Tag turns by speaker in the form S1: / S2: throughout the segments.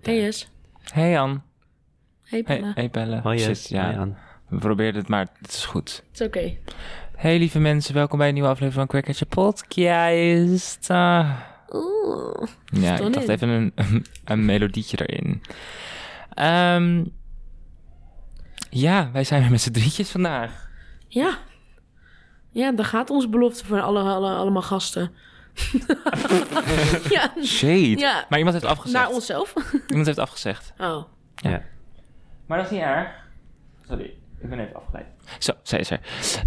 S1: Hey Jess.
S2: Hey Ann.
S1: Hey
S2: Hey,
S1: Pella.
S2: hey Belle.
S3: Hoi,
S2: Shit,
S3: Jess.
S2: ja.
S3: Hoi, Ann.
S2: We probeerden het, maar het is goed.
S1: Het is oké.
S2: Hey lieve mensen, welkom bij een nieuwe aflevering van Quackertje Podcast. Ah.
S1: Oeh.
S2: Ja,
S1: Stom
S2: ik dacht
S1: in.
S2: even een, een melodietje erin. Ehm, ja, wij zijn weer met z'n drietjes vandaag.
S1: Ja. Ja, daar gaat onze belofte voor alle, alle, allemaal gasten. ja,
S2: Shade.
S1: Ja.
S2: Maar iemand heeft afgezegd.
S1: naar onszelf.
S2: Iemand heeft afgezegd.
S1: Oh.
S3: Ja.
S2: Maar dat is niet erg. Sorry, ik ben even afgeleid. Zo, zij is er.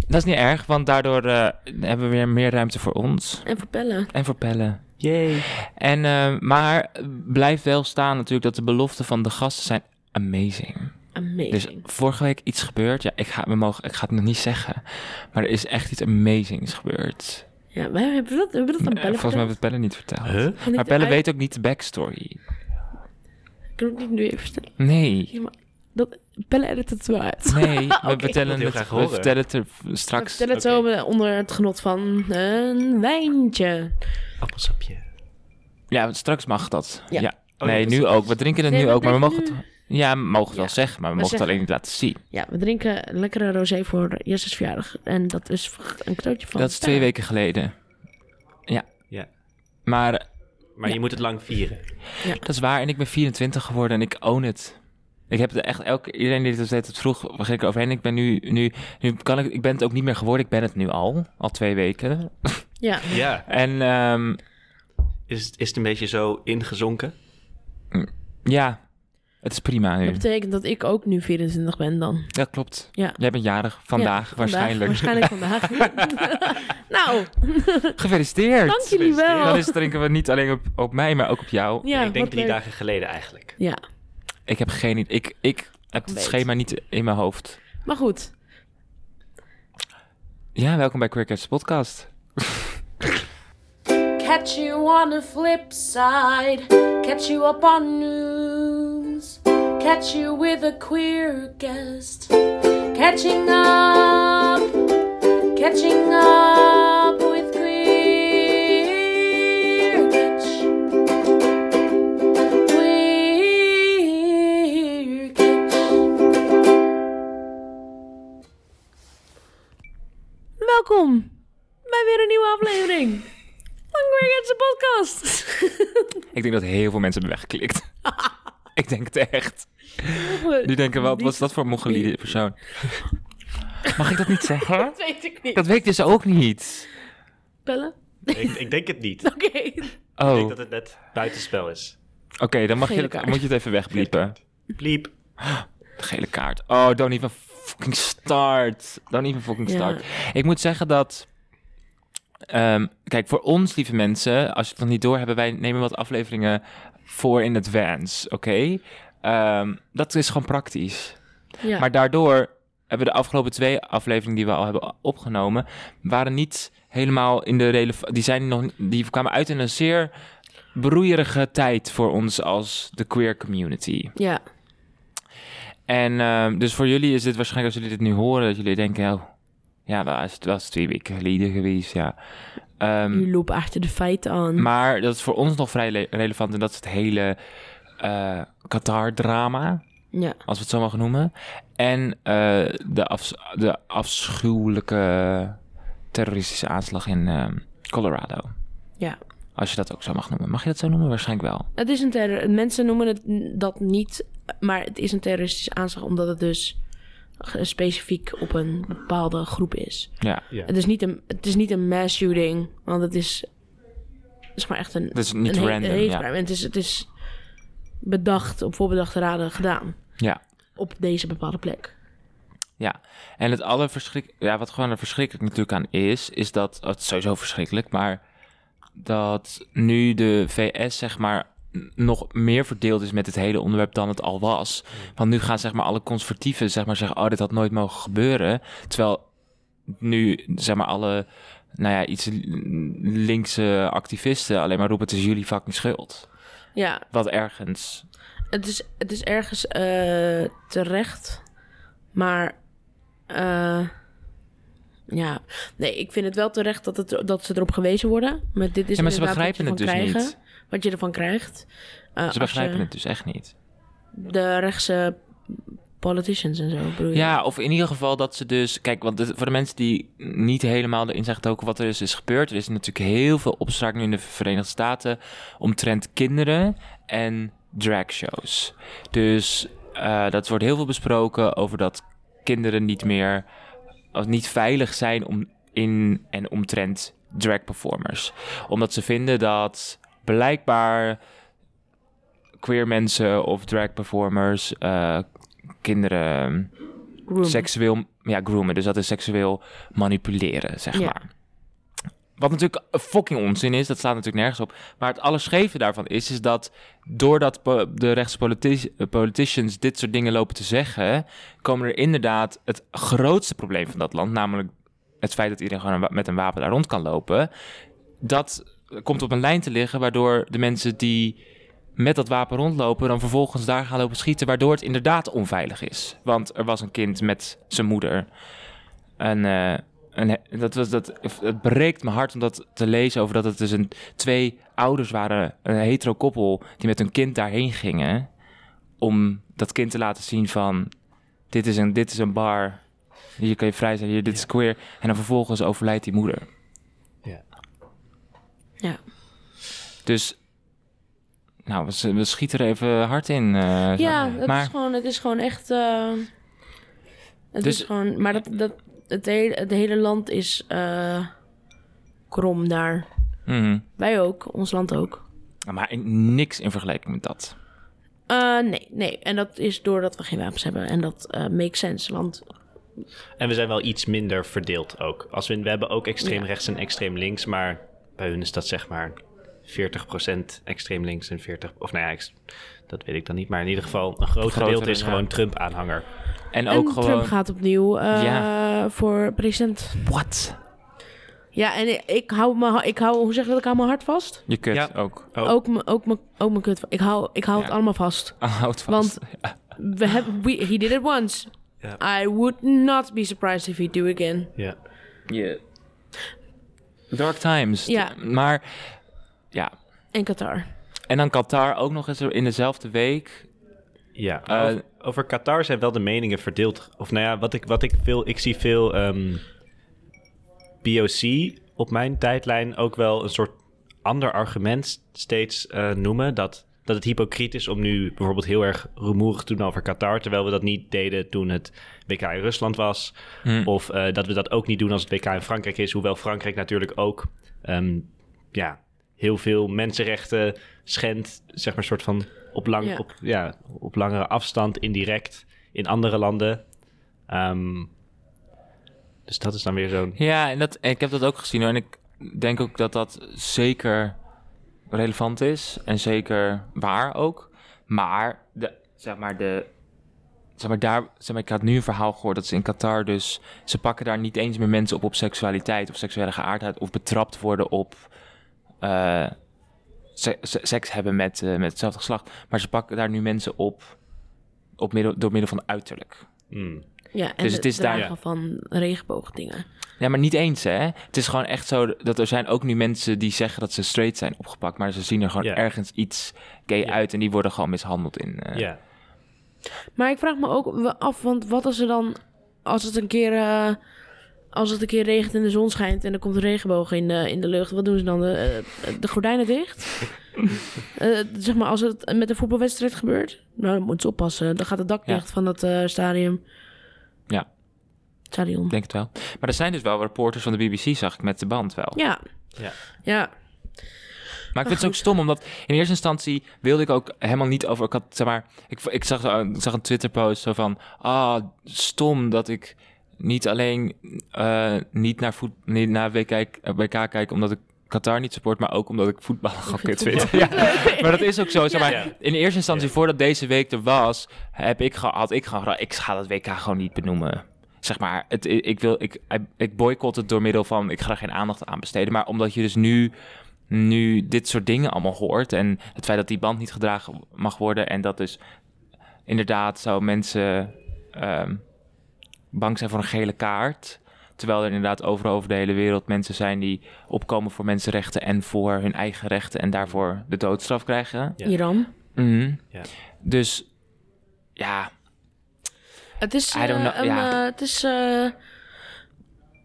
S2: Dat is niet erg, want daardoor eh, hebben we weer meer ruimte voor ons.
S1: En voor Pella.
S2: En voor pellen.
S3: Yay.
S2: En, eh, maar blijf wel staan natuurlijk dat de beloften van de gasten zijn amazing. Dus
S1: Amazing.
S2: vorige week iets gebeurd. Ja, ik ga, we mogen, ik ga het nog niet zeggen. Maar er is echt iets amazings gebeurd.
S1: Ja, wij hebben we dat, hebben we dat aan
S2: Eh,
S1: Pella
S2: Volgens mij hebben
S1: verteld?
S2: we het Pelle niet verteld.
S3: Huh?
S1: Kan ik
S2: Maar Pelle
S1: eruit-
S2: weet ook niet de backstory.
S1: Ik kan het niet nu even vertellen.
S2: Nee,
S1: Ja, maar dat, Pelle edit het wel uit.
S2: nee. We,
S1: Oké.
S2: vertellen
S3: Ik wil het heel
S2: het,
S3: graag
S2: we
S3: horen.
S2: vertellen het er
S1: We
S2: straks.
S1: vertellen het zo eh, onder het genot van een wijntje.
S3: Appelsapje.
S2: Ja, want straks mag dat.
S1: Ja.
S2: Ja.
S3: Oh, ja,
S2: nee,
S3: dat is-
S2: nu ook. We drinken het
S1: Nee,
S2: nu
S1: we
S2: ook, maar we mogen
S1: drinken
S2: het... Ja, we mogen het
S1: Ja.
S2: wel zeggen, maar we,
S1: We
S2: mogen het
S1: zeggen-
S2: alleen niet laten zien.
S1: Ja, we drinken een lekkere rosé voor Jesse's verjaardag. En dat is een cadeautje van
S2: dat is twee
S1: Pelle.
S2: weken geleden. Ja.
S3: Ja.
S2: Maar
S3: Maar je moet het lang vieren.
S2: dat is waar. En ik ben 24 geworden en ik own het. Ik heb het echt elke... Iedereen die het het vroeg, ging ik eroverheen. Ik ben nu... nu, nu kan ik, ik ben het ook niet meer geworden. Ik ben het nu al. Al twee weken.
S1: Ja.
S3: Ja.
S2: En ehm,
S3: Is, het- is het een beetje zo ingezonken?
S2: ja, het is prima
S1: Dat
S2: nu.
S1: betekent dat ik ook nu 24 ben dan.
S2: Dat klopt.
S1: Ja.
S2: Jij bent jarig. Vandaag
S1: Ja,
S2: waarschijnlijk.
S1: Waarschijnlijk vandaag. nou,
S2: Gefeliciteerd.
S1: dank jullie wel.
S2: Dan is, drinken we niet alleen op, op mij, maar ook op jou.
S1: ja,
S3: ik denk
S1: wat
S3: drie
S1: leuk.
S3: dagen geleden eigenlijk.
S1: Ja,
S2: Ik heb geen idee. Ik, ik heb
S1: Een
S2: het
S1: beetje.
S2: schema niet in mijn hoofd.
S1: maar goed.
S2: Ja, welkom bij Queer Cats Podcast.
S4: Catch you on the flip side. Catch you up on news. Catch you with a queer guest. Catching up. Catching up with queer catch. Queer catch.
S1: Welkom bij weer een nieuwe aflevering van Greg Podcast.
S2: Ik denk dat heel veel mensen hebben weggeklikt. ik denk het echt. Die denken, wat was dat voor mogelijke persoon? Mag ik dat niet zeggen?
S1: Dat weet ik niet.
S2: Dat weet ik dus ook niet.
S1: Bellen?
S3: ik, ik denk het niet. Ik
S1: Oké.
S2: Oh,
S3: denk dat
S2: oké,
S3: het net buitenspel is.
S2: dan mag je,
S1: Gele
S2: dat-
S1: kaart.
S2: moet je het even wegbliepen.
S3: Bliep.
S2: Gele kaart. Oh, don't even fucking start. Don't even fucking
S1: Ja.
S2: start. Ik moet zeggen dat... ehm, kijk, voor ons, lieve mensen, als je het nog niet door hebben, wij nemen wat afleveringen voor in advance, oké? Ehm, dat is gewoon praktisch.
S1: Ja.
S2: Maar daardoor hebben we de afgelopen twee afleveringen die we al hebben opgenomen, waren niet helemaal in de relevant. Die, zijn nog, die kwamen uit in een zeer broeierige tijd voor ons als de queer community.
S1: ja.
S2: En ehm, dus voor jullie is dit waarschijnlijk, als jullie dit nu horen, dat jullie denken, oh, ja, dat is, dat is twee weken geleden geweest, ja. Ehm,
S1: Nu lopen achter de feiten aan.
S2: maar dat is voor ons nog vrij le- relevant en dat is het hele eh, Qatar-drama
S1: ja.
S2: als we het zo mogen noemen. En eh, de, afs- de afschuwelijke terroristische aanslag in ehm, Colorado.
S1: Ja.
S2: Als je dat ook zo mag noemen. Mag je dat zo noemen? Waarschijnlijk wel.
S1: Het is een terror. Mensen noemen het n- dat niet, maar het is een terroristische aanslag omdat het dus ge- specifiek op een bepaalde groep is.
S2: Ja.
S3: Ja.
S1: Het is niet een, het is niet een mass shooting, want het is zeg maar echt een.
S2: Dat is niet
S1: een he-
S2: random,
S1: een
S2: ja.
S1: hate crime. Het is, het is bedacht op voorbedachte raden gedaan
S2: Ja.
S1: op deze bepaalde plek.
S2: Ja, en het allerverschrik... Ja, wat gewoon er verschrikkelijk natuurlijk aan is, is dat... oh, het is sowieso verschrikkelijk, maar dat nu de VS, zeg maar, n- nog meer verdeeld is met het hele onderwerp dan het al was.
S1: Mm.
S2: Want nu gaan, zeg maar, alle conservatieven, zeg maar, zeggen... oh, dit had nooit mogen gebeuren. Terwijl nu, zeg maar, alle, nou ja, iets l- linkse activisten alleen maar roepen... het is jullie fucking schuld.
S1: Ja,
S2: Wat ergens...
S1: het is, het is ergens eh, terecht, maar eh, ja, nee, ik vind het wel terecht dat, het, dat ze erop gewezen worden. Maar dit is
S2: Ja, maar ze
S1: inderdaad wat je
S2: begrijpen het dus
S1: van krijgen.
S2: niet.
S1: wat je ervan krijgt. eh, als
S2: Ze
S1: je
S2: begrijpen het dus echt niet.
S1: De rechtse politicians en zo, bedoel je?
S2: Ja, of in ieder geval dat ze dus... Kijk, want dit- voor de mensen die niet helemaal erin zijn getoken wat er dus is gebeurd... er is natuurlijk heel veel opspraak nu in de Verenigde Staten... omtrent kinderen en dragshows. Dus eh, dat wordt heel veel besproken over dat kinderen niet meer... of niet veilig zijn om in en omtrent drag performers. Omdat ze vinden dat blijkbaar queer mensen of drag performers... eh, kinderen
S1: Groom.
S2: seksueel, ja, groomen. Dus dat is seksueel manipuleren, zeg
S1: Ja.
S2: maar. Wat natuurlijk fucking onzin is, dat staat natuurlijk nergens op. Maar het allerscheve daarvan is, is dat doordat po- de rechtse politi- eh, politicians dit soort dingen lopen te zeggen, komen er inderdaad het grootste probleem van dat land, namelijk het feit dat iedereen gewoon een wa- met een wapen daar rond kan lopen, dat eh, komt op een lijn te liggen, waardoor de mensen die met dat wapen rondlopen, dan vervolgens daar gaan lopen schieten, waardoor het inderdaad onveilig is. Want er was een kind met zijn moeder. En, eh, en he- dat was, dat, het breekt mijn hart om dat te lezen over dat het dus een, twee ouders waren, een hetero koppel, die met hun kind daarheen gingen. Om dat kind te laten zien van, dit is een, dit is een bar, hier kun je vrij zijn, hier, dit is queer. En dan vervolgens overlijdt die moeder.
S3: Ja.
S1: Ja.
S2: Dus, nou, we, s- we schieten er even hard in. eh,
S1: Ja,
S2: zo.
S1: het,
S2: maar
S1: is gewoon, het is gewoon echt. eh, het
S2: Dus-
S1: is gewoon. Maar dat, dat, het, hele, het hele land is eh, krom daar.
S2: mhm.
S1: Wij ook, ons land ook.
S2: maar in- niks in vergelijking met dat.
S1: Eh, nee, nee. En dat is doordat we geen wapens hebben. En dat eh, makes sense. Want
S3: En we zijn wel iets minder verdeeld ook. Als we, we hebben ook extreem rechts en extreem links, maar bij hun is dat zeg maar 40% extreem links en 40... Of nou ja, ex- dat weet ik dan niet. Maar in ieder geval, een groot
S2: Grotere,
S3: gedeelte is
S2: ja.
S3: gewoon Trump-aanhanger.
S2: En
S1: en
S2: ook
S1: Trump
S2: gewoon.
S1: gaat opnieuw eh,
S2: Ja.
S1: voor president.
S2: What?
S1: Ja, en ik- ik hou me, ik hou, hoe zeg je dat? Ik hou mijn hart vast.
S2: Je kut
S3: Ja.
S2: ook.
S3: Oh.
S1: Ook mijn ook mijn- ook mijn kut. Ik hou, ik hou
S2: Ja.
S1: het allemaal vast.
S2: Houd vast.
S1: Want- We hebben, we, he did it once. I would not be surprised if he do again.
S3: Ja.
S2: Dark times.
S1: Ja.
S2: Maar, ja.
S1: En Qatar.
S2: En dan Qatar ook nog eens in dezelfde week.
S3: Ja,
S2: Eh,
S3: over, over Qatar zijn wel de meningen verdeeld. Of nou ja, wat ik, wat ik veel, ik zie veel ehm, BOC op mijn tijdlijn ook wel een soort ander argument steeds eh, noemen. Dat, dat het hypocriet is om nu bijvoorbeeld heel erg rumoerig te doen over Qatar. Terwijl we dat niet deden toen het WK in Rusland was. Of eh, dat we dat ook niet doen als het WK in Frankrijk is. Hoewel Frankrijk natuurlijk ook ehm, ja, heel veel mensenrechten schendt. Zeg maar soort van op, lang,
S1: Ja.
S3: Op, ja, op langere afstand, indirect, in andere landen. Ehm, dus dat is dan weer zo'n...
S2: Ja, en, dat, en ik heb dat ook gezien hoor. En ik denk ook dat dat zeker relevant is. En zeker waar ook. Maar, de, zeg maar, de. Zeg maar, daar, zeg maar, ik had nu een verhaal gehoord dat ze in Qatar dus... ze pakken daar niet eens meer mensen op op seksualiteit of seksuele geaardheid... of betrapt worden op eh, se- se- seks hebben met, eh, met hetzelfde geslacht. Maar ze pakken daar nu mensen op, op middel, door middel van uiterlijk.
S3: Mm.
S1: Ja, en
S2: Dus
S1: de
S2: het is daar-
S1: dragen van regenboogdingen.
S2: Ja, maar niet eens, hè? Het is gewoon echt zo dat er zijn ook nu mensen die zeggen dat ze straight zijn opgepakt, maar ze zien er gewoon
S3: Ja.
S2: ergens iets gay uit en die worden gewoon mishandeld in. eh,
S3: Ja.
S1: Maar ik vraag me ook wel af, want wat als er dan... Als het een keer, eh, als het een keer regent en de zon schijnt... en er komt een regenboog in de, in de lucht... wat doen ze dan? De, eh, de gordijnen dicht? Eh, zeg maar, als het met een voetbalwedstrijd gebeurt... nou, dan moeten ze oppassen. Dan gaat het dak
S2: Ja.
S1: dicht van dat eh, stadium.
S2: Ja.
S1: Stadion.
S2: Ik denk het wel. Maar er zijn dus wel reporters van de BBC, zag ik met de band wel.
S1: Ja.
S3: Ja.
S1: Ja.
S2: Maar ik vind het ook stom, omdat in eerste instantie wilde ik ook helemaal niet over. Ik had, zeg maar, ik, ik zag, zo- ik zag een Twitter-post zo van. Ah, stom dat ik niet alleen eh, niet naar, voet, niet naar WK, kijk- eh, WK kijk, omdat ik Qatar niet support, maar ook omdat ik voetbal gewoon kut vind. Ja, maar dat is ook zo. Zeg maar,
S3: Ja.
S2: In eerste instantie,
S3: Ja.
S2: voordat deze week er was, heb ik ge- had ik gewoon gedacht, ik ga dat WK gewoon niet benoemen. Zeg maar, het, ik, ik wil, ik, ik boycott het door middel van, ik ga er geen aandacht aan besteden. Maar omdat je dus nu nu dit soort dingen allemaal hoort. En het feit dat die band niet gedragen mag worden. En dat dus inderdaad zo mensen ehm, bang zijn voor een gele kaart. Terwijl er inderdaad overal over de hele wereld mensen zijn die opkomen voor mensenrechten en voor hun eigen rechten en daarvoor de doodstraf krijgen.
S3: Ja.
S1: Iran.
S2: Mhm.
S3: Ja.
S2: Dus ja,
S1: Het is.
S2: I don't
S1: eh,
S2: know,
S1: een,
S2: ja.
S1: eh, het is. eh,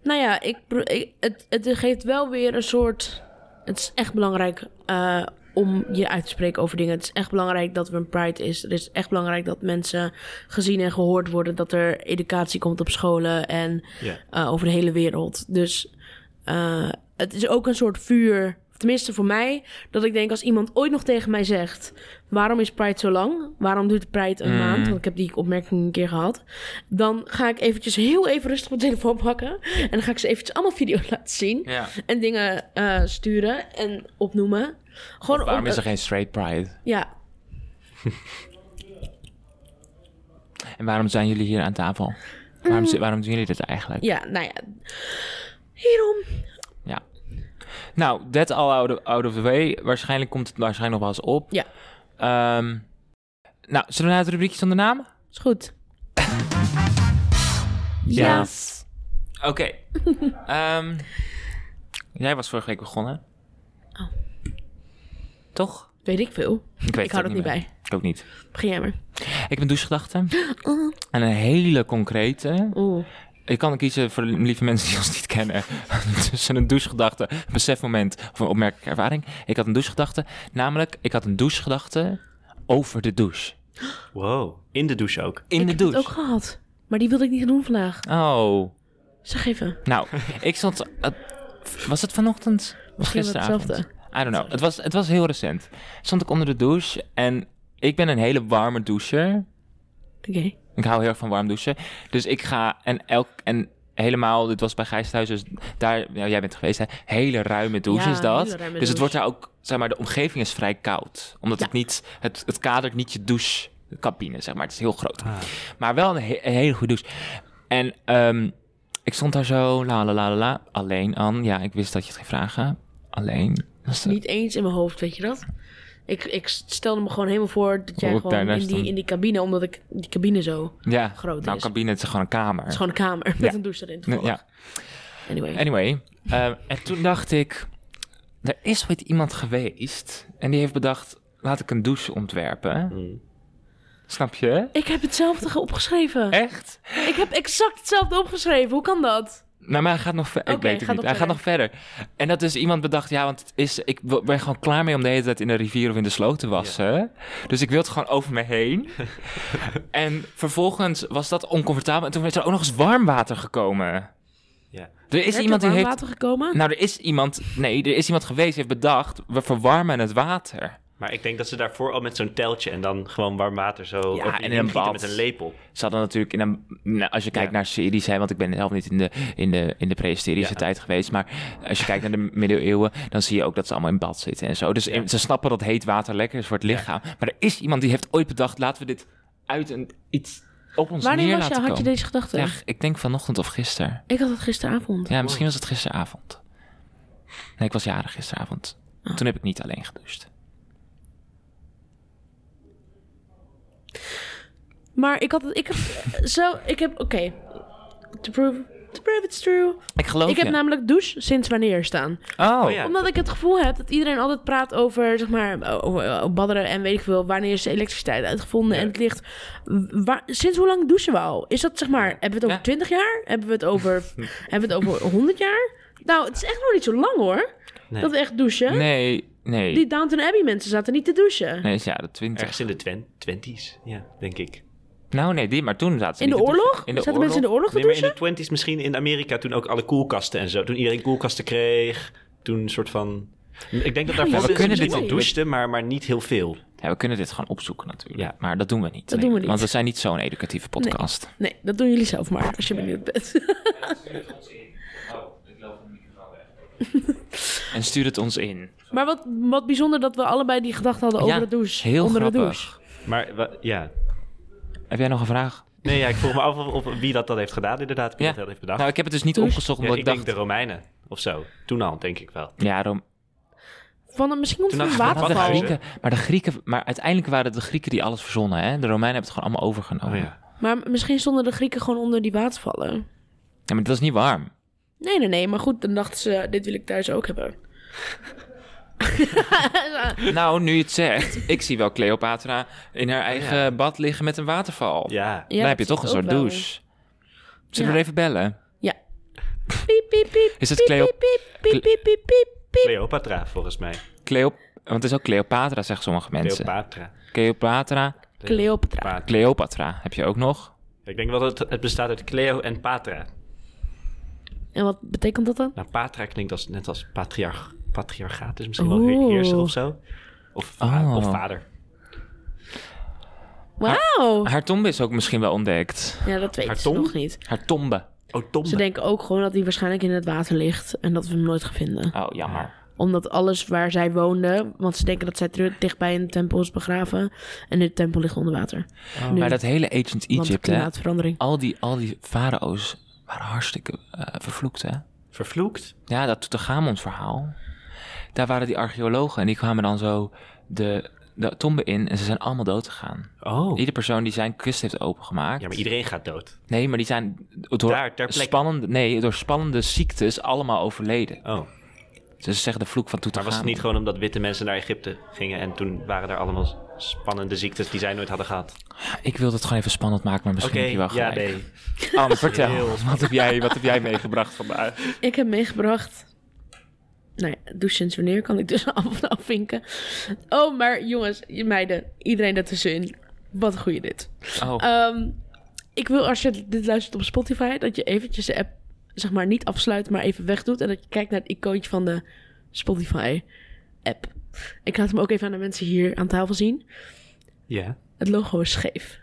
S1: nou ja, ik, pro- ik- het, het geeft wel weer een soort. Het is echt belangrijk eh, om je uit te spreken over dingen. Het is echt belangrijk dat er een pride is. Het is echt belangrijk dat mensen gezien en gehoord worden. Dat er educatie komt op scholen en
S3: Ja.
S1: eh, over de hele wereld. Dus eh, het is ook een soort vuur. Tenminste voor mij, dat ik denk als iemand ooit nog tegen mij zegt: waarom is Pride zo lang? Waarom duurt Pride een
S2: Mm.
S1: maand? Want ik heb die opmerking een keer gehad. Dan ga ik eventjes heel even rustig mijn telefoon pakken. En dan ga ik ze eventjes allemaal video's laten zien.
S2: ja.
S1: En dingen eh, sturen en opnoemen. Gewoon
S2: Of waarom
S1: om-
S2: is er geen straight pride?
S1: Ja,
S2: En waarom zijn jullie hier aan tafel? Waarom, zi- waarom doen jullie dit eigenlijk?
S1: ja, nou ja. Hierom.
S2: Nou, that all out of, out of the way. Waarschijnlijk komt het waarschijnlijk nog wel eens op.
S1: Ja.
S2: Ehm, nou, zullen we naar het rubriekje van de naam?
S1: Is goed.
S2: Ja. Oké. Ehm, jij was vorige week begonnen.
S1: Oh.
S2: Toch?
S1: Weet ik veel.
S2: Ik weet
S1: ik hou
S2: het
S1: er
S2: ook
S1: niet bij.
S2: meer. Ik ook niet.
S1: Begin jij maar.
S2: Ik heb een douchegedachte.
S1: Oh.
S2: En een hele concrete.
S1: Oeh.
S2: Ik kan kiezen voor de lieve mensen die ons niet kennen. Tussen een douchegedachte, een besefmoment of een opmerkelijke ervaring. Ik had een douchegedachte. Namelijk, ik had een douchegedachte over de douche.
S3: Wow. In de douche ook.
S2: In
S1: ik
S2: de
S1: heb
S2: douche.
S1: het ook gehad. Maar die wilde ik niet doen vandaag.
S2: Oh.
S1: Zeg even.
S2: Nou, ik stond... eh, was het vanochtend? Was
S1: Misschien wel
S2: gisteravond?
S1: hetzelfde.
S2: I don't know. Het was, het was heel recent. Stond ik onder de douche en ik ben een hele warme doucher.
S1: Oké.
S2: Ik hou heel erg van warm douchen. Dus ik ga en elk en helemaal, dit was bij Gijs thuis, dus daar, nou, jij bent geweest, hè? hele ruime douche
S1: Ja,
S2: is dat.
S1: hele ruime
S2: dus het
S1: douche.
S2: wordt daar ook, zeg maar, de omgeving is vrij koud. Omdat
S1: Ja.
S2: het niet, het, het kadert niet je douchecabine, zeg maar. Het is heel groot.
S3: Ah.
S2: Maar wel een, he- een hele goede douche. En ehm, ik stond daar zo, la la la la la, alleen aan. Ja, ik wist dat je het ging vragen. Alleen. Dat is de-
S1: Niet eens in mijn hoofd, weet je dat? Ik, ik stelde me gewoon helemaal voor dat jij
S2: Hoe ik
S1: gewoon
S2: daarnaar
S1: in die,
S2: stond.
S1: in die cabine, omdat ik die cabine zo. Het
S2: ja,
S1: groot
S2: nou,
S1: is.
S2: cabine, het is gewoon een kamer.
S1: is gewoon een kamer met
S2: Ja.
S1: een douche erin.
S2: Nee,
S1: toevallig.
S2: ja.
S1: Anyway.
S2: Anyway, eh, en toen dacht ik, er is ooit iemand geweest en die heeft bedacht, laat ik een douche ontwerpen.
S3: Mm.
S2: Snap je?
S1: Ik heb hetzelfde ge- opgeschreven.
S2: Echt?
S1: Ik heb exact hetzelfde opgeschreven. Hoe kan dat?
S2: Nou, maar hij gaat nog verder.
S1: Oké,
S2: ik weet het
S1: gaat
S2: niet.
S1: nog
S2: Hij gaat nog verder. En dat is iemand bedacht, ja, want het is, ik wil- ben gewoon klaar mee om de hele tijd in de rivier of in de sloot te wassen. Dus ik wil het gewoon over me heen. en vervolgens was dat oncomfortabel. En toen is er ook nog eens warm water gekomen.
S3: Ja.
S2: Er is
S1: Werd
S2: iemand
S1: er
S2: die heeft...
S1: water gekomen?
S2: Nou, er is iemand... Nee, er is iemand geweest die heeft bedacht... we verwarmen het water.
S3: Maar ik denk dat ze daarvoor al met zo'n teltje en dan gewoon warm water zo
S2: Ja,
S3: over je
S2: en in
S3: heen
S2: een
S3: gieten
S2: bad.
S3: met een lepel.
S2: Ze hadden natuurlijk in een, nou, als je kijkt
S3: Ja.
S2: naar series, hè, want ik ben zelf niet in de, in de, in de prehistorische
S3: Ja.
S2: tijd geweest, maar als je kijkt naar de middeleeuwen, dan zie je ook dat ze allemaal in bad zitten en zo. Dus in- ze snappen dat heet water lekker is voor het lichaam. Maar er is iemand die heeft ooit bedacht, laten we dit uit en iets op ons
S1: Wanneer
S2: neer
S1: was je,
S2: laten
S1: had je
S2: komen.
S1: deze gedachte?
S2: Ja, ik denk vanochtend of gisteren.
S1: Ik had het gisteravond.
S2: Ja, misschien was het gisteravond. Nee, ik was jarig gisteravond.
S1: Ah.
S2: Toen heb ik niet alleen gedoucht.
S1: Maar ik had het... Ik heb, zo, ik heb... Oké. To prove... To prove it's true.
S2: Ik geloof
S1: ik heb
S2: je.
S1: namelijk douche sinds wanneer staan.
S2: Oh,
S3: Oh ja.
S1: Omdat ik het gevoel heb dat iedereen altijd praat over, zeg maar, over, eh, badderen en weet ik veel. Wanneer is de elektriciteit uitgevonden en het licht. Waar, sinds hoe lang douchen we al? Is dat, zeg maar, hebben we het over
S2: Ja.
S1: 20 jaar? Hebben we het over, hebben we het over 100 jaar? Nou, het is echt nog niet zo lang hoor.
S3: Nee.
S1: Dat we echt douchen.
S2: nee, nee.
S1: Die Downton Abbey mensen zaten niet te douchen.
S2: Nee, is ja, de twintig.
S3: Ergens in de twen- twenties, ja, denk ik.
S2: Nou, nee, die, maar toen zaten ze
S1: In de
S2: niet te douchen.
S1: oorlog?
S2: In de
S1: zaten mensen in de oorlog te
S3: Nee, maar in
S1: douchen?
S3: de twenties misschien in Amerika toen ook alle koelkasten en zo. Toen iedereen koelkasten kreeg, toen een soort van... Ik denk dat
S1: Ja,
S3: daarvoor
S1: we
S3: mensen
S2: kunnen
S3: misschien
S2: dit
S3: wel
S2: niet.
S3: douchten, maar, maar niet heel veel.
S2: Ja, we kunnen dit gewoon opzoeken natuurlijk.
S3: Ja.
S2: Maar dat doen we niet.
S1: Dat doen we niet.
S2: Want we zijn niet zo'n educatieve podcast. Oh,
S1: Nee, dat doen jullie zelf maar, als je benieuwd bent.
S2: En stuur het ons in.
S1: maar wat, wat bijzonder dat we allebei die gedachte hadden over
S2: Ja,
S1: de douche.
S2: heel
S1: onder de
S2: grappig.
S1: douche.
S3: Maar wa- ja.
S2: Heb jij nog een vraag?
S3: Nee, ja, ik vroeg me af of, of wie dat dan heeft gedaan inderdaad. Wie
S2: Ja.
S3: dat dat heeft bedacht.
S2: Nou, ik heb het dus niet
S1: Douche.
S2: opgezocht,
S3: Ja,
S2: omdat
S3: ik
S2: ik,
S3: denk de
S2: dacht...
S3: Romeinen of zo. Toen al, denk ik wel.
S2: Ja, Rom-
S1: Van, misschien komt het
S3: Toen
S1: van een
S3: dacht ik,
S2: maar de
S1: waterval.
S2: Grieken, maar de Grieken... Maar uiteindelijk waren het de Grieken die alles verzonnen, hè? De Romeinen hebben het gewoon allemaal overgenomen. ja.
S3: Oh ja.
S1: Maar misschien stonden de Grieken gewoon onder die watervallen.
S2: maar dat is niet warm.
S1: Nee, nee, nee. Maar goed, dan dachten ze, dit wil ik thuis ook hebben.
S2: Nou, nu je het zegt, ik zie wel Cleopatra in haar
S3: Oh,
S2: eigen bad liggen met een waterval.
S3: Ja.
S1: Ja,
S2: Dan heb je
S1: dat
S2: toch een
S1: zie ik
S2: soort
S1: ook wel.
S2: douche. Zullen we
S1: Ja.
S2: er even bellen?
S1: Piep, piep, piep.
S2: Is het
S1: piep,
S2: Cleo-
S1: Piep, piep, piep, piep, piep, piep, piep.
S3: Cleopatra, volgens mij.
S2: Cleo... Want het is ook Cleopatra, zeggen sommige mensen.
S3: Cleopatra.
S2: Cleopatra,
S1: Cleopatra.
S3: Patra.
S2: Cleopatra heb je ook nog.
S3: Ik denk wel dat het, het bestaat uit Cleo en Patra.
S1: En wat betekent dat dan?
S3: Nou, Patra klinkt als, net als patriarch, patriarchaat, dus misschien wel
S1: Oeh.
S3: he- heerser of zo. Of, va-
S2: Oh.
S3: of vader.
S1: Wauw.
S2: Haar tombe is ook misschien wel ontdekt.
S1: Ja, dat weten
S3: haar
S1: ze
S3: tong?
S1: nog niet.
S2: Haar tombe.
S3: Oh, Tom.
S1: Ze denken ook gewoon dat hij waarschijnlijk in het water ligt en dat we hem nooit gaan vinden.
S2: Oh, jammer.
S1: Omdat alles waar zij woonde, want ze denken dat zij terug dichtbij een tempel is begraven. En de tempel ligt onder water. Nu,
S2: Maar dat hele Ancient
S1: Oh. want
S2: Egypte, hè,
S1: klimaatverandering.
S2: al die, al die farao's waren hartstikke eh, vervloekt, hè?
S3: Vervloekt.
S2: Ja, dat Tutankhamons verhaal. Daar waren die archeologen en die kwamen dan zo de, de tombe in en ze zijn allemaal dood gegaan.
S3: Oh.
S2: Iedere persoon die zijn kust heeft opengemaakt.
S3: Ja, maar iedereen gaat dood.
S2: Nee, maar die zijn door,
S3: Daar, ter plekke.
S2: spannende, nee, door spannende ziektes allemaal overleden.
S3: Oh.
S2: Dus ze zeggen de vloek van
S3: Maar was
S2: Tutankhamon.
S3: het niet gewoon omdat witte mensen naar Egypte gingen en toen waren er allemaal spannende ziektes die zij nooit hadden gehad?
S2: Ik wilde het gewoon even spannend maken, maar misschien
S3: Oké,
S2: heb je wel
S3: ja,
S2: gelijk.
S3: nee.
S2: Anne, vertel.
S3: Heel
S2: Wat heb, jij, wat heb jij meegebracht vandaag?
S1: Ik heb meegebracht. Nou ja, douche sinds wanneer kan ik dus af en afvinken. Oh, maar jongens, je meiden, iedereen daartussenin. Wat een goeie dit.
S2: Oh,
S1: Ehm, ik wil als je dit luistert op Spotify, dat je eventjes de app zeg maar niet afsluit, maar even wegdoet. En dat je kijkt naar het icoontje van de Spotify-app. Ik laat hem ook even aan de mensen hier aan tafel zien.
S3: Ja.
S1: Het logo is scheef.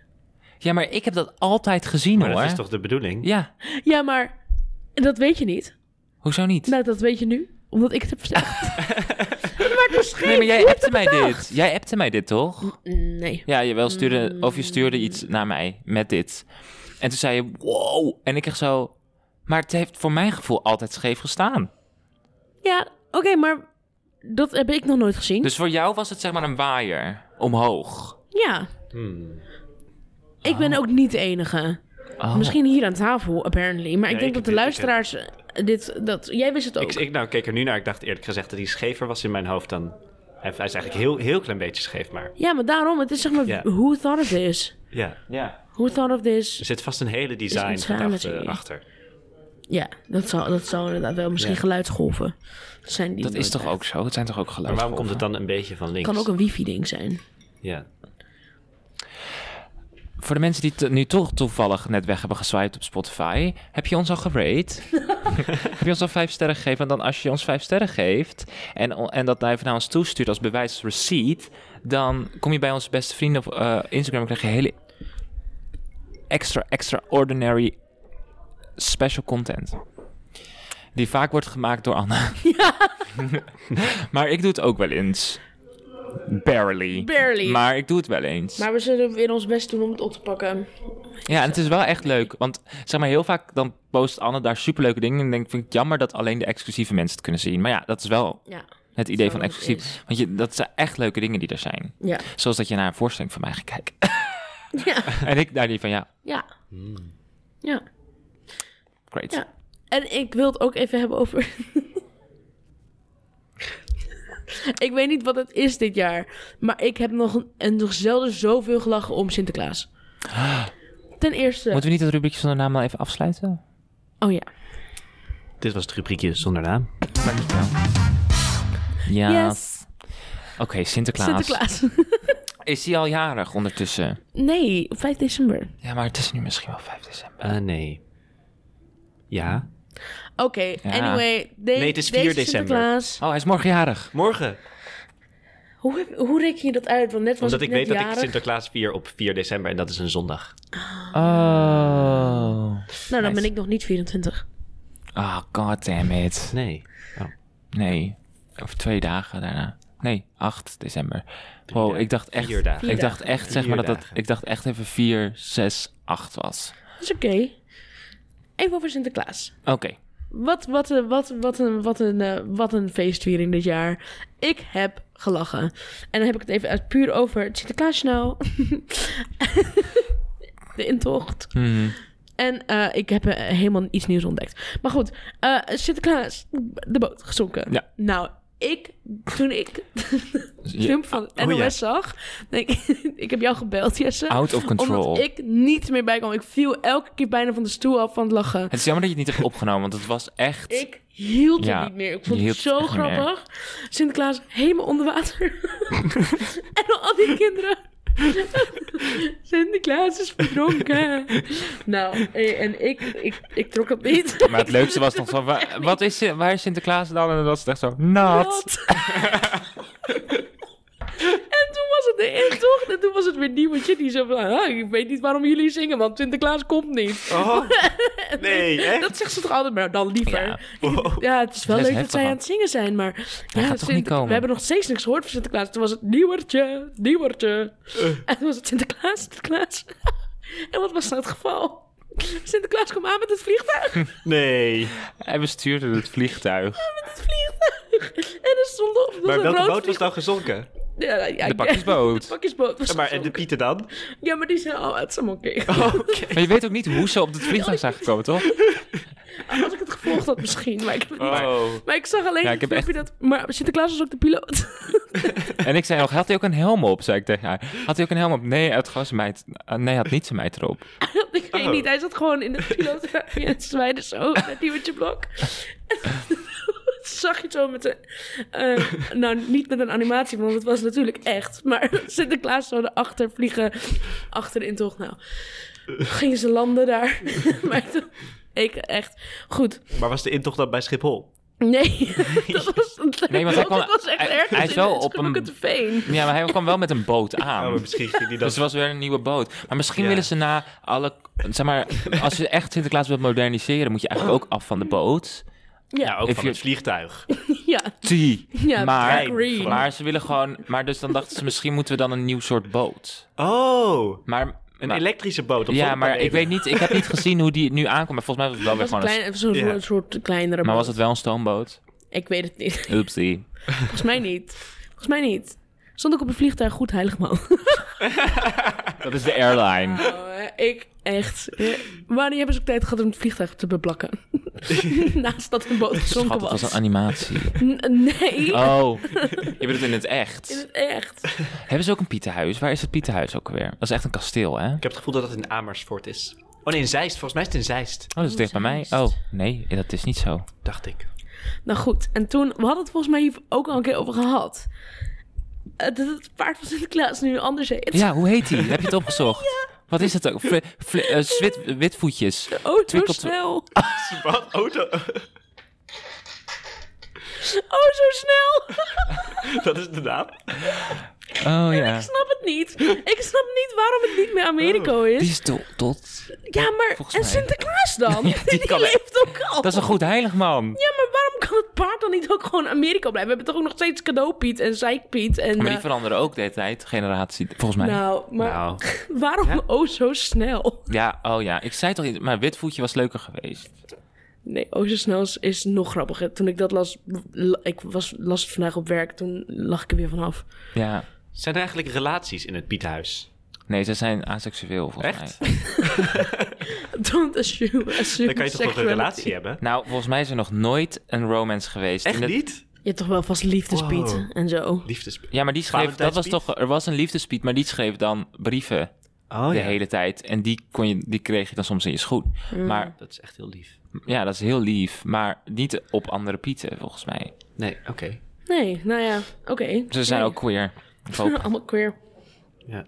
S2: Ja, maar ik heb dat altijd gezien
S3: Maar
S2: hoor.
S3: dat is toch de bedoeling?
S2: Ja,
S1: Ja, maar dat weet je niet.
S2: hoezo niet?
S1: Nou, dat weet je nu, omdat ik het heb gezegd. maar het is scheef.
S2: nee, maar jij
S1: Hoe heb
S2: appte
S1: je
S2: mij
S1: het Mm.
S2: dit.
S1: bedacht?
S2: Jij appte mij dit toch?
S1: Nee.
S2: Ja, jawel, stuurde, of je stuurde iets naar mij met dit. En toen zei je, wow. En ik echt zo, maar het heeft voor mijn gevoel altijd scheef gestaan.
S1: Ja, oké, maar dat heb ik nog nooit gezien.
S2: Dus voor jou was het zeg maar een waaier omhoog.
S1: Ja,
S3: Hmm.
S1: ik
S2: Ah.
S1: ben ook niet de enige.
S2: Oh.
S1: Misschien hier aan tafel, apparently. Maar ik
S3: Nee,
S1: denk
S3: ik-
S1: dat de
S3: ik-
S1: luisteraars eh, dit... Dat, jij wist het ook.
S3: Ik, ik nou, keek er nu naar. Ik dacht eerlijk gezegd dat hij schever was in mijn hoofd dan. Hij, hij is eigenlijk heel, heel klein beetje scheef, maar
S1: Ja, maar daarom. Het is zeg maar...
S3: Ja.
S1: Who thought of this?
S3: ja. ja.
S1: Who thought of
S3: Er
S1: this?
S3: zit vast een hele design
S1: iets raar met
S3: gedachte
S1: die-
S3: achter.
S1: Ja, dat zal, dat zal inderdaad wel. Misschien
S3: Ja.
S1: geluidsgolven. Dat zijn die
S2: Dat is toch
S1: nooit
S2: ook zo? Het zijn toch ook
S3: Maar
S2: geluiden?
S3: waarom komt het dan een beetje van
S1: echt.
S3: links?
S1: kan ook een wifi-ding zijn.
S3: Ja.
S2: Voor de mensen die het nu toch toevallig net weg hebben geswiped op Spotify, heb je ons al gerate? heb je ons al vijf sterren gegeven? En dan als je ons vijf sterren geeft en, o- en dat nou even naar ons toestuurt als bewijs receipt, dan kom je bij onze beste vrienden op eh, Instagram en krijg je hele extra, extraordinary special content. Die vaak wordt gemaakt door Anna. maar ik doe het ook wel eens. Barely.
S1: Barely.
S2: Maar ik doe het wel eens.
S1: Maar we zullen weer ons best doen om het op te pakken.
S2: Ja, en het is wel echt leuk. Want zeg maar, heel vaak dan post Anne daar superleuke dingen. En dan denk ik, vind ik het jammer dat alleen de exclusieve mensen het kunnen zien. Maar ja, dat is wel
S1: Ja.
S2: het idee
S1: Zo
S2: van
S1: dat het
S2: exclusief.
S1: is.
S2: Want je, dat zijn echt leuke dingen die er zijn.
S1: Ja.
S2: Zoals dat je naar een voorstelling van mij gaat kijken.
S1: Ja.
S2: en ik daar die van, ja,
S1: Ja.
S3: Hmm.
S1: Ja.
S2: great.
S1: Ja. En ik wil het ook even hebben over. ik weet niet wat het is dit jaar. Maar ik heb nog, en nog zelden zoveel gelachen om Sinterklaas. Ten eerste.
S2: Moeten we niet het rubriekje zonder naam al even afsluiten?
S1: Oh ja.
S3: Dit was het rubriekje zonder naam.
S2: Ja.
S1: Yes.
S2: Oké, Sinterklaas.
S1: Sinterklaas.
S2: Is hij al jarig ondertussen?
S1: nee, op 5 december.
S2: Ja, maar het is nu misschien wel 5 december.
S3: Eh, nee. Ja.
S1: Oké, anyway. de-
S3: Nee, het is 4
S1: deze
S3: december.
S1: Sinterklaas.
S2: Oh, hij is morgen jarig.
S3: Morgen.
S1: Hoe, heb- hoe reken je dat uit? Want net was
S3: Omdat ik
S1: het
S3: weet
S1: net
S3: dat ik
S1: jarig.
S3: Sinterklaas vier op 4 december en dat is een zondag.
S2: Oh.
S1: Nou, dan
S2: Nice.
S1: ben ik nog niet 24.
S2: Oh, god damn it.
S3: Nee. Oh.
S2: Nee, over twee dagen daarna. Nee, 8 december. Wow,
S3: dagen.
S2: ik dacht echt.
S3: Vier dagen.
S2: Ik dacht echt, zeg
S3: Vier
S2: maar dat dat.
S3: dagen.
S2: Ik dacht echt even 4, 6, 8 was.
S1: Dat is oké. Even over Sinterklaas.
S2: Oké.
S1: Wat, wat, een- wat, wat, een, wat, een, eh, wat een feestviering dit jaar. Ik heb gelachen. En dan heb ik het even uit puur over het Sinterklaasjournaal. de intocht.
S2: Mhm.
S1: En eh, ik heb eh, helemaal iets nieuws ontdekt. Maar goed, eh Sinterklaas, de boot gezonken.
S2: Ja.
S1: Nou, ik, toen ik de
S2: Je-
S1: film van
S3: oh,
S1: NOS
S3: ja.
S1: zag, denk ik, ik heb jou gebeld, Jesse.
S2: out of control.
S1: Omdat ik niet meer bij kwam. Ik viel elke keer bijna van de stoel af van het lachen.
S2: Het is jammer dat je het niet hebt opgenomen, want het was echt...
S1: Ik hield het
S2: Ja,
S1: niet meer. Ik
S2: je
S1: vond het
S2: hield het
S1: zo
S2: echt niet meer.
S1: grappig. Sinterklaas helemaal onder water. en dan al die kinderen. Sinterklaas is verdronken. nou, eh, en ik, ik, ik trok het niet.
S2: Maar het leukste was nog zo, wa- wat is, Sin- waar is Sinterklaas dan? En dan was het echt zo, nat.
S1: Wat? en toen was het de intocht. En toen was het weer niemandje die zo van... "Ah, ik weet niet waarom jullie zingen, want Sinterklaas komt niet.
S3: Oh, nee, echt?
S1: Dat zegt ze toch altijd, maar dan liever.
S2: Ja.
S3: Wow.
S1: Ja, het is wel
S2: Dat is
S1: leuk dat
S2: heftig,
S1: zij aan
S2: man.
S1: het zingen zijn, maar... Ja,
S2: gaat toch
S1: Sint-
S2: niet komen?
S1: We hebben nog steeds niks gehoord van Sinterklaas. Toen was het nieuwertje, nieuwertje.
S3: Eh.
S1: En toen was het Sinterklaas, Sinterklaas. en wat was nou het geval? Sinterklaas kwam aan met het vliegtuig.
S3: Nee.
S2: Hij bestuurde het vliegtuig.
S1: Het vliegtuig. En er stond op... dat
S3: Maar
S1: een
S3: welke
S1: rood
S3: boot was dan gezonken?
S1: vliegtuig- Ja, ja, ja,
S2: De pakjesboot.
S1: De pakjesboot was
S3: Ja, maar en de
S1: gezonken.
S3: pieten dan? Oh,
S1: Ja, maar die zijn oh, al uitzaam oké.
S2: Maar je weet ook niet hoe ze op het vliegtuig zijn gekomen, toch?
S1: Als ik het gevolgd had misschien, maar ik heb het niet.
S3: Oh.
S1: Maar ik zag alleen
S2: Ja,
S1: ja,
S2: ik heb echt-
S1: dat... Maar Sinterklaas was ook de piloot.
S2: En ik zei nog, had hij ook een helm op? Zei ik tegen haar. Had hij ook een helm op? Nee, het was mijn... Nee, hij had niet zijn mijt erop.
S1: ik weet
S3: Oh.
S1: niet, hij zat gewoon in het pilootruimte en zwaaide zo naar Diewertje Blok. zag je het zo met een... eh, nou, niet met een animatie, want het was natuurlijk echt. Maar Sinterklaas zou erachter vliegen, achter de intocht. Nou, gingen ze landen daar. maar toen, ik echt... Goed.
S3: Maar was de intocht dan bij Schiphol?
S1: Nee, dat was...
S2: Nee, want hij kwam-
S1: dat was echt
S2: hij-
S1: ergens
S2: hij is
S1: in
S2: wel
S1: het
S2: op een-
S1: Schubbeketeveen.
S2: Ja, maar hij kwam wel met een boot
S3: Oh,
S2: aan.
S3: maar misschien ging die dan...
S2: Dus er was weer een nieuwe boot. Maar misschien
S3: Ja.
S2: willen ze na alle... Zeg maar, als je echt Sinterklaas wilt moderniseren, moet je eigenlijk ook af van de boot.
S1: Ja,
S3: ook
S2: If
S3: van
S2: you-
S3: het vliegtuig.
S1: ja,
S2: Tea.
S1: ja.
S2: maar,
S1: green.
S2: maar ze willen gewoon... Maar dus dan dachten ze, misschien moeten we dan een nieuw soort boot.
S3: Oh,
S2: Maar...
S3: een
S2: maar-
S3: elektrische boot. op
S2: ja, maar ik
S3: zonnepanelen.
S2: weet niet... Ik heb niet gezien hoe die nu aankomt. Maar volgens mij was het wel weer
S1: was een
S2: gewoon een...
S1: klein, zo'n
S3: Ja.
S1: soort- soort kleinere
S2: Maar
S1: boot.
S2: was het wel een stoomboot?
S1: Ik weet het niet.
S2: Oepsie.
S1: Volgens mij niet. Volgens mij niet. Stond ik op een vliegtuig goed heilig man.
S2: Dat is de airline.
S1: Nou, eh, ik echt. eh, Wanneer hebben ze ook tijd gehad om het vliegtuig te beplakken? Naast dat een boot gezonken
S2: Schat, het was
S1: was.
S2: een animatie.
S1: N- nee,
S2: Oh, je bedoelt in het echt.
S1: in het echt.
S2: Hebben ze ook een Pietenhuis? Waar is het Pietenhuis ook weer? Dat is echt een kasteel, hè? Oh,
S3: Ik heb het gevoel dat het in Amersfoort is. Oh nee, in Zeist. Volgens mij is het in Zeist.
S2: Oh, dat is dicht bij mij. Oh, nee, dat is niet zo.
S3: Dacht ik.
S1: Nou goed, en toen, we hadden het volgens mij hier ook al een keer over gehad. Eh, Dat het paard van Sinterklaas nu anders heet.
S2: Ja, hoe heet die? Heb je het opgezocht? Wat is het ook? Fli- fli- eh, zwit- witvoetjes.
S1: Oh, zo
S2: Twikkelt-
S1: snel.
S3: Wat? Auto?
S1: Oh, zo snel.
S3: dat is de naam?
S2: Oh ja.
S1: Ik snap het niet. Ik snap niet waarom het niet meer Americo is.
S2: Oh. Die is to- tot.
S1: Ja, maar
S2: Volgens
S1: en
S2: mij.
S1: Sinterklaas dan?
S2: Ja, die
S1: die
S2: kan-
S1: leeft ook al.
S2: Dat is een goed heilig man.
S1: Ja, maar waarom kan het paard dan niet ook gewoon Amerika blijven? We hebben toch ook nog steeds cadeaupiet en zeikpiet en...
S2: Maar die
S1: eh,
S2: veranderen ook de hele tijd, generatie, volgens mij.
S1: nou, maar
S3: Nou.
S1: waarom oh zo snel?
S2: Ja, oh ja. Ik zei toch iets, maar witvoetje was leuker geweest.
S1: Nee, oh zo snel is, is nog grappiger. Toen ik dat las, la- ik was, las het vandaag op werk, toen lag ik er weer vanaf.
S2: Ja.
S3: Zijn er eigenlijk relaties in het Piethuis?
S2: Nee, ze zijn asexueel, volgens mij.
S3: Echt?
S1: Don't assume, assume
S3: Dan kan je toch nog een
S1: sexuality.
S3: relatie hebben?
S2: Nou, volgens mij is er nog nooit een romance geweest.
S3: Echt
S2: In het-
S3: niet?
S1: Je hebt toch wel vast liefdespiet
S3: Wow.
S1: en zo.
S3: Liefdes...
S2: Ja, maar die schreef, dat was
S3: Valentijnspiet?
S2: toch, er was een liefdespiet, maar die schreef dan brieven
S3: Oh
S2: de
S3: ja, Mm.
S2: hele tijd. En die, kon je, die kreeg je dan soms in je schoen. Maar
S3: dat is echt heel lief.
S2: ja, dat is heel lief. Maar niet op andere pieten, volgens mij.
S3: Nee, oké.
S1: Nee, nou ja, oké.
S2: Ze zijn
S1: Nee.
S2: ook queer. Ik hoop.
S1: Allemaal queer.
S3: Ja.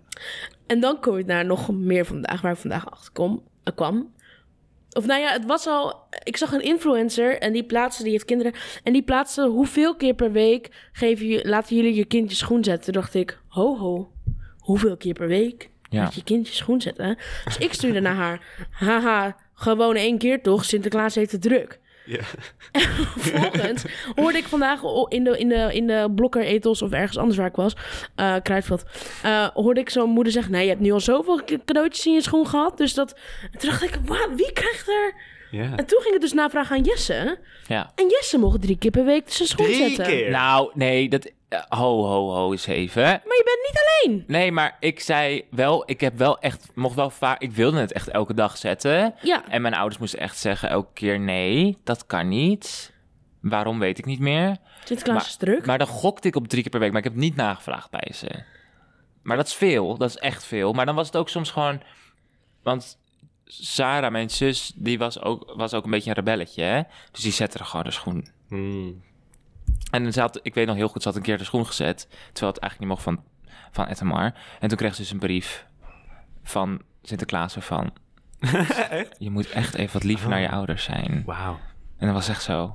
S1: En dan kom ik naar nog meer vandaag, waar ik vandaag achter kom, eh, kwam. Of nou ja, het was al. Ik zag een influencer en die plaatste, die heeft kinderen. En die plaatste hoeveel keer per week geven je, laten jullie je kind je schoen zetten. Toen dacht ik, ho ho, hoeveel keer per week
S2: Ja.
S1: laat je kind je schoen zetten? Dus ik stuurde naar haar, haha, gewoon één keer toch, Sinterklaas heeft het druk.
S3: Ja.
S1: Vervolgens hoorde ik vandaag o- in de, in de, in de blokker ethos of ergens anders waar ik was, eh Kruidvat, eh, hoorde ik zo'n moeder zeggen, nee, je hebt nu al zoveel k- cadeautjes in je schoen gehad, dus dat... En toen dacht ik, "Wa- wie krijgt er...
S3: ja.
S1: En toen ging het dus navragen aan Jesse.
S2: Ja.
S1: En Jesse mocht drie keer per week zijn schoen
S3: Drie
S1: zetten.
S3: keer?
S2: Nou, nee, dat, eh, ho, ho, ho eens even. hè.
S1: Maar je bent niet alleen.
S2: Nee, maar ik zei wel, ik heb wel echt, mocht wel vaak, ik wilde het echt elke dag zetten.
S1: Ja.
S2: En mijn ouders moesten echt zeggen elke keer, nee, dat kan niet. Waarom weet ik niet meer.
S1: Sinterklaas is druk.
S2: Maar dan gokte ik op drie keer per week, maar ik heb het niet nagevraagd bij ze. Maar dat is veel, dat is echt veel. Maar dan was het ook soms gewoon, want Sarah, mijn zus, die was ook, was ook een beetje een rebelletje, hè? Dus die zette er gewoon de schoen
S3: Hmm.
S2: en ze had, ik weet nog heel goed, ze had een keer de schoen gezet. Terwijl het eigenlijk niet mocht van, van Etemar. En toen kreeg ze dus een brief van Sinterklaas ervan. Je moet echt even wat
S3: Oh.
S2: liever naar je ouders zijn.
S3: Wauw.
S2: En dat was echt zo.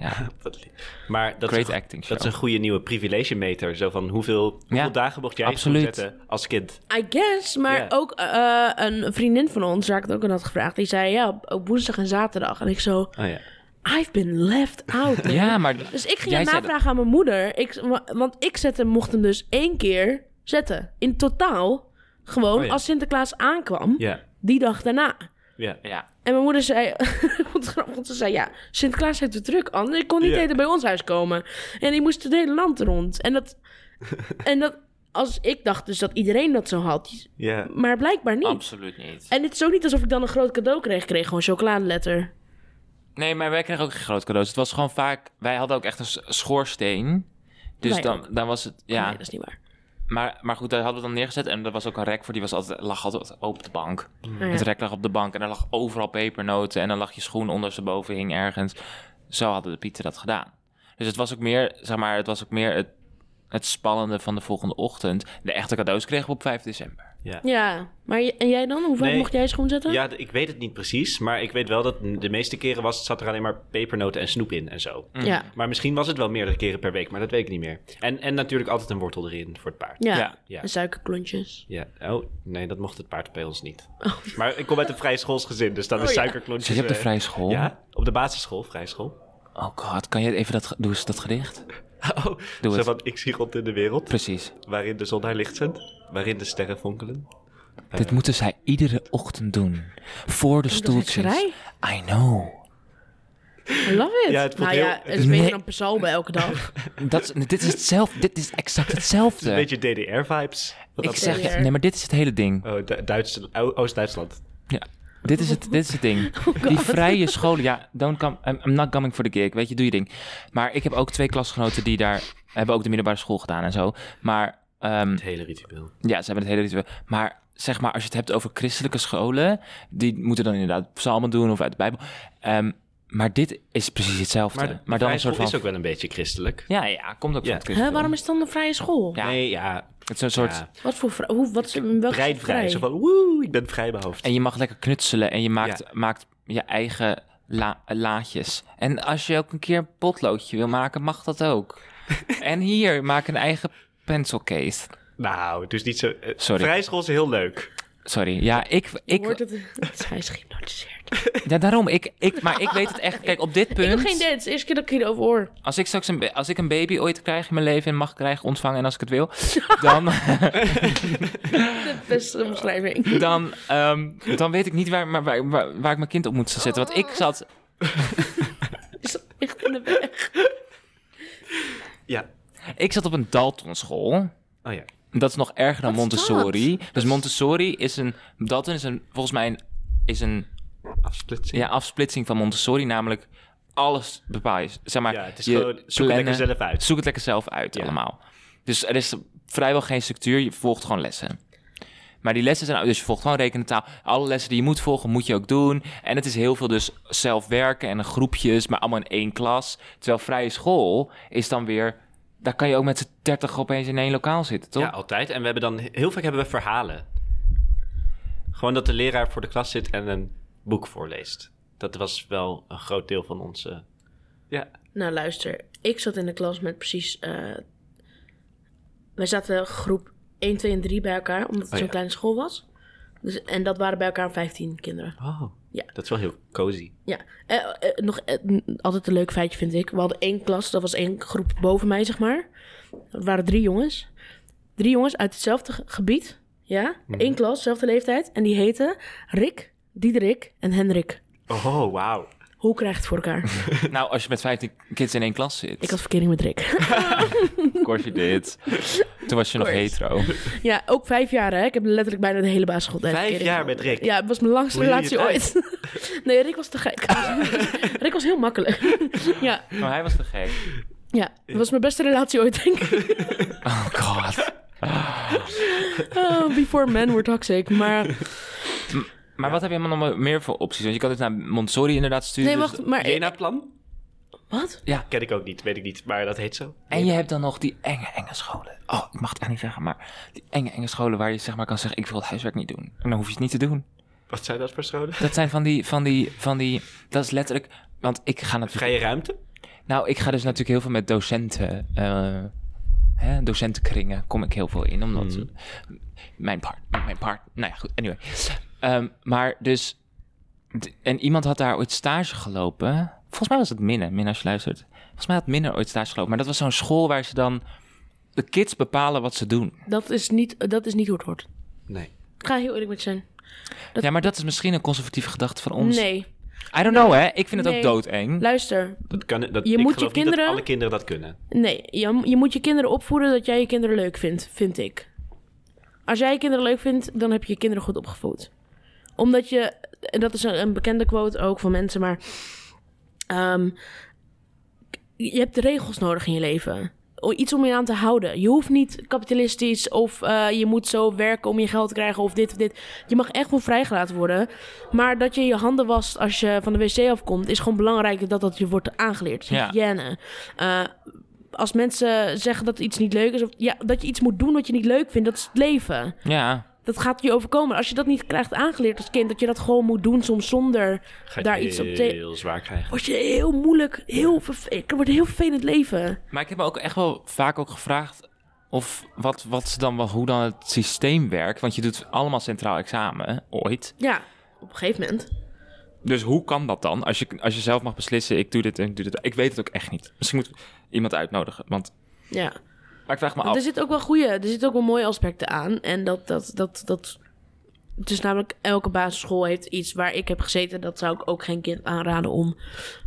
S2: Ja,
S3: Wat lief. Maar dat
S2: great
S3: is, een,
S2: acting show.
S3: dat is een goede nieuwe privilege meter. Zo van hoeveel, hoeveel
S2: Ja,
S3: dagen mocht jij het
S2: absoluut.
S3: zetten als kind?
S1: I guess, maar
S3: Ja.
S1: ook eh, een vriendin van ons, waar ik het ook aan had gevraagd, die zei ja, op- op woensdag en zaterdag. En ik zo,
S3: Oh ja.
S1: I've been left out. man.
S2: Ja, maar
S1: Dus ik ging
S2: Jij
S1: het
S2: zei dat-
S1: navragen aan mijn moeder, ik, wa- want ik zette, mocht hem dus één keer zetten. In totaal, gewoon
S3: Oh ja.
S1: als Sinterklaas aankwam,
S3: Ja.
S1: die dag daarna.
S3: Ja.
S2: ja,
S1: En mijn moeder zei, wat grappig, want ze zei ja, Sinterklaas heeft het druk, anders ik kon niet
S3: Ja.
S1: eten bij ons huis komen. En die moest het hele land rond. En dat, en dat, als ik dacht dus dat iedereen dat zo had,
S3: Ja.
S1: maar blijkbaar niet.
S2: absoluut niet.
S1: En het is ook niet alsof ik dan een groot cadeau kreeg. Ik kreeg gewoon chocoladeletter.
S2: Nee, maar wij kregen ook geen groot cadeaus. Het was gewoon vaak... Wij hadden ook echt een s- schoorsteen. Dus
S1: Wij
S2: dan, dan was het... Ja,
S1: Oh, Nee, dat is niet waar.
S2: maar, maar goed, daar hadden we dan neergezet. En er was ook een rek voor. Die was altijd, lag altijd op de bank.
S1: Nou ja.
S2: Het rek lag op de bank en er lag overal pepernoten. En dan lag je schoen ondersteboven hing ergens. Zo hadden de Pieten dat gedaan. Dus het was ook meer, zeg maar, het was ook meer het, het spannende van de volgende ochtend. De echte cadeaus kregen we op 5 december.
S3: Ja.
S1: Ja, maar j- en jij dan? Hoe vaak
S3: Nee.
S1: mocht jij schoen zetten?
S3: Ja, d- ik weet het niet precies, maar ik weet wel dat de meeste keren was, zat er alleen maar pepernoten en snoep in en zo.
S1: Ja.
S3: Maar misschien was het wel meerdere keren per week, maar dat weet ik niet meer. En, en natuurlijk altijd een wortel erin voor het paard.
S1: Ja.
S2: Ja.
S3: Ja.
S1: En suikerklontjes.
S3: Ja. Oh, nee, dat mocht het paard bij ons niet. Maar ik kom uit een vrij schoolsgezin, dus dan is
S1: Oh, ja.
S3: suikerklontjes...
S2: Zit je op de
S3: eh,
S2: vrije school?
S3: Ja, op de basisschool, vrijschool.
S2: Oh god, kan je even dat, ge- doe eens dat gedicht?
S3: Oh,
S2: Doe
S3: zo
S2: het.
S3: van, ik zie God in de wereld,
S2: Precies.
S3: waarin de zon haar licht zendt, waarin de sterren fonkelen.
S2: Dit moeten zij iedere ochtend doen. Voor de stoeltjes.
S1: hekserij.
S2: I know.
S1: I love it.
S3: Ja, het voelt
S1: nou
S3: heel-
S1: ja, het is
S2: Nee.
S1: beter dan Persalbe elke dag.
S2: Dat, is- dit is hetzelfde. Dit is exact
S3: Het is een
S2: hetzelfde.
S3: beetje DDR-vibes.
S2: Ik zeg je,
S1: DDR.
S2: nee, maar dit is het hele ding.
S3: Oh, Du- Duits- O- Oost-Duitsland.
S2: Ja, dit is het, dit is het ding. die vrije scholen, ja, don't come, I'm, I'm not coming for the gig, weet je, doe je ding. Maar ik heb ook twee klasgenoten die daar, hebben ook de middelbare school gedaan en zo. Maar, ehm,
S3: Het hele ritueel.
S2: ja, ze hebben het hele ritueel. Maar zeg maar, als je het hebt over christelijke scholen, die moeten dan inderdaad psalmen doen of uit de Bijbel. Ehm, maar dit is precies hetzelfde.
S3: Maar,
S2: Maar, dan een soort van...
S3: is ook wel een beetje christelijk.
S2: Ja, ja, komt ook
S3: Ja.
S2: van het
S1: Hè,
S2: christendom.
S1: waarom is het dan een vrije school?
S2: Ja.
S3: Nee, ja.
S2: Het is een soort...
S3: ja.
S1: Wat voor vrij? Hoe, wat is welke soort
S3: Breidvrij.
S1: vrij?
S3: Zo van, woe, ik ben vrijbehoofd.
S2: En je mag lekker knutselen en je maakt,
S3: Ja.
S2: maakt je eigen la- laadjes. En als je ook een keer een potloodje wil maken, mag dat ook. en hier, maak een eigen pencil case.
S3: Nou, het is niet zo... eh,
S2: Sorry.
S3: Vrijschool is heel leuk.
S2: Sorry, ja, ik...
S1: Ik word
S2: ik
S1: het, het is, hij is gehypnotiseerd.
S2: ja, daarom, ik, ik... Maar ik weet het echt... Kijk, op dit
S1: Ik doe geen
S2: punt...
S1: dance. Eerste keer dat ik hierover hoor.
S2: Als ik straks een, ba- als ik een baby ooit krijg in mijn leven... en mag krijgen, ontvangen en als ik het wil... dan,
S1: De beste omschrijving.
S2: dan, ehm, dan weet ik niet waar, maar waar, waar, waar ik mijn kind op moet zetten. Want ik
S1: Oh.
S2: zat...
S1: Is dat echt in de weg?
S3: Ja.
S2: Ik zat op een Dalton school...
S3: Oh ja.
S2: Dat is nog erger dan
S1: Wat is
S2: Montessori. Dus Montessori is een. Dalton is een. Volgens mij een, is een
S3: Afsplitsing.
S2: ja, afsplitsing van Montessori. Namelijk alles bepaal je. Zeg maar.
S3: Ja, het is
S2: je
S3: gewoon, zoek het lekker zelf uit.
S2: Zoek het lekker zelf uit
S3: Ja.
S2: allemaal. Dus er is vrijwel geen structuur. Je volgt gewoon lessen. Maar die lessen zijn. Dus je volgt gewoon rekenentaal. Alle lessen die je moet volgen, moet je ook doen. En het is heel veel dus zelf werken en groepjes. Maar allemaal in één klas. Terwijl vrije school is dan weer. Daar kan je ook met z'n 30 opeens in één lokaal zitten, toch?
S3: Ja, altijd. En we hebben dan... Heel vaak hebben we verhalen. Gewoon dat de leraar voor de klas zit en een boek voorleest. Dat was wel een groot deel van onze... Ja.
S1: Nou, luister. Ik zat in de klas met precies... eh wij zaten groep 1, 2 en 3 bij elkaar, omdat het
S3: Oh,
S1: zo'n
S3: ja.
S1: kleine school was. Dus, en dat waren bij elkaar 15 kinderen.
S3: Oh.
S1: Ja.
S3: Dat is wel heel cozy.
S1: Ja, Eh, eh, nog eh, n- altijd een leuk feitje vind ik. We hadden één klas, dat was één groep boven mij, zeg maar. Dat waren drie jongens. Drie jongens uit hetzelfde ge- gebied. Ja,
S3: Mhm.
S1: één klas, dezelfde leeftijd. En die heten Rick, Diederik en Henrik.
S3: Oh, wauw.
S1: Hoe krijg je het voor elkaar?
S2: Nou, als je met 15 kids in één klas zit.
S1: Ik had verkering met Rick.
S2: Of course je dit. Toen was je nog
S1: Course.
S2: hetero.
S1: ja, ook vijf jaar hè. Ik heb letterlijk bijna de hele basisschooltijd
S3: Vijf
S1: verkering
S3: jaar
S1: gehad.
S3: met Rick?
S1: Ja, het was mijn langste
S3: Hoe jullie
S1: relatie
S3: het
S1: ooit. nee, Rick was te gek. Rick was heel makkelijk. ja,
S2: Maar hij was te gek.
S1: ja, het was mijn beste relatie ooit denk ik.
S2: Oh god.
S1: Oh, before men were toxic. Maar
S2: Maar wat heb je allemaal nog meer voor opties? Want je kan dus naar Montessori inderdaad sturen.
S1: nee,
S2: dus-
S1: wacht, maar
S3: Jena-plan?
S1: wat?
S3: Ken ik ook niet, weet ik niet, maar dat heet zo.
S2: En je hebt dan nog die enge, enge scholen. Oh, ik mag het eigenlijk niet zeggen, maar die enge, enge scholen waar je zeg maar kan zeggen, ik wil het huiswerk niet doen. En dan hoef je het niet te doen.
S3: Wat zijn dat voor scholen?
S2: Dat zijn van die, van die, van die, dat is letterlijk, want ik ga natuurlijk,
S3: Vrije ruimte?
S2: nou, ik ga dus natuurlijk heel veel met docenten, eh, hè, docentenkringen kom ik heel veel in, omdat mijn part, mijn part, nou ja, goed, anyway. Ehm, maar dus, d- en iemand had daar ooit stage gelopen, volgens mij was het Minne, Minne als je luistert. Volgens mij had Minne ooit stage gelopen, maar dat was zo'n school waar ze dan de kids bepalen wat ze doen.
S1: Dat is niet, dat is niet hoe het hoort.
S3: Nee.
S1: Ik ga heel eerlijk met je zijn.
S2: Ja, maar dat is misschien een conservatieve gedachte van ons.
S1: Nee,
S2: I don't know, hè? Ik vind het
S1: Nee.
S2: ook doodeng.
S1: luister.
S3: Dat kan, dat,
S1: Je
S3: ik
S1: moet je
S3: geloof niet
S1: kinderen-
S3: dat alle kinderen dat kunnen.
S1: Nee, je, je moet je kinderen opvoeden dat jij je kinderen leuk vindt, vind ik. Als jij je kinderen leuk vindt, dan heb je je kinderen goed opgevoed. Omdat je, en dat is een, een bekende quote ook van mensen, maar ehm, je hebt regels nodig in je leven. O- Iets om je aan te houden. Je hoeft niet kapitalistisch of eh, je moet zo werken om je geld te krijgen of dit of dit. Je mag echt wel vrijgelaten worden. Maar dat je je handen wast als je van de wc afkomt, is gewoon belangrijk dat dat je wordt aangeleerd.
S2: Ja.
S1: Hygiëne. Eh, als mensen zeggen dat iets niet leuk is, of ja, dat je iets moet doen wat je niet leuk vindt, dat is het leven.
S2: Ja.
S1: Dat gaat je overkomen. Als je dat niet krijgt aangeleerd als kind, dat je dat gewoon moet doen, soms zonder
S3: Ga je
S1: daar
S3: het
S1: iets op tegen.
S3: heel zwaar krijgen.
S1: Word je heel moeilijk, heel vervelend. Het wordt een heel vervelend leven.
S2: Maar ik heb me ook echt wel vaak ook gevraagd of wat, wat ze dan wel, hoe dan het systeem werkt. Want je doet allemaal centraal examen, ooit.
S1: Ja, op een gegeven moment.
S2: Dus hoe kan dat dan? Als je, als je zelf mag beslissen, ik doe dit en ik doe dit. Ik weet het ook echt niet. Misschien moet ik iemand uitnodigen. Want,
S1: Ja.
S2: maar ik vraag me
S1: Want er
S2: af.
S1: zit ook wel goede, er zitten ook wel mooie aspecten aan. En dat, dat, dat, dat. Het is namelijk elke basisschool heeft iets waar ik heb gezeten. Dat zou ik ook geen kind aanraden om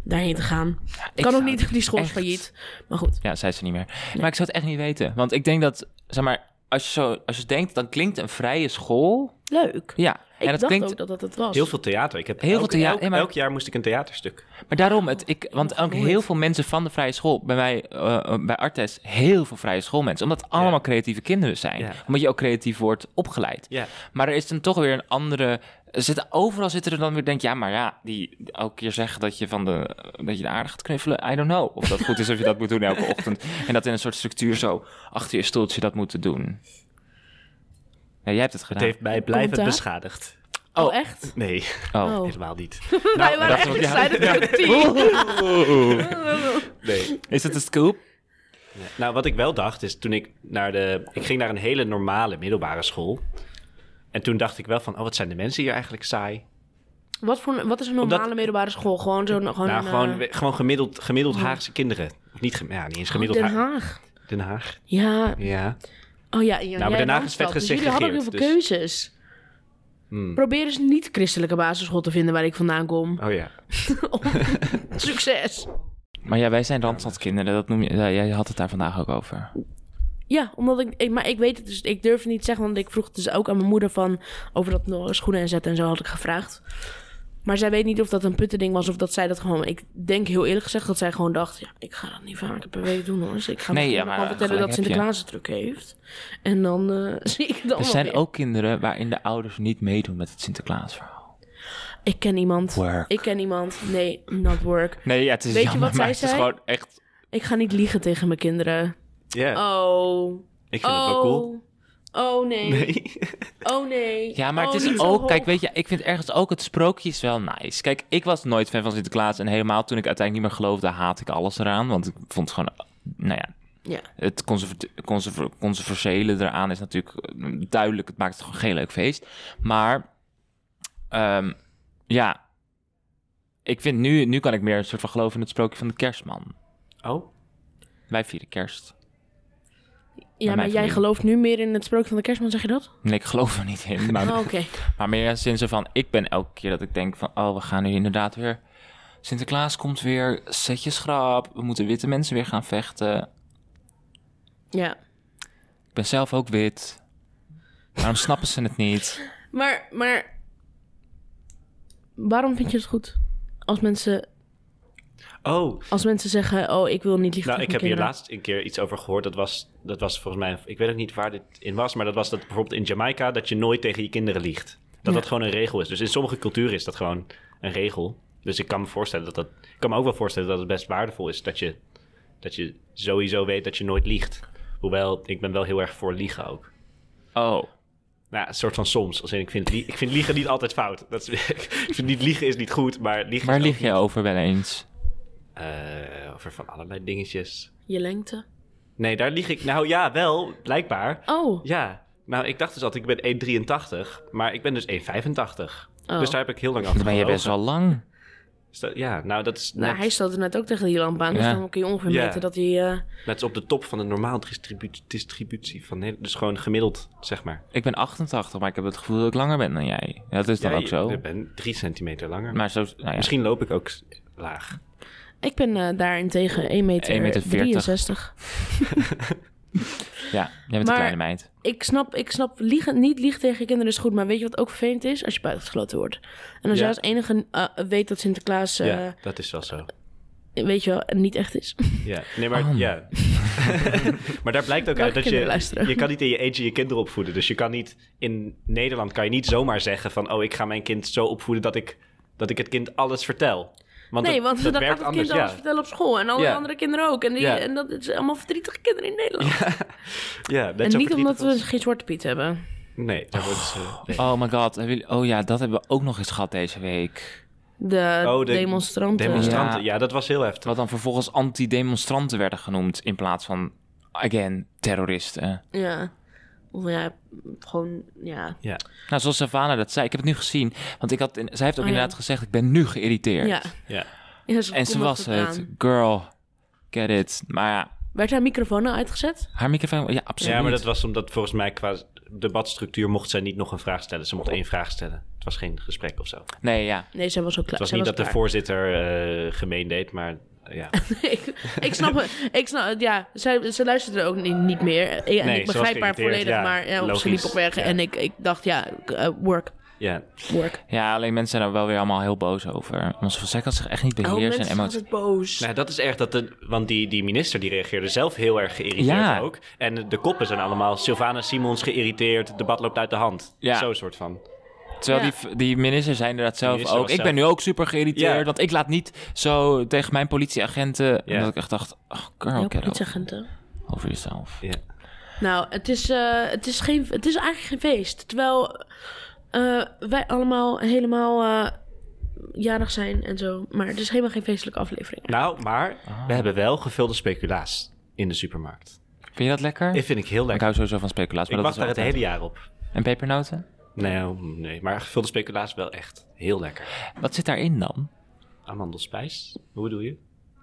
S1: daarheen te gaan.
S2: ik
S1: kan ook
S2: zou
S1: niet,
S2: het
S1: die school is
S2: echt-
S1: failliet. Maar goed.
S2: Ja, zei ze niet meer. Maar ik zou het echt niet weten. Want ik denk dat, zeg maar, als je, zo, als je denkt, dan klinkt een vrije school.
S1: Leuk.
S2: Ja.
S1: Ik
S2: en dat
S1: dacht
S2: klinkt
S1: ook dat dat het was.
S3: Heel veel theater. Ik heb
S2: Heel
S3: elk,
S2: veel thea-
S3: elk-
S2: ja, maar-
S3: elk jaar moest ik een theaterstuk.
S2: Maar daarom, het, ik,
S3: Oh,
S2: want ook heel veel mensen van de vrije school, bij mij, eh, bij Artes, heel veel vrije schoolmensen. Omdat het allemaal creatieve kinderen zijn.
S3: Ja.
S2: Omdat je ook creatief wordt opgeleid.
S3: Ja.
S2: Maar er is dan toch weer een andere... Er zitten, overal zitten er dan weer, denk ja, maar ja, die elke keer zeggen dat je, van de, dat je de aarde gaat knuffelen. I don't know of dat goed is of je dat moet doen elke ochtend. En dat in een soort structuur zo achter je stoeltje dat moeten doen. Ja, jij hebt het
S3: Het
S2: gedaan.
S3: heeft mij blijvend
S1: Commentaar?
S3: beschadigd.
S1: Oh,
S2: Oh.
S1: echt?
S3: Nee,
S2: Oh.
S1: Oh.
S3: helemaal niet.
S1: Wij waren
S2: dat
S1: echt
S2: was-
S1: excited voor het team.
S3: Nee.
S2: Is het een scoop?
S3: Nou, wat ik wel dacht is toen ik naar de. Ik ging naar een hele normale middelbare school. En toen dacht ik wel van, oh, wat zijn de mensen hier eigenlijk saai?
S1: Wat, voor, wat is een normale
S3: Omdat-
S1: middelbare school? Gewoon zo'n... Gewoon
S3: nou,
S1: een,
S3: gewoon,
S1: eh,
S3: we- gewoon gemiddeld, gemiddeld Haagse kinderen. Of niet, gem- ja, niet eens gemiddeld
S1: Oh, Den
S3: Ha-
S1: Haag.
S3: Den Haag.
S1: Ja.
S3: Ja.
S1: Oh ja, ja
S3: Nou, maar
S1: jij
S3: Den Haag
S1: in
S3: is vet
S1: Randstad, dus jullie hadden ook heel veel
S3: gesegregeerd,
S1: keuzes. Probeer eens een niet-christelijke basisschool te vinden waar ik vandaan kom.
S3: Oh ja.
S1: Succes!
S2: Maar ja, wij zijn Randstadkinderen, dat noem je, ja, jij had het daar vandaag ook over.
S1: Ja, omdat ik, ik- Maar ik weet het dus... Ik durf het niet zeggen, want ik vroeg het dus ook aan mijn moeder van... Over dat no- schoenen en zetten en zo had ik gevraagd. Maar zij weet niet of dat een puttending was of dat zij dat gewoon... Ik denk heel eerlijk gezegd dat zij gewoon dacht... Ja, ik ga dat niet vaker per week doen hoor. Dus ik ga
S2: Nee,
S1: nee,
S2: ja, maar
S1: maar vertellen
S2: gelijk
S1: dat
S2: heb
S1: Sinterklaas het druk heeft. En dan eh, zie ik dan
S2: Er zijn
S1: weer.
S2: ook kinderen waarin de ouders niet meedoen met het Sinterklaasverhaal.
S1: Ik ken iemand.
S2: Work.
S1: Ik ken iemand. Nee, not work.
S2: Nee, ja, het is
S1: Weet je wat zij zei?
S2: echt...
S1: Ik ga niet liegen tegen mijn kinderen.
S3: Ja,
S1: Oh.
S3: ik vind
S1: oh.
S3: het wel cool.
S1: Oh nee.
S3: Nee.
S1: Oh nee.
S2: Ja, maar
S1: Oh,
S2: het
S1: niet
S2: is
S1: zo
S2: ook...
S1: hoog.
S2: Kijk, weet je, ik vind ergens ook het sprookje is wel nice. Kijk, ik was nooit fan van Sinterklaas. En helemaal toen ik uiteindelijk niet meer geloofde, haat ik alles eraan. Want ik vond het gewoon... Nou ja,
S1: Ja.
S2: het conservat- conserva- controversiële eraan is natuurlijk eh, duidelijk. Het maakt het gewoon geen leuk feest. Maar ehm, ja, ik vind nu, nu kan ik meer een soort van geloven in het sprookje van de kerstman.
S3: Oh,
S2: Wij vieren kerst.
S1: Ja, maar
S2: familie.
S1: jij gelooft nu meer in het sprookje van de kerstman, zeg je dat?
S2: Nee, ik geloof er niet in. Maar,
S1: Oh, Oké.
S2: maar meer sinds van, ik ben elke keer dat ik denk van, oh, we gaan nu inderdaad weer Sinterklaas komt weer, zet je schrap. We moeten witte mensen weer gaan vechten.
S1: Ja.
S2: Ik ben zelf ook wit. Waarom snappen ze het niet?
S1: Maar, maar... Waarom vind je het goed als mensen,
S3: Oh,
S1: als mensen zeggen... Oh, ik wil niet liegen
S3: Nou, ik
S1: tegen
S3: heb
S1: mijn kinderen.
S3: hier laatst een keer iets over gehoord. Dat was, dat was volgens mij, ik weet ook niet waar dit in was, maar dat was dat bijvoorbeeld in Jamaica dat je nooit tegen je kinderen liegt. Dat
S1: Ja.
S3: dat gewoon een regel is. Dus in sommige culturen is dat gewoon een regel. Dus ik kan me voorstellen dat dat, ik kan me ook wel voorstellen dat het best waardevol is dat je, dat je sowieso weet dat je nooit liegt. Hoewel, ik ben wel heel erg voor liegen ook.
S2: Oh,
S3: Nou, ja, een soort van soms. Als in, ik, vind, lie- ik vind liegen niet altijd fout. Dat is, ik vind niet liegen is niet goed, maar liegen
S2: waar
S3: is
S2: lieg jij over wel eens?
S3: ook- eh, over van allerlei dingetjes.
S1: Je lengte.
S3: Nee, daar lieg ik. Nou ja, wel, blijkbaar.
S1: Oh,
S3: Ja, nou ik dacht dus altijd, ik ben 1,83, maar ik ben dus 1,85.
S1: Oh.
S3: Dus daar heb ik heel lang aan
S2: Dan ben je
S3: gelogen.
S2: best wel lang.
S3: Is dat- Ja, nou dat is
S1: nou,
S3: net,
S1: hij stoot er net ook tegen die lamp aan. Dus
S2: Ja.
S1: dan kun je ongeveer
S3: Ja.
S1: meten dat hij... eh
S3: net als op de top van de normaal distribu- distributie van heel- dus gewoon gemiddeld, zeg maar.
S2: Ik ben 88, maar ik heb het gevoel dat ik langer ben dan jij. Ja, Dat is dan
S3: Ja,
S2: ook zo.
S3: Ik ben 3 centimeter langer.
S2: Maar zo, nou ja.
S3: Misschien loop ik ook s- laag.
S1: ik ben eh daarentegen 1 meter,
S2: 1,40 meter.
S1: 63.
S2: Ja, jij bent
S1: Maar-
S2: een kleine meid.
S1: Ik snap, ik snap liegen, niet liegen tegen je kinderen is goed. Maar weet je wat ook vervelend is? Als je buitengesloten wordt. En als
S3: Ja.
S1: jij als enige eh, weet dat Sinterklaas, eh,
S3: ja, dat is wel zo.
S1: weet je wel, niet echt is.
S3: Ja, nee,
S1: Oh,
S3: maar
S2: Anne.
S3: ja. maar daar blijkt ook
S1: Welke
S3: uit dat
S1: kinderen
S3: je,
S1: luisteren?
S3: je kan niet in je eentje je kinderen opvoeden. Dus je kan niet, in Nederland kan je niet zomaar zeggen van, oh, ik ga mijn kind zo opvoeden dat ik, dat ik het kind alles vertel. Want
S1: nee,
S3: dat-
S1: want
S3: dat
S1: dan
S3: werkt
S1: gaat het kind
S3: anders,
S1: alles
S3: ja.
S1: vertellen op school. En alle
S3: Ja.
S1: andere kinderen ook. En, die,
S3: Ja.
S1: en dat is allemaal verdrietige kinderen in Nederland.
S3: Ja, net
S1: en
S3: zo
S1: niet omdat we
S3: verdrietig
S1: geen zwarte piet hebben.
S3: als- Nee, daar worden ze... nee.
S2: Oh my god. hebben jullie- Oh ja, dat hebben we ook nog eens gehad deze week.
S1: De,
S3: Oh, de
S1: demonstranten.
S3: Demonstranten, ja. dat was heel heftig.
S2: Wat dan vervolgens anti-demonstranten werden genoemd in plaats van, again, terroristen.
S1: Ja. Of ja, gewoon, ja.
S3: Ja.
S2: Nou, zoals Savannah dat zei, ik heb het nu gezien. Want ik had in- zij heeft ook
S1: Oh ja.
S2: inderdaad gezegd, ik ben nu geïrriteerd.
S1: Ja.
S3: Ja.
S1: Ja, zo
S2: En ze
S1: kondigde
S2: was het.
S1: aan.
S2: Girl, get it. Maar ja,
S1: Werd haar microfoon nou uitgezet?
S2: haar microfoon, ja, absoluut.
S3: ja, maar dat was omdat volgens mij qua debatstructuur mocht zij niet nog een vraag stellen. Ze mocht één vraag stellen. Het was geen gesprek of zo. Het
S2: Nee, ja.
S1: Nee, zij was ook klaar.
S3: was
S1: Zij
S3: niet dat de
S1: klaar.
S3: voorzitter eh, gemeen deed, maar eh, ja.
S1: ik, ik snap het. Ik snap het, ja. Zij, ze luisterde ook niet, niet meer. Ja, en ik
S3: Nee, ze was
S1: begrijp haar
S3: geïrriteerd,
S1: volledig,
S3: ja,
S1: maar ja, of ze
S3: logisch,
S1: liep op weg.
S3: ja.
S1: En ik, ik dacht, ja, eh, work,
S3: ja.
S1: work.
S2: Ja, alleen mensen zijn daar wel weer allemaal heel boos over. Want zij kan zich echt niet
S1: Oh,
S2: beheersen
S1: mensen
S2: en
S1: zijn
S2: emoties.
S1: altijd boos.
S3: Nou, dat is erg dat de, want die, die minister die reageerde zelf heel erg geïrriteerd
S2: Ja.
S3: ook. En de koppen zijn allemaal Sylvana Simons geïrriteerd, het debat loopt uit de hand.
S2: Ja.
S3: Zo'n soort van.
S2: Terwijl
S1: Ja.
S2: die, die minister zei inderdaad zelf
S3: minister
S2: ook...
S3: was
S2: Ik ben
S3: zelf-
S2: nu ook super geïrriteerd,
S3: Ja.
S2: want ik laat niet zo tegen mijn politieagenten...
S3: Ja.
S2: Dat ik echt dacht, oh
S1: Ja,
S2: girl, get over,
S1: politieagenten.
S2: over jezelf.
S3: Ja.
S1: Nou, het is, eh, het, is geen, het is eigenlijk geen feest. Terwijl eh, wij allemaal helemaal eh, jarig zijn en zo. Maar het is helemaal geen feestelijke aflevering.
S3: Nou, maar we hebben wel gevulde speculaas in de supermarkt.
S2: Vind je dat lekker?
S3: Dat vind ik heel
S2: Ik
S3: lekker.
S2: hou sowieso van speculaas, maar
S3: Ik
S2: dat
S3: wacht
S2: is
S3: daar het
S2: altijd-
S3: hele jaar op.
S2: En pepernoten?
S3: Nee, oh, nee, maar gevulde speculaas wel echt heel lekker.
S2: Wat zit daarin dan?
S3: Amandelspijs? Hoe bedoel je?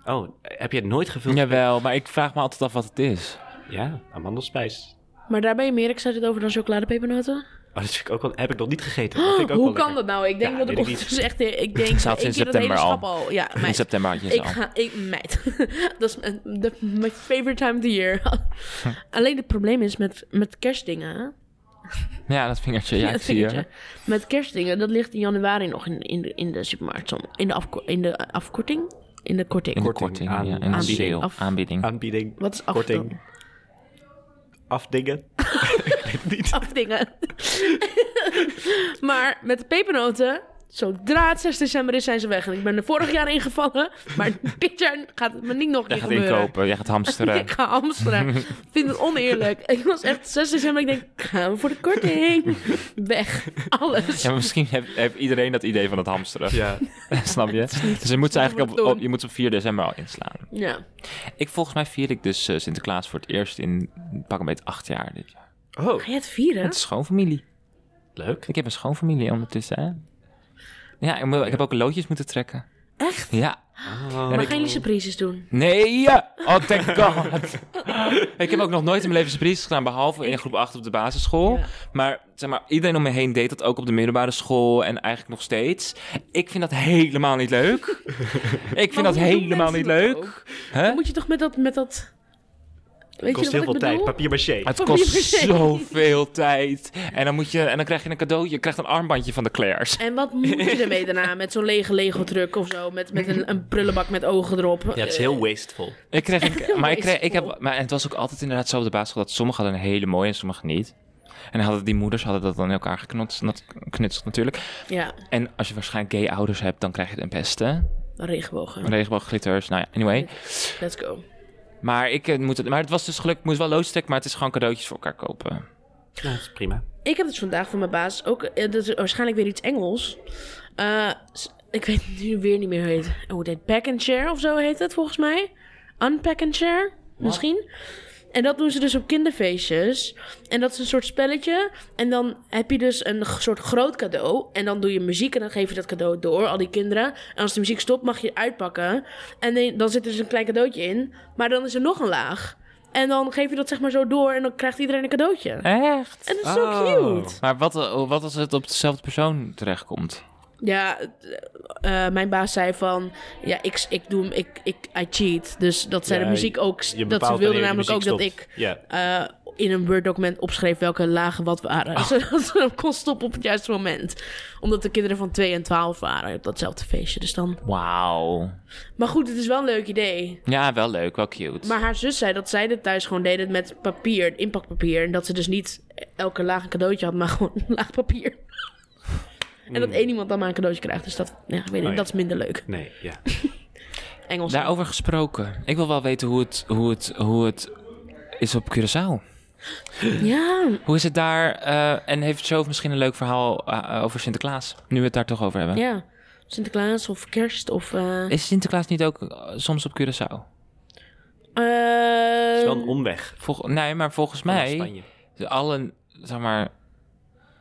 S3: Oh, heb je het nooit gevuld?
S2: Jawel, maar ik vraag me altijd af wat het is.
S3: Ja, amandelspijs.
S1: Maar daar ben je meer excited over dan chocoladepepernoten?
S3: Oh, dat vind ik ook wel, heb ik nog niet gegeten. Dat vind ik ook
S1: Hoe
S3: wel
S1: kan
S3: lekker.
S1: dat nou? Ik denk
S3: Ja,
S1: dat ik
S3: weet ik niet.
S1: ondertussen echt... Ik denk,
S2: Ze had
S1: ik
S2: sinds
S1: zie dat hele
S2: september al.
S1: schap al. Ja,
S2: In
S1: meid.
S2: september had je ze
S1: Ik
S2: al.
S1: ga, ik, meid, dat is mijn- de- my favorite time of the year. Alleen het probleem is met, met kerstdingen. hè?
S2: Ja, dat vingertje, ja, ik
S1: Dat
S2: zie je.
S1: vingertje. Met kerstdingen, dat ligt in januari nog in, in, de, in de supermarkt. som- In de, afko- in de afkorting? In de korting.
S2: In de
S3: Korting
S2: korting,
S3: aan-
S2: ja, in de
S1: aanbieding.
S2: sale,
S1: Af-
S2: aanbieding.
S3: Aanbieding.
S1: Wat is
S3: Korting.
S1: afkorting?
S3: Afdingen. ik weet het niet.
S1: Afdingen. maar met de pepernoten, zodra het 6 december is, zijn ze weg. En ik ben er vorig jaar ingevallen, maar dit jaar gaat het me niet nog een
S2: Jij
S1: keer
S2: gaat
S1: gebeuren.
S2: inkopen, jij gaat hamsteren.
S1: Ik ga hamsteren. Ik vind het oneerlijk. Ik was echt 6 december. Ik denk, gaan we voor de korting. Weg. Alles.
S2: Ja, maar misschien heeft, heeft iedereen dat idee van het hamsteren.
S3: Ja.
S2: Snap je? Dus je moet ze eigenlijk op,
S1: doen.
S2: op- je moet ze op 4 december al inslaan.
S1: Ja.
S2: Ik volgens mij vier ik dus eh, Sinterklaas voor het eerst in pak een beetje acht jaar dit jaar.
S3: Oh,
S1: Ga je het vieren?
S2: Met schoonfamilie.
S3: leuk.
S2: Ik heb een schoonfamilie ondertussen. Hè? Ja, ik, moet- ik heb ook loodjes moeten trekken.
S1: Echt?
S2: Ja, Ah.
S1: maar gaan jullie surprises doen?
S2: Nee! ja. Oh, thank god. ik heb ook nog nooit in mijn leven surprises gedaan, behalve in groep 8 op de basisschool.
S1: Ja.
S2: Maar, zeg maar iedereen om me heen deed dat ook op de middelbare school en eigenlijk nog steeds. Ik vind dat helemaal niet leuk. ik vind dat helemaal niet leuk. Hè?
S1: Dan moet je toch met dat... Met dat weet
S3: kost
S1: je
S3: heel
S1: wat
S3: veel
S1: ik
S3: tijd.
S1: bedoel?
S3: Papier maché.
S2: Het
S1: Voor
S2: kost
S1: wie per se.
S2: zoveel tijd. En dan, moet je, en dan krijg je een cadeautje. Je krijgt een armbandje van de Claire's.
S1: En wat moet je ermee daarna? Met zo'n lege Lego-truck of zo? Met, met een, een prullenbak met ogen erop?
S3: Ja, het is heel wasteful.
S2: Ik kreeg een- maar, ik kreeg, ik heb,
S1: Wasteful.
S2: maar het was ook altijd inderdaad zo op de basisschool dat sommigen hadden een hele mooie en sommigen niet. En hadden die moeders hadden dat dan in elkaar geknotst, nat- knutseld natuurlijk.
S1: Eh, Ja,
S2: En als je waarschijnlijk gay ouders hebt, dan krijg je het een beste.
S1: regenbogen.
S2: Regenboogglitters, nou ja, anyway.
S1: Let's go.
S2: Maar, ik, eh, moet het, maar het was dus gelukkig, moest wel loodstrek, maar het is gewoon cadeautjes voor elkaar kopen.
S3: Nou, dat is prima.
S1: Ik heb dus vandaag van mijn baas ook... eh, Dat is waarschijnlijk weer iets Engels. Eh, s- ik weet nu weer niet meer hoe het heet. Hoe het heet. Pack and share of zo heet het volgens mij. Unpack and share, misschien. En dat doen ze dus op kinderfeestjes. En dat is een soort spelletje. En dan heb je dus een g- soort groot cadeau. En dan doe je muziek en dan geef je dat cadeau door, al die kinderen. En als de muziek stopt, mag je het uitpakken. En dan- dan zit er dus een klein cadeautje in. Maar dan is er nog een laag. En dan geef je dat zeg maar zo door en dan krijgt iedereen een cadeautje.
S2: Echt?
S1: En dat is zo cute.
S2: Maar wat, eh, wat als het op dezelfde persoon terechtkomt?
S1: Ja, eh, eh, mijn baas zei van, ja, ik, ik doe hem, ik, ik, I cheat. Dus dat zij
S3: Ja,
S1: de muziek ook, dat
S3: Je
S1: ze
S3: bepaalt
S1: wilde
S3: wanneer de
S1: namelijk ook
S3: muziek
S1: dat ik
S3: stopt. Ja.
S1: eh, in een Word-document opschreef welke lagen wat waren.
S3: Ah.
S1: Zodat ze hem kon stoppen op het juiste moment. Omdat de kinderen van 2 en 12 waren op datzelfde feestje. Dus dan...
S2: Wauw.
S1: Maar goed, het is wel een leuk idee.
S2: Ja, wel leuk, wel cute.
S1: Maar haar zus zei dat zij dit thuis gewoon deden met papier, inpakpapier. En dat ze dus niet elke laag een cadeautje had, maar gewoon een laag papier. En dat één iemand dan maar een cadeautje krijgt. Dus dat, ja, ik weet niet,
S3: Hmm. Oh ja. Nou,
S1: dat is minder leuk.
S3: Nee, ja.
S1: Engels.
S2: Daarover gesproken. Ik wil wel weten hoe het, hoe het, hoe het is op Curaçao.
S1: Ja,
S2: Hoe is het daar? eh, en heeft Jove misschien een leuk verhaal eh, over Sinterklaas? Nu we het daar toch over hebben.
S1: ja. Sinterklaas of kerst of... eh
S2: Is Sinterklaas niet ook eh, soms op Curaçao?
S3: Het is wel
S1: ehm,
S3: een omweg.
S2: Vol- nee, maar volgens
S3: vanaf
S2: mij...
S3: Spanje.
S2: Alle, zeg maar...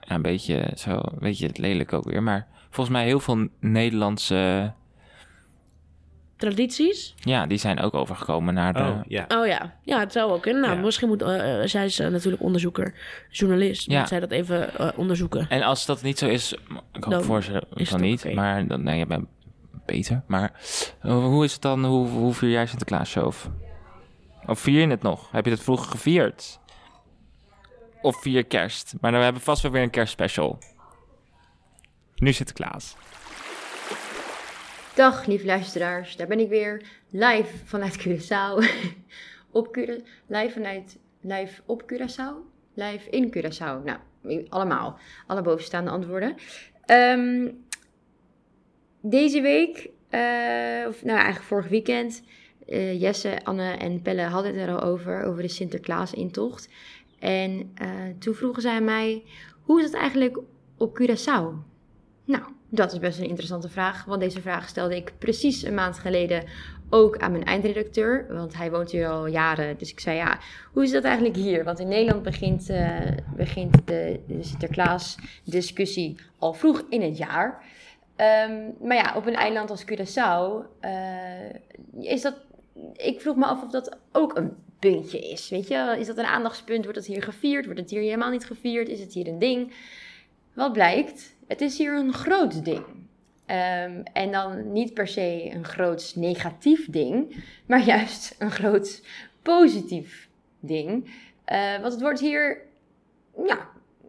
S2: Ja, een beetje zo, een beetje het lelijk ook weer. Maar volgens mij heel veel Nederlandse...
S1: Tradities?
S2: Ja, die zijn ook overgekomen naar de...
S3: Oh, ja.
S1: Oh ja, ja het zou ook kunnen. Nou,
S3: Ja.
S1: misschien moet... eh, eh, zij is eh, natuurlijk onderzoeker, journalist.
S2: Ja.
S1: Moet zij dat even eh, onderzoeken.
S2: En als dat niet zo is, ik hoop
S1: Dan
S2: voor ze
S1: is
S2: van
S1: het
S2: niet,
S1: oké.
S2: maar dan, nee, je bent beter. Maar eh, hoe is het dan, hoe, hoe vier jij Sinterklaas zelf? Of vier je het nog? Heb je het vroeger gevierd? Of vier je kerst? Maar dan hebben we vast wel weer een kerstspecial. Nu Sinterklaas.
S5: Dag lieve luisteraars, daar ben ik weer live vanuit Curaçao. op Cura live vanuit live op Curaçao, live in Curaçao. Nou, allemaal, alle bovenstaande antwoorden. Ehm, deze week, eh, of nou eigenlijk vorig weekend, eh, Jesse, Anne en Pelle hadden het er al over, over de Sinterklaas-intocht. En eh, toen vroegen zij mij, hoe is het eigenlijk op Curaçao? Nou, dat is best een interessante vraag, want deze vraag stelde ik precies een maand geleden ook aan mijn eindredacteur, want hij woont hier al jaren. Dus ik zei, ja, hoe is dat eigenlijk hier? Want in Nederland begint, eh, begint de, de Sinterklaas-discussie al vroeg in het jaar. Ehm, maar ja, op een eiland als Curaçao eh, is dat... Ik vroeg me af of dat ook een puntje is, weet je? Is dat een aandachtspunt? Wordt dat hier gevierd? Wordt het hier helemaal niet gevierd? Is het hier een ding? Wat blijkt? Het is hier een groot ding. Ehm, en dan niet per se een groot negatief ding, maar juist een groot positief ding. Eh, want het wordt hier, ja,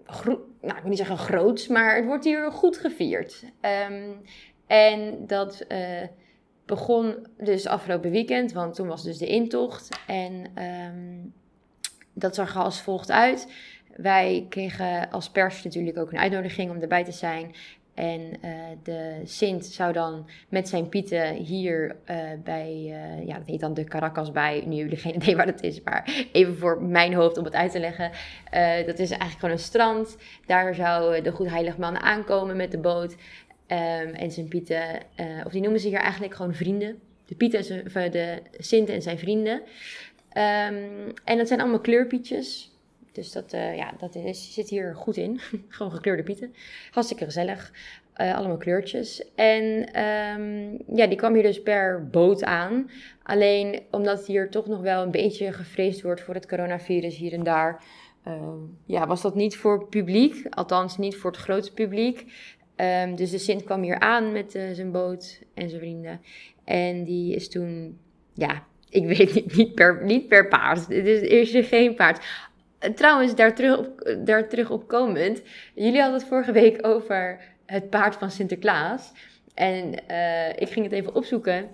S5: gro- nou, ik wil niet zeggen groot, maar het wordt hier goed gevierd. Ehm, en dat eh, begon dus afgelopen weekend, want toen was dus de intocht. En ehm, dat zag er als volgt uit. Wij kregen als pers natuurlijk ook een uitnodiging om erbij te zijn. En eh, de Sint zou dan met zijn pieten hier eh, bij, eh, ja dat heet dan de Caracas bij, nu jullie geen idee waar dat is, maar even voor mijn hoofd om het uit te leggen. Eh, dat is eigenlijk gewoon een strand, daar zou eh, de Goedheiligman aankomen met de boot Ehm, en zijn pieten, eh, of die noemen ze hier eigenlijk gewoon vrienden. De pieten, en zijn- of, eh, de Sint en zijn vrienden. Ehm, en dat zijn allemaal kleurpietjes. Dus dat, eh, ja, dat is, zit hier goed in. Gewoon gekleurde pieten. Hartstikke gezellig. Ehm, eh, allemaal kleurtjes. En ehm, ja, die kwam hier dus per boot aan. Alleen omdat hier toch nog wel een beetje gevreesd wordt voor het coronavirus hier en daar. ehm, ja, was dat niet voor publiek, althans niet voor het grote publiek. Ehm, dus de Sint kwam hier aan met eh, zijn boot en zijn vrienden. En die is toen, ja, ik weet niet, niet per, niet per paard. Het is, er is hier geen paard. Eh, Trouwens, daar terug, op, daar terug op komend. Jullie hadden het vorige week over het paard van Sinterklaas. En eh, ik ging het even opzoeken.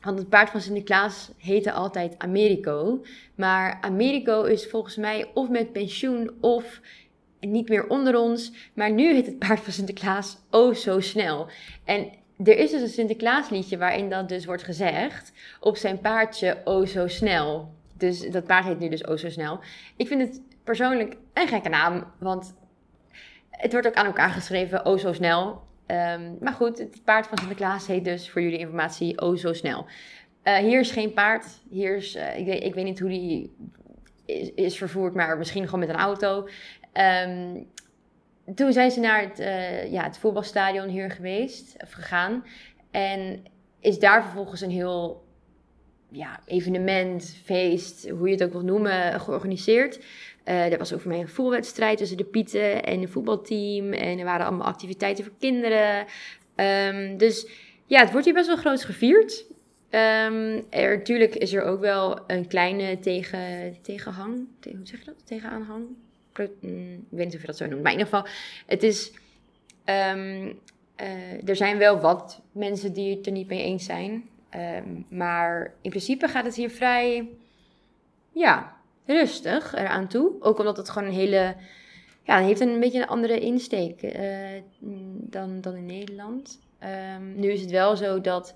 S5: Want het paard van Sinterklaas heette altijd Americo. Maar Americo is volgens mij of met pensioen of niet meer onder ons. Maar nu heet het paard van Sinterklaas Oh Zo Snel. En er is dus een Sinterklaasliedje waarin dat dus wordt gezegd. Op zijn paardje Oh Zo Snel. Dus dat paard heet nu dus Oh Zo Snel. Ik vind het persoonlijk een gekke naam. Want het wordt ook aan elkaar geschreven Oh Zo Snel. Ehm, maar goed, het paard van Sinterklaas heet dus voor jullie informatie Oh Zo Snel. Eh, hier is geen paard. Hier is, eh, ik, weet, ik weet niet hoe die is, is vervoerd, maar misschien gewoon met een auto. Ehm, toen zijn ze naar het, eh, ja, het voetbalstadion hier geweest, of gegaan. En is daar vervolgens een heel ja, evenement, feest, hoe je het ook wil noemen, georganiseerd. Eh er was ook voor mij een voetbalwedstrijd tussen de Pieten en het voetbalteam. En er waren allemaal activiteiten voor kinderen. Ehm, dus ja, het wordt hier best wel groots gevierd. Ehm, er, natuurlijk is er ook wel een kleine tegen, tegenhang. Te- hoe zeg je dat? Tegenaanhang? Pro- mm, ik weet niet of je dat zo noemt. Maar in ieder geval, het is. ehm, eh, er zijn wel wat mensen die het er niet mee eens zijn. Ehm, maar in principe gaat het hier vrij. Ja, rustig eraan toe. Ook omdat het gewoon een hele. Ja, het heeft een beetje een andere insteek eh, mm, dan, dan in Nederland. Ehm, nu is het wel zo dat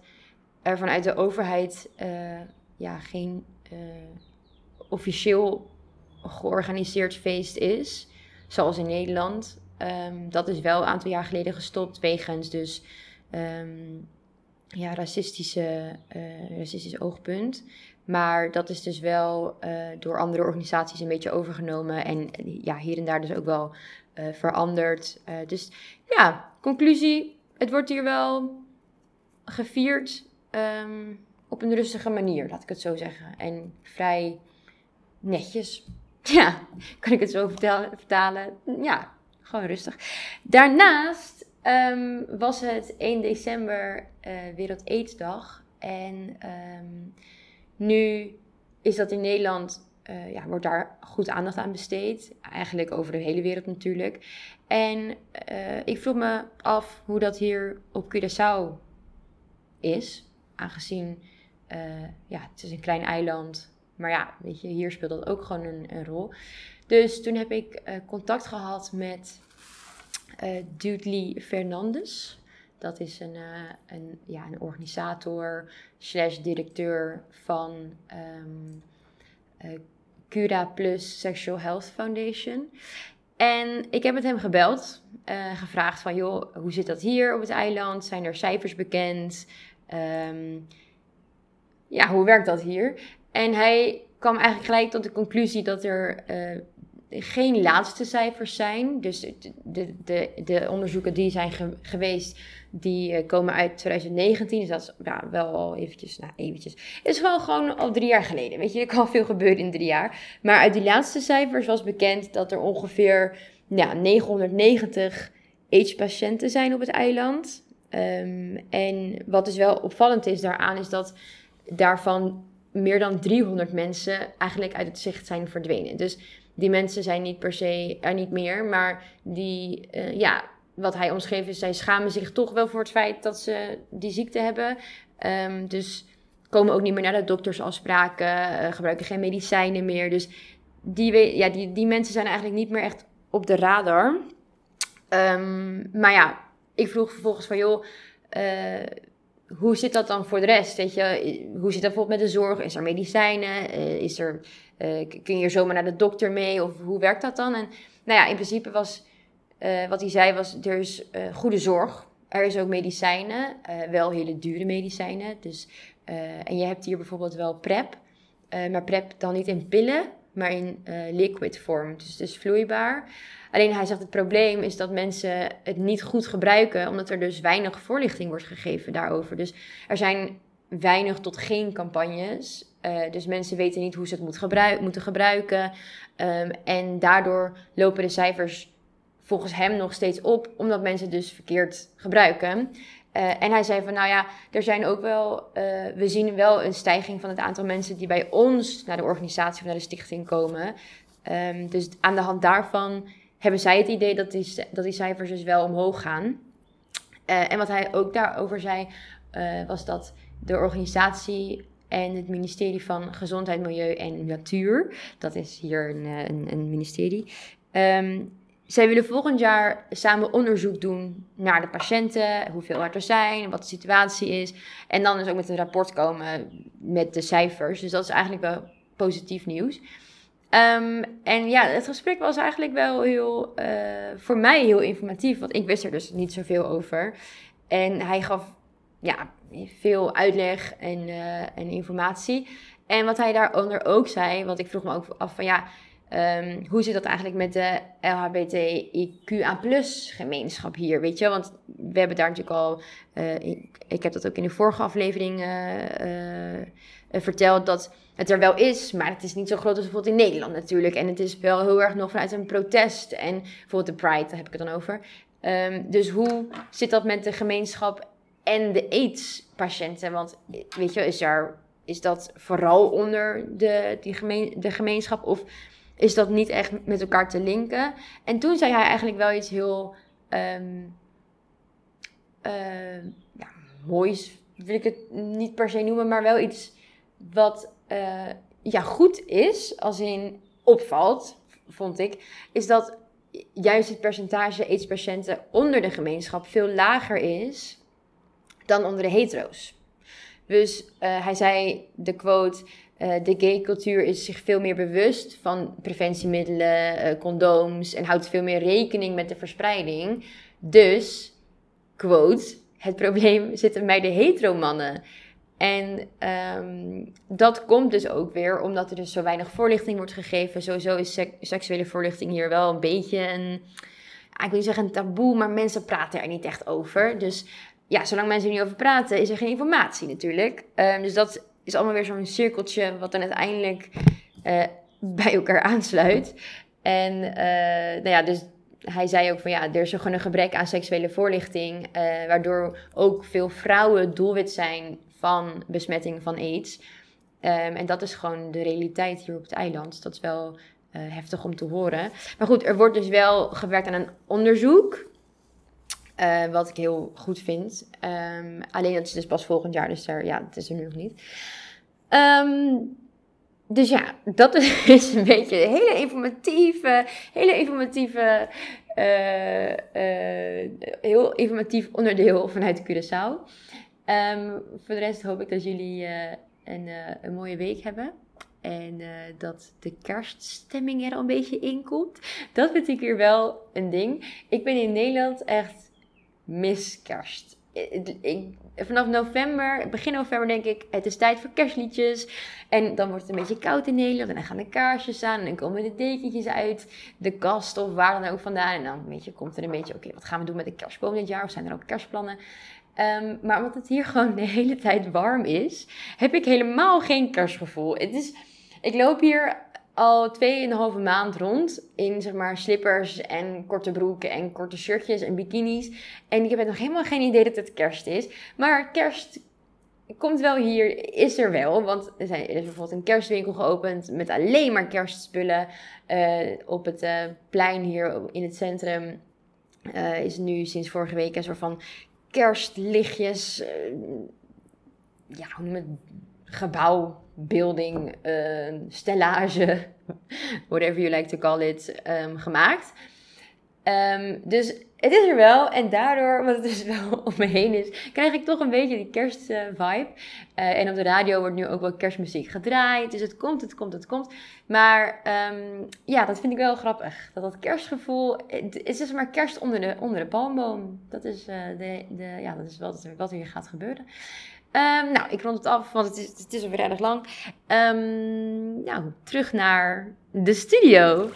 S5: er vanuit de overheid eh, ja, geen eh, officieel georganiseerd feest is, zoals in Nederland. Ehm, dat is wel een aantal jaar geleden gestopt wegens dus ehm, ja, racistische, eh, racistisch oogpunt. Maar dat is dus wel eh, door andere organisaties een beetje overgenomen en eh, ja, hier en daar dus ook wel eh, veranderd. Eh, dus ja, conclusie, het wordt hier wel gevierd ehm, op een rustige manier, laat ik het zo zeggen. En vrij netjes. Ja, kan ik het zo vertel- vertalen? Ja, gewoon rustig. Daarnaast ehm, was het 1 december eh Wereld Aidsdag. En ehm, nu is dat in Nederland, eh, ja, wordt daar goed aandacht aan besteed. Eigenlijk over de hele wereld natuurlijk. En eh, ik vroeg me af hoe dat hier op Curaçao is. Aangezien eh, ja, het is een klein eiland. Maar ja, weet je, hier speelt dat ook gewoon een, een rol. Dus toen heb ik eh, contact gehad met eh Dudley Fernandes. Dat is een, eh, een, ja, een organisator slash directeur van ehm, eh, Cura Plus Sexual Health Foundation. En ik heb met hem gebeld, eh, gevraagd van joh, hoe zit dat hier op het eiland? Zijn er cijfers bekend? Ehm, ja, hoe werkt dat hier? En hij kwam eigenlijk gelijk tot de conclusie dat er eh, geen laatste cijfers zijn. Dus de, de, de, de onderzoeken die zijn ge- geweest, die eh, komen uit 2019. Dus dat is ja, wel al eventjes, nou eventjes. Het is gewoon, gewoon al drie jaar geleden. Weet je, er kan veel gebeuren in drie jaar. Maar uit die laatste cijfers was bekend dat er ongeveer ja, 990 AIDS-patiënten zijn op het eiland. Ehm, en wat dus wel opvallend is daaraan, is dat daarvan meer dan 300 mensen eigenlijk uit het zicht zijn verdwenen. Dus die mensen zijn niet per se er niet meer, maar die, eh, ja, wat hij omschreef is, zij schamen zich toch wel voor het feit dat ze die ziekte hebben. Ehm, dus komen ook niet meer naar de doktersafspraken, eh, gebruiken geen medicijnen meer. Dus die, we- ja, die, die mensen zijn eigenlijk niet meer echt op de radar. Ehm, maar ja, ik vroeg vervolgens van joh, eh, hoe zit dat dan voor de rest? Weet je, hoe zit dat bijvoorbeeld met de zorg? Is er medicijnen? Eh, is er, eh, k- kun je zomaar naar de dokter mee? Of hoe werkt dat dan? En nou ja, in principe was eh, wat hij zei was, er is eh, goede zorg. Er is ook medicijnen, eh, wel hele dure medicijnen. Dus, eh, en je hebt hier bijvoorbeeld wel PrEP. eh, maar PrEP dan niet in pillen, maar in eh, liquid vorm. Dus het is vloeibaar. Alleen hij zegt het probleem is dat mensen het niet goed gebruiken, omdat er dus weinig voorlichting wordt gegeven daarover. Dus er zijn weinig tot geen campagnes. Eh, dus mensen weten niet hoe ze het moet gebruik- moeten gebruiken. Ehm, en daardoor lopen de cijfers volgens hem nog steeds op, omdat mensen het dus verkeerd gebruiken. Eh, en hij zei van, nou ja, er zijn ook wel, eh, we zien wel een stijging van het aantal mensen die bij ons naar de organisatie of naar de stichting komen. Ehm, dus aan de hand daarvan hebben zij het idee dat die, c- dat die cijfers dus wel omhoog gaan. Eh, en wat hij ook daarover zei, eh, was dat de organisatie en het ministerie van Gezondheid, Milieu en Natuur, dat is hier een, eh, een, een ministerie, ehm, zij willen volgend jaar samen onderzoek doen naar de patiënten, hoeveel er zijn, wat de situatie is. En dan dus ook met een rapport komen met de cijfers. Dus dat is eigenlijk wel positief nieuws. Ehm, en ja, het gesprek was eigenlijk wel heel, eh, voor mij heel informatief, want ik wist er dus niet zoveel over. En hij gaf ja, veel uitleg en, eh, en informatie. En wat hij daaronder ook zei, want ik vroeg me ook af van ja, Ehm, hoe zit dat eigenlijk met de LHBTIQA gemeenschap hier, weet je? Want we hebben daar natuurlijk al, eh, ik, ik heb dat ook in de vorige aflevering eh, eh, eh, verteld, dat het er wel is, maar het is niet zo groot als bijvoorbeeld in Nederland natuurlijk. En het is wel heel erg nog vanuit een protest en bijvoorbeeld de Pride, daar heb ik het dan over. Ehm, dus hoe zit dat met de gemeenschap en de AIDS-patiënten? Want eh, weet je, is, daar, is dat vooral onder de, die gemeen, de gemeenschap of is dat niet echt met elkaar te linken. En toen zei hij eigenlijk wel iets heel ehm, ehm, ja, moois, wil ik het niet per se noemen, maar wel iets wat eh, ja, goed is, als in opvalt, vond ik, is dat juist het percentage AIDS-patiënten onder de gemeenschap veel lager is dan onder de hetero's. Dus eh, hij zei de quote, eh, de gay cultuur is zich veel meer bewust van preventiemiddelen, eh, condooms en houdt veel meer rekening met de verspreiding. Dus, quote, het probleem zit hem bij de heteromannen. En ehm, dat komt dus ook weer omdat er dus zo weinig voorlichting wordt gegeven. Sowieso is sek- seksuele voorlichting hier wel een beetje een, ah, ik wil niet zeggen een taboe, maar mensen praten er niet echt over. Dus ja, zolang mensen er niet over praten, is er geen informatie natuurlijk. Ehm, dus dat is allemaal weer zo'n cirkeltje wat dan uiteindelijk eh, bij elkaar aansluit. En eh, nou ja, dus hij zei ook van ja, er is gewoon een gebrek aan seksuele voorlichting, eh, waardoor ook veel vrouwen doelwit zijn van besmetting van aids. Ehm, en dat is gewoon de realiteit hier op het eiland. Dat is wel eh, heftig om te horen. Maar goed, er wordt dus wel gewerkt aan een onderzoek. eh, wat ik heel goed vind. Ehm, alleen dat is dus pas volgend jaar, dus daar, ja, het is er nu nog niet. Ehm, dus ja, dat is een beetje een hele informatieve, hele informatieve, eh, eh, heel informatief onderdeel vanuit Curaçao. Ehm, voor de rest hoop ik dat jullie eh, een, eh, een mooie week hebben. En eh, dat de kerststemming er al een beetje in komt. Dat vind ik hier wel een ding. Ik ben in Nederland echt miskerst. Ik, eh, ik- vanaf november, begin november denk ik, het is tijd voor kerstliedjes. En dan wordt het een beetje koud in Nederland. En dan gaan de kaarsjes aan. En dan komen de dekentjes uit de kast of waar dan ook vandaan. En dan weet je, komt er een beetje, oké, wat gaan we doen met de kerstboom dit jaar? Of zijn er ook kerstplannen? Ehm, maar omdat het hier gewoon de hele tijd warm is, heb ik helemaal geen kerstgevoel. Het is, ik loop hier al 2,5 maand rond in zeg maar slippers en korte broeken en korte shirtjes en bikinis. En ik heb nog helemaal geen idee dat het kerst is. Maar kerst komt wel hier, is er wel. Want er, zijn, er is bijvoorbeeld een kerstwinkel geopend met alleen maar kerstspullen. Eh, op het eh, plein hier in het centrum eh, is nu sinds vorige week een soort van kerstlichtjes. eh, ja, hoe noem je het? Gebouw, building, eh, stellage, whatever you like to call it, ehm, gemaakt. Ehm, dus het is er wel en daardoor, omdat het dus wel om me heen is, krijg ik toch een beetje die kerstvibe. vibe. Eh, en op de radio wordt nu ook wel kerstmuziek gedraaid, dus het komt, het komt, het komt. Maar ehm, ja, dat vind ik wel grappig. Dat dat kerstgevoel, het is dus maar kerst onder de, onder de palmboom. Dat is, eh, de, de, ja, dat is wat, er- wat hier gaat gebeuren. Ehm, nou, ik rond het af, want het is, het is alweer erg lang. Ehm, nou, terug naar de studio.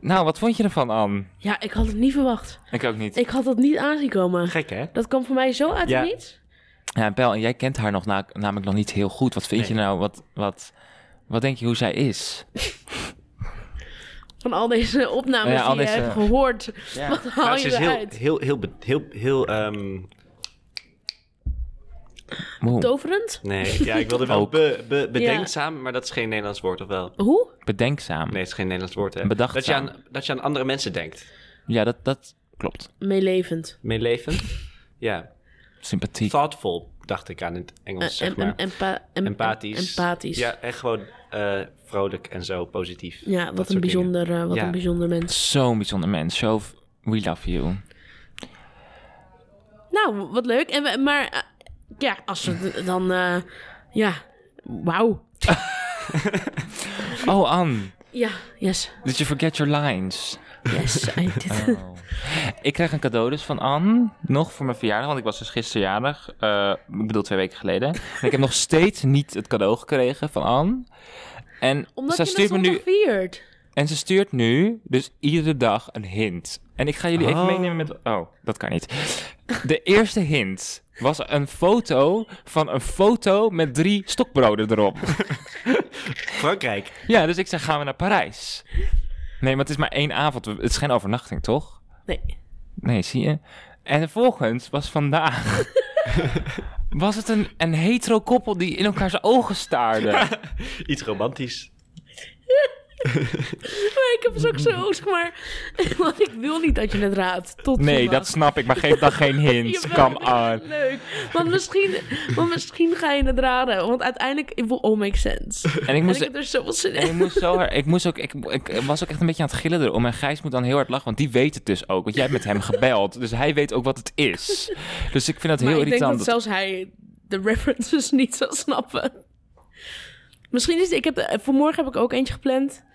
S2: Nou, wat vond je ervan, Anne?
S1: Ja, ik had het niet verwacht.
S2: Ik ook niet.
S1: Ik had dat niet aanzien komen.
S3: Gek, hè?
S1: Dat kwam voor mij zo uit
S3: Ja.
S1: het niets.
S2: Ja, Bel, en jij kent haar nog na- namelijk nog niet heel goed. Wat vind je
S3: Nee.
S2: nou? Wat, wat, wat denk je hoe zij is?
S1: Van al deze opnames
S2: Ja, al
S1: die je
S2: deze-
S1: hebt gehoord. Wat haal
S3: Maar
S1: je
S3: ze is heel,
S1: eruit?
S3: heel, heel, be- heel, heel, ehm,
S2: Moe.
S1: Toverend?
S3: nee, ja, ik wilde wel
S2: Ook.
S3: be, be- bedenkzaam, maar dat is geen Nederlands woord, of wel?
S1: Hoe?
S2: Bedenkzaam.
S3: Nee, het is geen Nederlands woord, hè?
S2: Bedachtzaam.
S3: Dat je aan, dat je aan andere mensen denkt.
S2: Ja, dat, dat klopt.
S1: Meelevend.
S3: Meelevend. ja.
S2: Sympathiek.
S3: Thoughtful, dacht ik aan in het Engels,
S1: En,
S3: zeg
S1: en,
S3: maar.
S1: en, empa- Eh, em-
S3: empathisch.
S1: Empathisch. Ja,
S3: Ja, en gewoon eh, vrolijk en zo, positief. Dat
S1: wat, een
S3: soort dingen.
S1: bijzonder, eh, wat
S3: Ja.
S1: een bijzonder mens.
S2: Zo'n bijzonder mens. Zo, v- we love you.
S1: Nou, wat leuk. En we, maar eh, ja, als we d- dan... eh, ja, wauw.
S2: Oh, Anne.
S1: Ja, yes.
S2: Did you forget your lines?
S1: Yes, I did.
S2: Oh. Ik kreeg een cadeau dus van Anne. Nog voor mijn verjaardag, want ik was dus gisteren jarig. eh, ik bedoel twee weken geleden. En ik heb nog steeds niet het cadeau gekregen van Anne. En
S1: Omdat
S2: ze
S1: je
S2: stuurt
S1: dat
S2: me nu
S1: zondag viert.
S2: En ze stuurt nu dus iedere dag een hint. En ik ga jullie even
S3: Oh.
S2: meenemen met... Oh, dat kan niet. De eerste hint was een foto van een foto met drie stokbroden erop.
S3: Frankrijk.
S2: Ja, dus ik zeg, gaan we naar Parijs? Nee, maar het is maar één avond. Het is geen overnachting, toch?
S1: Nee.
S2: Nee, zie je? En volgens was vandaag... was het een, een hetero koppel die in elkaars ogen staarde.
S3: Iets romantisch.
S1: Maar ik heb het ook zo, zeg maar... Want ik wil niet dat je het raadt. Tot
S2: Nee,
S1: zondag.
S2: dat snap ik, maar geef dan geen hint.
S1: Jawel,
S2: Come on.
S1: Leuk. Want misschien, want misschien ga je het raden. Want uiteindelijk, it will all make sense.
S2: En ik
S1: En
S2: moest
S1: ik heb er zoveel zin
S2: En
S1: in.
S2: ik moest zo hard- ik, moest ook, ik, ik was ook echt een beetje aan het gillen erom. En Gijs moet dan heel hard lachen, want die weet het dus ook. Want jij hebt met hem gebeld, dus hij weet ook wat het is. Dus ik vind dat
S1: Maar
S2: heel
S1: ik denk
S2: irritant.
S1: dat zelfs hij de references niet zal snappen. Misschien is... Ik heb, eh, vanmorgen heb ik ook eentje gepland.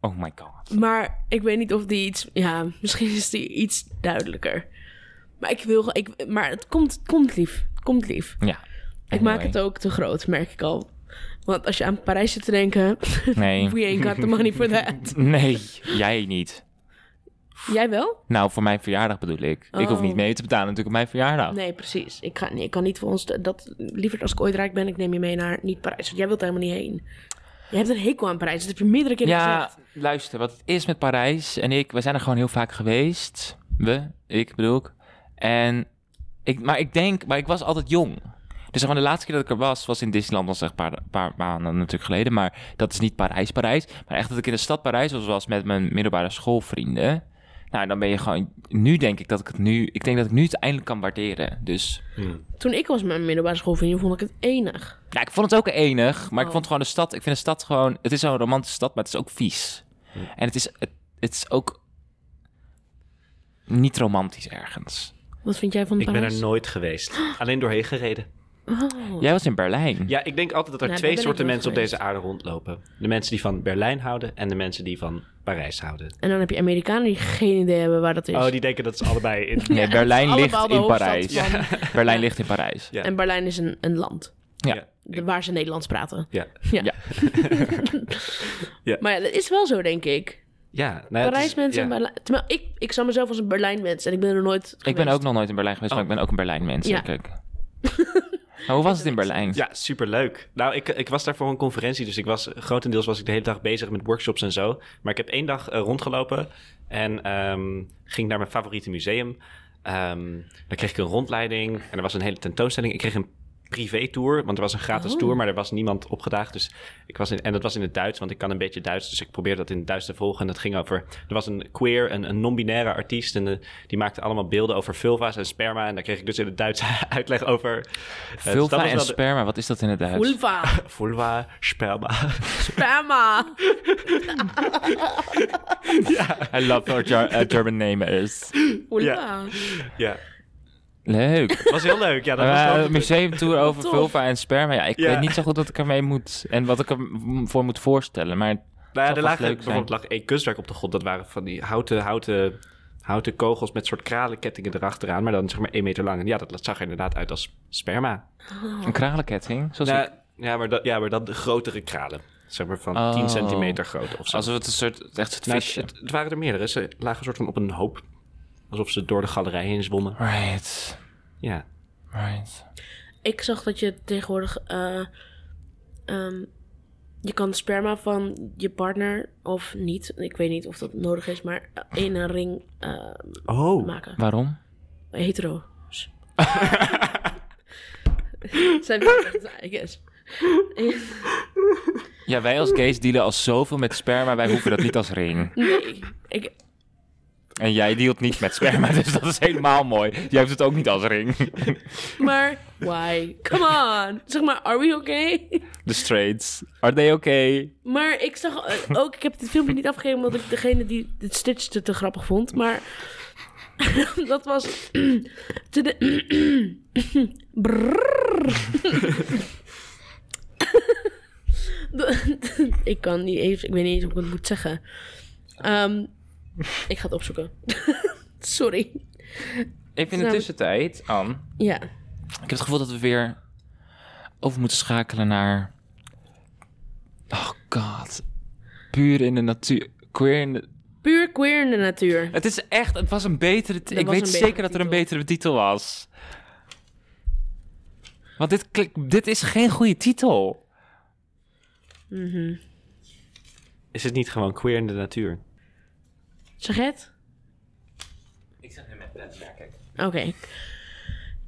S2: Oh my god.
S1: Maar ik weet niet of die iets... Ja, misschien is die iets duidelijker. Maar ik wil... Ik, maar het komt, het komt lief. Het komt lief.
S2: Ja.
S1: Ik maak het ook te groot, merk ik al. Want als je aan Parijs zit te denken...
S2: Nee.
S1: We ain't got the money for that.
S2: Nee, jij niet.
S1: Jij wel?
S2: Nou, voor mijn verjaardag bedoel ik. Ik hoef
S1: Oh.
S2: niet mee te betalen natuurlijk op mijn verjaardag.
S1: Nee, precies. Ik, ga, nee, ik kan niet voor ons... Dat, liever als ik ooit rijk ben, ik neem je mee naar niet Parijs. Want jij wilt er helemaal niet heen. Je hebt een hekel aan Parijs. Dat heb je meerdere keren
S2: Ja,
S1: gezegd.
S2: luister, wat het is met Parijs en ik, we zijn er gewoon heel vaak geweest. We, ik bedoel ik. En ik, maar ik denk, maar ik was altijd jong. Dus zeg maar, de laatste keer dat ik er was, was in Disneyland, was echt een paar, paar maanden natuurlijk geleden. Maar dat is niet Parijs, Parijs. Maar echt dat ik in de stad Parijs was, was met mijn middelbare schoolvrienden. Nou, dan ben je gewoon, nu denk ik dat ik het nu, ik denk dat ik nu het eindelijk kan waarderen. Dus,
S1: Toen ik was met mijn middelbare schoolvriendin, vond ik het enig.
S2: ja, Nou, ik vond het ook enig, maar ik
S1: Oh.
S2: vond gewoon de stad, ik vind de stad gewoon, het is zo'n romantische stad, maar het is ook vies. En het is, het, het is ook niet romantisch ergens.
S1: Wat vind jij van
S3: Ik ben
S1: Parijs?
S3: er nooit geweest. Alleen doorheen gereden.
S1: Oh.
S2: Jij was in Berlijn.
S3: Ja, ik denk altijd dat
S1: Nou,
S3: er
S1: daar
S3: twee
S1: ben
S3: soorten
S1: ik wel
S3: mensen op
S1: geweest.
S3: deze aarde rondlopen. De mensen die van Berlijn houden en de mensen die van Parijs houden.
S1: En dan heb je Amerikanen die geen idee hebben waar dat is.
S3: Oh, die denken dat ze allebei in...
S2: Nee, Berlijn
S1: het is
S2: ligt in
S1: allemaal de
S2: Parijs.
S1: hoofdstad
S2: Berlijn ligt in Parijs.
S3: Ja.
S1: En Berlijn is een, een land
S2: Ja.
S1: de- waar ze Nederlands praten.
S3: Ja.
S1: Ja.
S2: Ja.
S3: Ja.
S1: Maar ja, dat is wel zo, denk ik.
S3: ja nou, het is-
S1: Parijsmensen
S3: ja.
S1: en Berlijn. Terwijl ik, ik zou mezelf als een Berlijnmens en ik ben er nooit
S2: Ik
S1: geweest.
S2: ben ook nog nooit in Berlijn geweest, maar ik ben ook een Berlijn mens,
S1: Ja.
S2: denk ik. Maar hoe was het in Berlijn?
S3: Ja, superleuk. Nou, ik, ik was daar voor een conferentie, dus ik was, grotendeels was ik de hele dag bezig met workshops en zo. Maar ik heb één dag eh, rondgelopen en ehm, ging naar mijn favoriete museum. Ehm, dan kreeg ik een rondleiding en er was een hele tentoonstelling. Ik kreeg een privé-tour, want er was een gratis
S1: Oh.
S3: tour, maar er was niemand opgedaagd. Dus ik was in, en dat was in het Duits, want ik kan een beetje Duits, dus ik probeerde dat in het Duits te volgen. En dat ging over, er was een queer, een, een non-binaire artiest en eh, die maakte allemaal beelden over vulva's en sperma. En daar kreeg ik dus in het Duits uitleg over. Eh, dus dat
S2: Vulva
S3: was
S2: en
S3: wel de-
S2: sperma, wat is dat in het Duits?
S1: Vulva,
S3: Vulva, sperma.
S1: sperma.
S2: I love what your eh, German name is.
S1: Vulva.
S3: ja.
S2: Leuk.
S3: Het was heel leuk. Ja, dat was
S2: Eh,
S3: wel
S2: een museumtour over
S1: Tof.
S2: vulva en sperma. Ja, ik
S3: Ja.
S2: weet niet zo goed wat ik ermee moet en wat ik ervoor moet voorstellen. Maar
S3: Nou ja,
S2: Zal
S3: er
S2: vast
S3: lag
S2: leuk
S3: bijvoorbeeld lag één kunstwerk op de grond. Dat waren van die houten, houten houten kogels met soort kralenkettingen erachteraan, maar dan zeg maar één meter lang. En ja, dat zag er inderdaad uit als sperma.
S2: Een kralenketting? Zoals ik-
S3: Nou, ja, maar dat, ja, maar dan de grotere kralen. Zeg maar van
S2: Oh.
S3: 10 centimeter groot of zo.
S2: Alsof het een soort, echt het
S3: Nou, het,
S2: visje.
S3: het- het waren er meerdere. Ze lagen een soort van op een hoop. Alsof ze door de galerij heen zwommen.
S2: Right,
S3: Ja.
S2: right.
S1: Ik zag dat je tegenwoordig. eh, ehm, je kan sperma van je partner of niet. Ik weet niet of dat nodig is, maar in een ring eh,
S3: Oh.
S1: maken.
S2: Waarom?
S1: Hetero. Zijn we- I guess.
S2: Ja, wij als gays dealen al zoveel met sperma, wij hoeven dat niet als ring.
S1: Nee, ik,
S2: En jij dealt niet met sperma, dus dat is helemaal mooi. Jij hebt het ook niet als ring.
S1: maar why? Come on. Zeg maar, are we okay?
S2: De straights, are they okay?
S1: Maar ik zag eh, ook, ik heb dit filmpje niet afgegeven omdat ik degene die het stitchte te grappig vond. Maar dat was. te de- Brrrr. De- ik kan niet even, ik weet niet eens hoe ik het moet zeggen. Ehm, ik ga het opzoeken. Sorry.
S2: Even in
S1: Nou.
S2: de tussentijd, Anne.
S1: Ja.
S2: Ik heb het gevoel dat we weer over moeten schakelen naar... Oh god. Puur in de natuur. Queer in de...
S1: Puur queer in de natuur.
S2: Het is echt, het was een betere... ti-
S1: Er
S2: Ik
S1: was
S2: weet
S1: een
S2: zeker
S1: betere
S2: dat er een
S1: titel.
S2: betere titel was. Want dit, klik- dit is geen goede titel.
S3: Is het niet gewoon queer in de natuur?
S1: Zeg het?
S2: Ik zeg nu met
S1: Oké.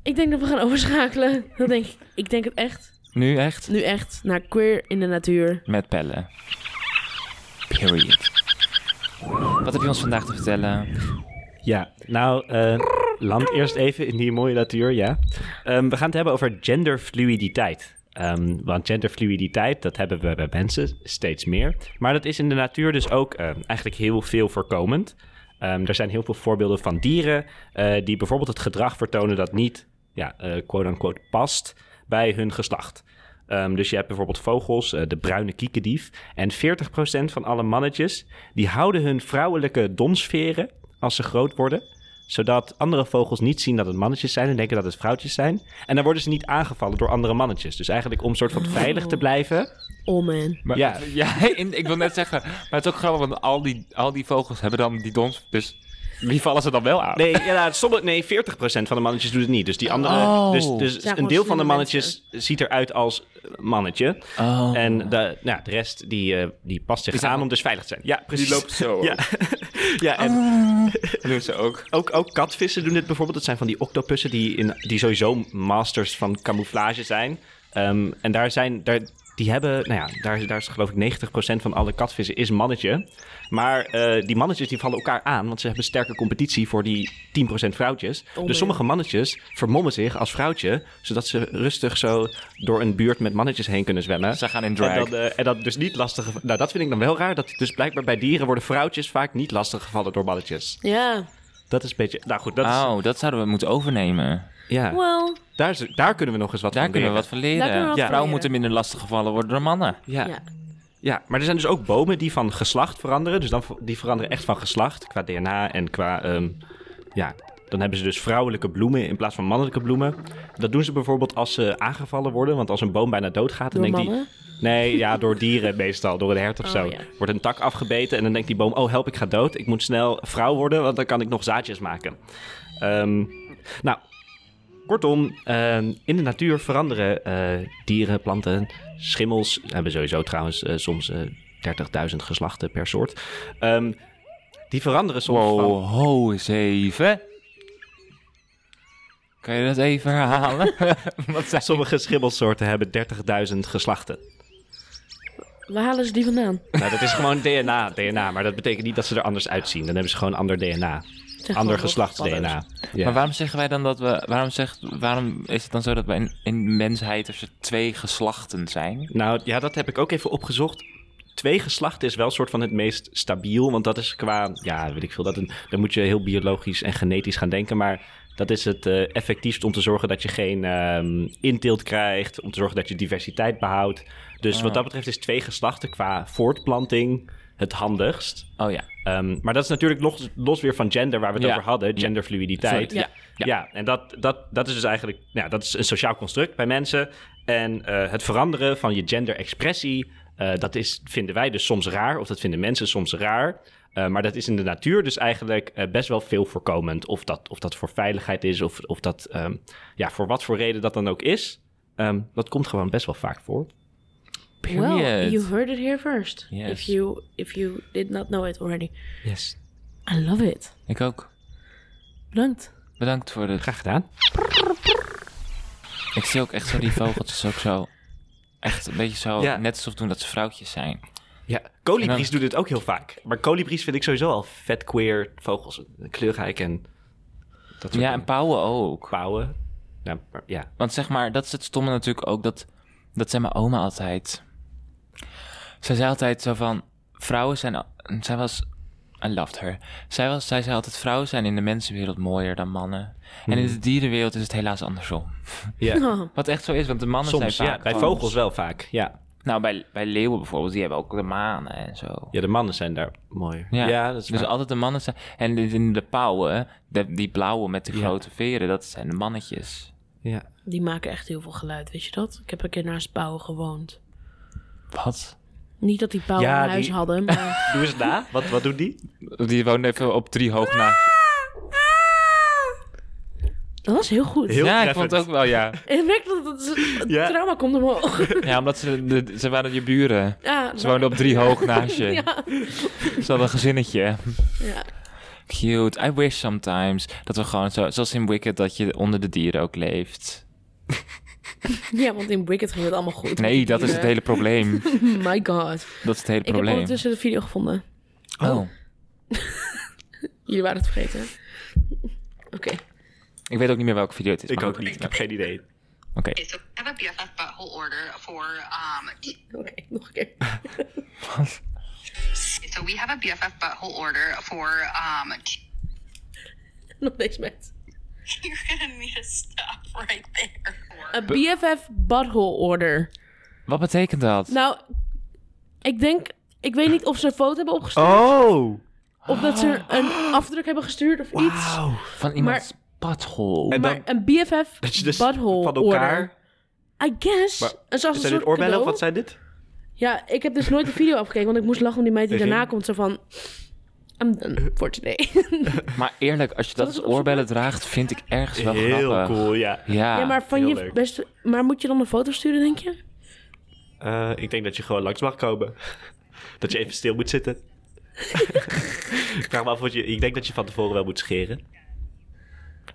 S1: Ik denk dat we gaan overschakelen. Dat denk ik. Ik denk het echt.
S2: Nu echt?
S1: nu echt naar queer in de natuur.
S2: Met pellen. Period. Wat heb je ons vandaag te vertellen?
S3: Ja, nou, eh, land eerst even in die mooie natuur, ja. Ehm, we gaan het hebben over genderfluiditeit. Ehm, want genderfluiditeit, dat hebben we bij mensen steeds meer. Maar dat is in de natuur dus ook ehm, eigenlijk heel veel voorkomend. Ehm, er zijn heel veel voorbeelden van dieren eh, die bijvoorbeeld het gedrag vertonen dat niet, ja, eh, quote-unquote, past bij hun geslacht. Ehm, dus je hebt bijvoorbeeld vogels, eh, de bruine kiekendief. En 40% van alle mannetjes, die houden hun vrouwelijke donsveren als ze groot worden. Zodat andere vogels niet zien dat het mannetjes zijn en denken dat het vrouwtjes zijn. En dan worden ze niet aangevallen door andere mannetjes. Dus eigenlijk om soort van veilig te blijven.
S1: Oh man.
S2: Maar,
S3: Ja.
S2: ja, in- ik wil net zeggen, maar het is ook grappig, want al die, al die vogels hebben dan die dons, dus wie vallen ze dan wel aan?
S3: Nee, ja, nou, sommige, nee 40% van de mannetjes doet het niet. Dus die andere.
S2: Oh.
S3: Dus, dus
S1: Zijn
S3: een deel van
S1: gewoon
S3: de
S1: slimme
S3: mannetjes ziet eruit als mannetje.
S2: Oh.
S3: En de, nou, de rest die, eh, die past zich
S2: Die zijn-
S3: aan om dus veilig te zijn. Ja, precies.
S2: die loopt Oh. zo.
S3: Ja, ja en
S2: Dat doen ze ook.
S3: ook, ook katvissen doen dit bijvoorbeeld. Dat zijn van die octopussen die, in, die sowieso masters van camouflage zijn. Ehm, en daar zijn, daar, die hebben, nou ja, daar, daar is geloof ik 90% van alle katvissen is mannetje. Maar eh, die mannetjes die vallen elkaar aan, want ze hebben sterke competitie voor die 10% vrouwtjes.
S1: man.
S3: dus sommige mannetjes vermommen zich als vrouwtje, zodat ze rustig zo door een buurt met mannetjes heen kunnen zwemmen.
S2: Ze gaan in drag.
S3: En dat, eh, en dat dus niet lastig. Nou, dat vind ik dan wel raar. Dat dus blijkbaar bij dieren worden vrouwtjes vaak niet lastig gevallen door mannetjes.
S1: Ja.
S3: Dat is een beetje. Nou goed, dat is.
S2: Oh, dat zouden we moeten overnemen.
S3: Ja,
S1: Well.
S3: daar, is- daar kunnen we nog eens wat
S2: Daar
S3: van
S2: kunnen we
S3: leren.
S2: wat van leren.
S1: Daar kunnen we wat
S2: ja.
S1: van
S2: Vrouwen
S1: leren.
S2: moeten minder lastig gevallen worden door mannen.
S3: Ja. Ja.
S1: Ja.
S3: maar er zijn dus ook bomen die van geslacht veranderen. Dus dan, ver- die veranderen echt van geslacht qua DNA en qua... ehm, ja, dan hebben ze dus vrouwelijke bloemen in plaats van mannelijke bloemen. Dat doen ze bijvoorbeeld als ze aangevallen worden. Want als een boom bijna doodgaat, dan
S1: Door
S3: denkt
S1: mannen?
S3: die... Nee, ja, door dieren meestal, door een hert of
S1: Oh,
S3: zo.
S1: ja.
S3: Wordt een tak afgebeten en dan denkt die boom... Oh, help, ik ga dood. Ik moet snel vrouw worden, want dan kan ik nog zaadjes maken. Ehm, nou, Kortom, ehm, in de natuur veranderen eh, dieren, planten, schimmels. Hebben sowieso trouwens eh, soms eh 30.000 geslachten per soort. Ehm, die veranderen soms van...
S2: Wow, ho eens even. Kan je dat even herhalen? Wat zei-
S3: Sommige schimmelsoorten hebben 30.000 geslachten.
S1: Waar halen ze die vandaan?
S3: Nou, dat is gewoon DNA, DNA. Maar dat betekent niet dat ze er anders uitzien. Dan hebben ze gewoon ander DNA.
S1: Zeg
S3: ander
S1: gewoon,
S2: dus.
S3: geslachts-DNA. Ja.
S2: Maar waarom zeggen wij dan dat we... Waarom, zegt, waarom is het dan zo dat wij in, in mensheid er twee geslachten zijn?
S3: Nou ja, dat heb ik ook even opgezocht. Twee geslachten is wel soort van het meest stabiel. Want dat is qua, ja, weet ik veel. Dat een, dan moet je heel biologisch en genetisch gaan denken. Maar dat is het eh, effectiefst om te zorgen dat je geen ehm inteelt krijgt.
S2: Ah.
S3: Om te zorgen dat je diversiteit behoudt. Dus wat dat betreft is twee geslachten qua voortplanting het handigst.
S2: Oh ja.
S3: Ehm, maar dat is natuurlijk los, los weer van gender, waar we het
S2: Ja.
S3: over hadden, genderfluiditeit.
S2: Sorry, ja,
S3: ja.
S2: ja.
S3: en dat, dat, dat is dus eigenlijk nou, dat is een sociaal construct bij mensen. En eh, het veranderen van je genderexpressie, eh, dat is, vinden wij dus soms raar, of dat vinden mensen soms raar. Eh, maar dat is in de natuur dus eigenlijk eh, best wel veel voorkomend. Of dat, of dat voor veiligheid is, of, of dat ehm, ja, voor wat voor reden dat dan ook is. Ehm, dat komt gewoon best wel vaak voor.
S1: Well,
S2: Period.
S1: you heard it here first.
S2: Yes.
S1: If you if you did not know it already.
S2: Yes.
S1: I love it.
S2: Ik ook.
S1: Bedankt.
S2: Bedankt voor het.
S3: Graag gedaan.
S2: Ik zie ook echt zo die vogeltjes ook zo. Echt een beetje zo.
S3: Ja.
S2: Net alsof doen dat ze vrouwtjes zijn.
S3: Ja, kolibries
S2: En
S3: doen dit ook heel vaak. Maar kolibries vind ik sowieso al vet queer vogels. Kleurrijk en dat soort
S2: Ja, en pauwen ook.
S3: pauwen. Ja, Nou, maar- ja.
S2: Want zeg maar, dat is het stomme natuurlijk ook. Dat, dat zei mijn oma altijd. Zij zei altijd zo van... Vrouwen zijn... al- Zij was... I loved her. Zij, was, zij zei altijd... Vrouwen zijn in de mensenwereld mooier dan mannen. En
S3: Hmm.
S2: in de dierenwereld is het helaas andersom.
S3: ja.
S1: Oh,
S2: Wat echt zo is, want de mannen
S3: Soms,
S2: zijn vaak...
S3: ja. Bij
S2: gewoon-
S3: vogels wel vaak, ja.
S2: Nou, bij, bij leeuwen bijvoorbeeld. Die hebben ook de manen en zo.
S3: Ja, de mannen zijn daar mooier.
S2: Ja,
S3: dat is
S2: dus
S3: waar.
S2: altijd de mannen zijn... En de, de- de pauwen, de- die blauwe met de
S3: Ja.
S2: grote veren... Dat zijn de mannetjes.
S3: ja.
S1: die maken echt heel veel geluid, weet je dat? Ik heb een keer naast pauwen gewoond.
S2: Wat?
S1: Niet dat die pauwen
S3: Ja,
S1: een huis
S3: die-
S1: hadden, maar...
S3: Doe eens na. Wat, wat doen die?
S2: Die woont even op drie hoog naast.
S1: Dat was heel goed.
S3: Heel
S2: ja, ik
S3: treffend.
S2: vond het ook wel, ja.
S1: Ik merk dat het, het
S3: Ja.
S1: trauma komt omhoog.
S2: Ja, omdat ze, de- ze waren je buren.
S1: Ja, nou,
S2: Ze woonden op drie hoog naast je.
S1: Ja.
S2: Ze hadden een gezinnetje.
S1: ja.
S2: Cute. I wish sometimes dat we gewoon zo... Zoals in Wicked, dat je onder de dieren ook leeft.
S1: Ja, want in Wicked ging het allemaal goed.
S2: Nee, dat is het hele probleem.
S1: My god.
S2: Dat is het hele
S1: Ik heb
S2: probleem.
S1: ondertussen de video gevonden.
S2: Oh,
S1: Jullie waren het vergeten. Oké.
S2: ik weet ook niet meer welke video het is.
S3: Ik
S2: maar
S3: ook
S2: goed.
S3: niet. Ik heb geen idee.
S2: Oké.
S6: Okay, so I have a BFF butthole order for. Um,
S1: Oké, nog een keer.
S6: so we have a BFF butthole order for. Um,
S1: nog deze met.
S6: you're gonna need to stop right there.
S1: Een BFF butthole order.
S2: Wat betekent dat?
S1: Nou, ik denk... Ik weet niet of ze een foto hebben opgestuurd.
S3: Oh!
S1: Of dat ze een afdruk hebben gestuurd of iets.
S3: Wauw.
S2: Van iemands butthole.
S3: En
S1: Maar
S3: dan
S1: een BFF
S3: dat je dus
S1: butthole
S3: van elkaar...
S1: order. I guess.
S3: Maar
S1: En zoals een
S3: Zijn dit
S1: soort
S3: oorbellen
S1: cadeau.
S3: of wat zijn dit?
S1: Ja, ik heb dus nooit de video afgekeken, want ik moest lachen om die meid die
S3: Tegen-
S1: daarna komt. Zo van, "Ehm, I'm done for today.
S2: Maar eerlijk, als je dat
S1: Dat is
S2: als oorbellen draagt, vind ik ergens wel
S3: Heel
S2: grappig.
S3: cool, ja.
S2: Ja.
S1: ja, maar van
S3: heel
S1: je
S3: leuk.
S1: best, maar moet je dan een foto sturen, denk je?
S3: Eh, ik denk dat je gewoon langs mag komen. dat je even stil moet zitten. ik vraag me af wat je... Ik denk dat je van tevoren wel moet scheren.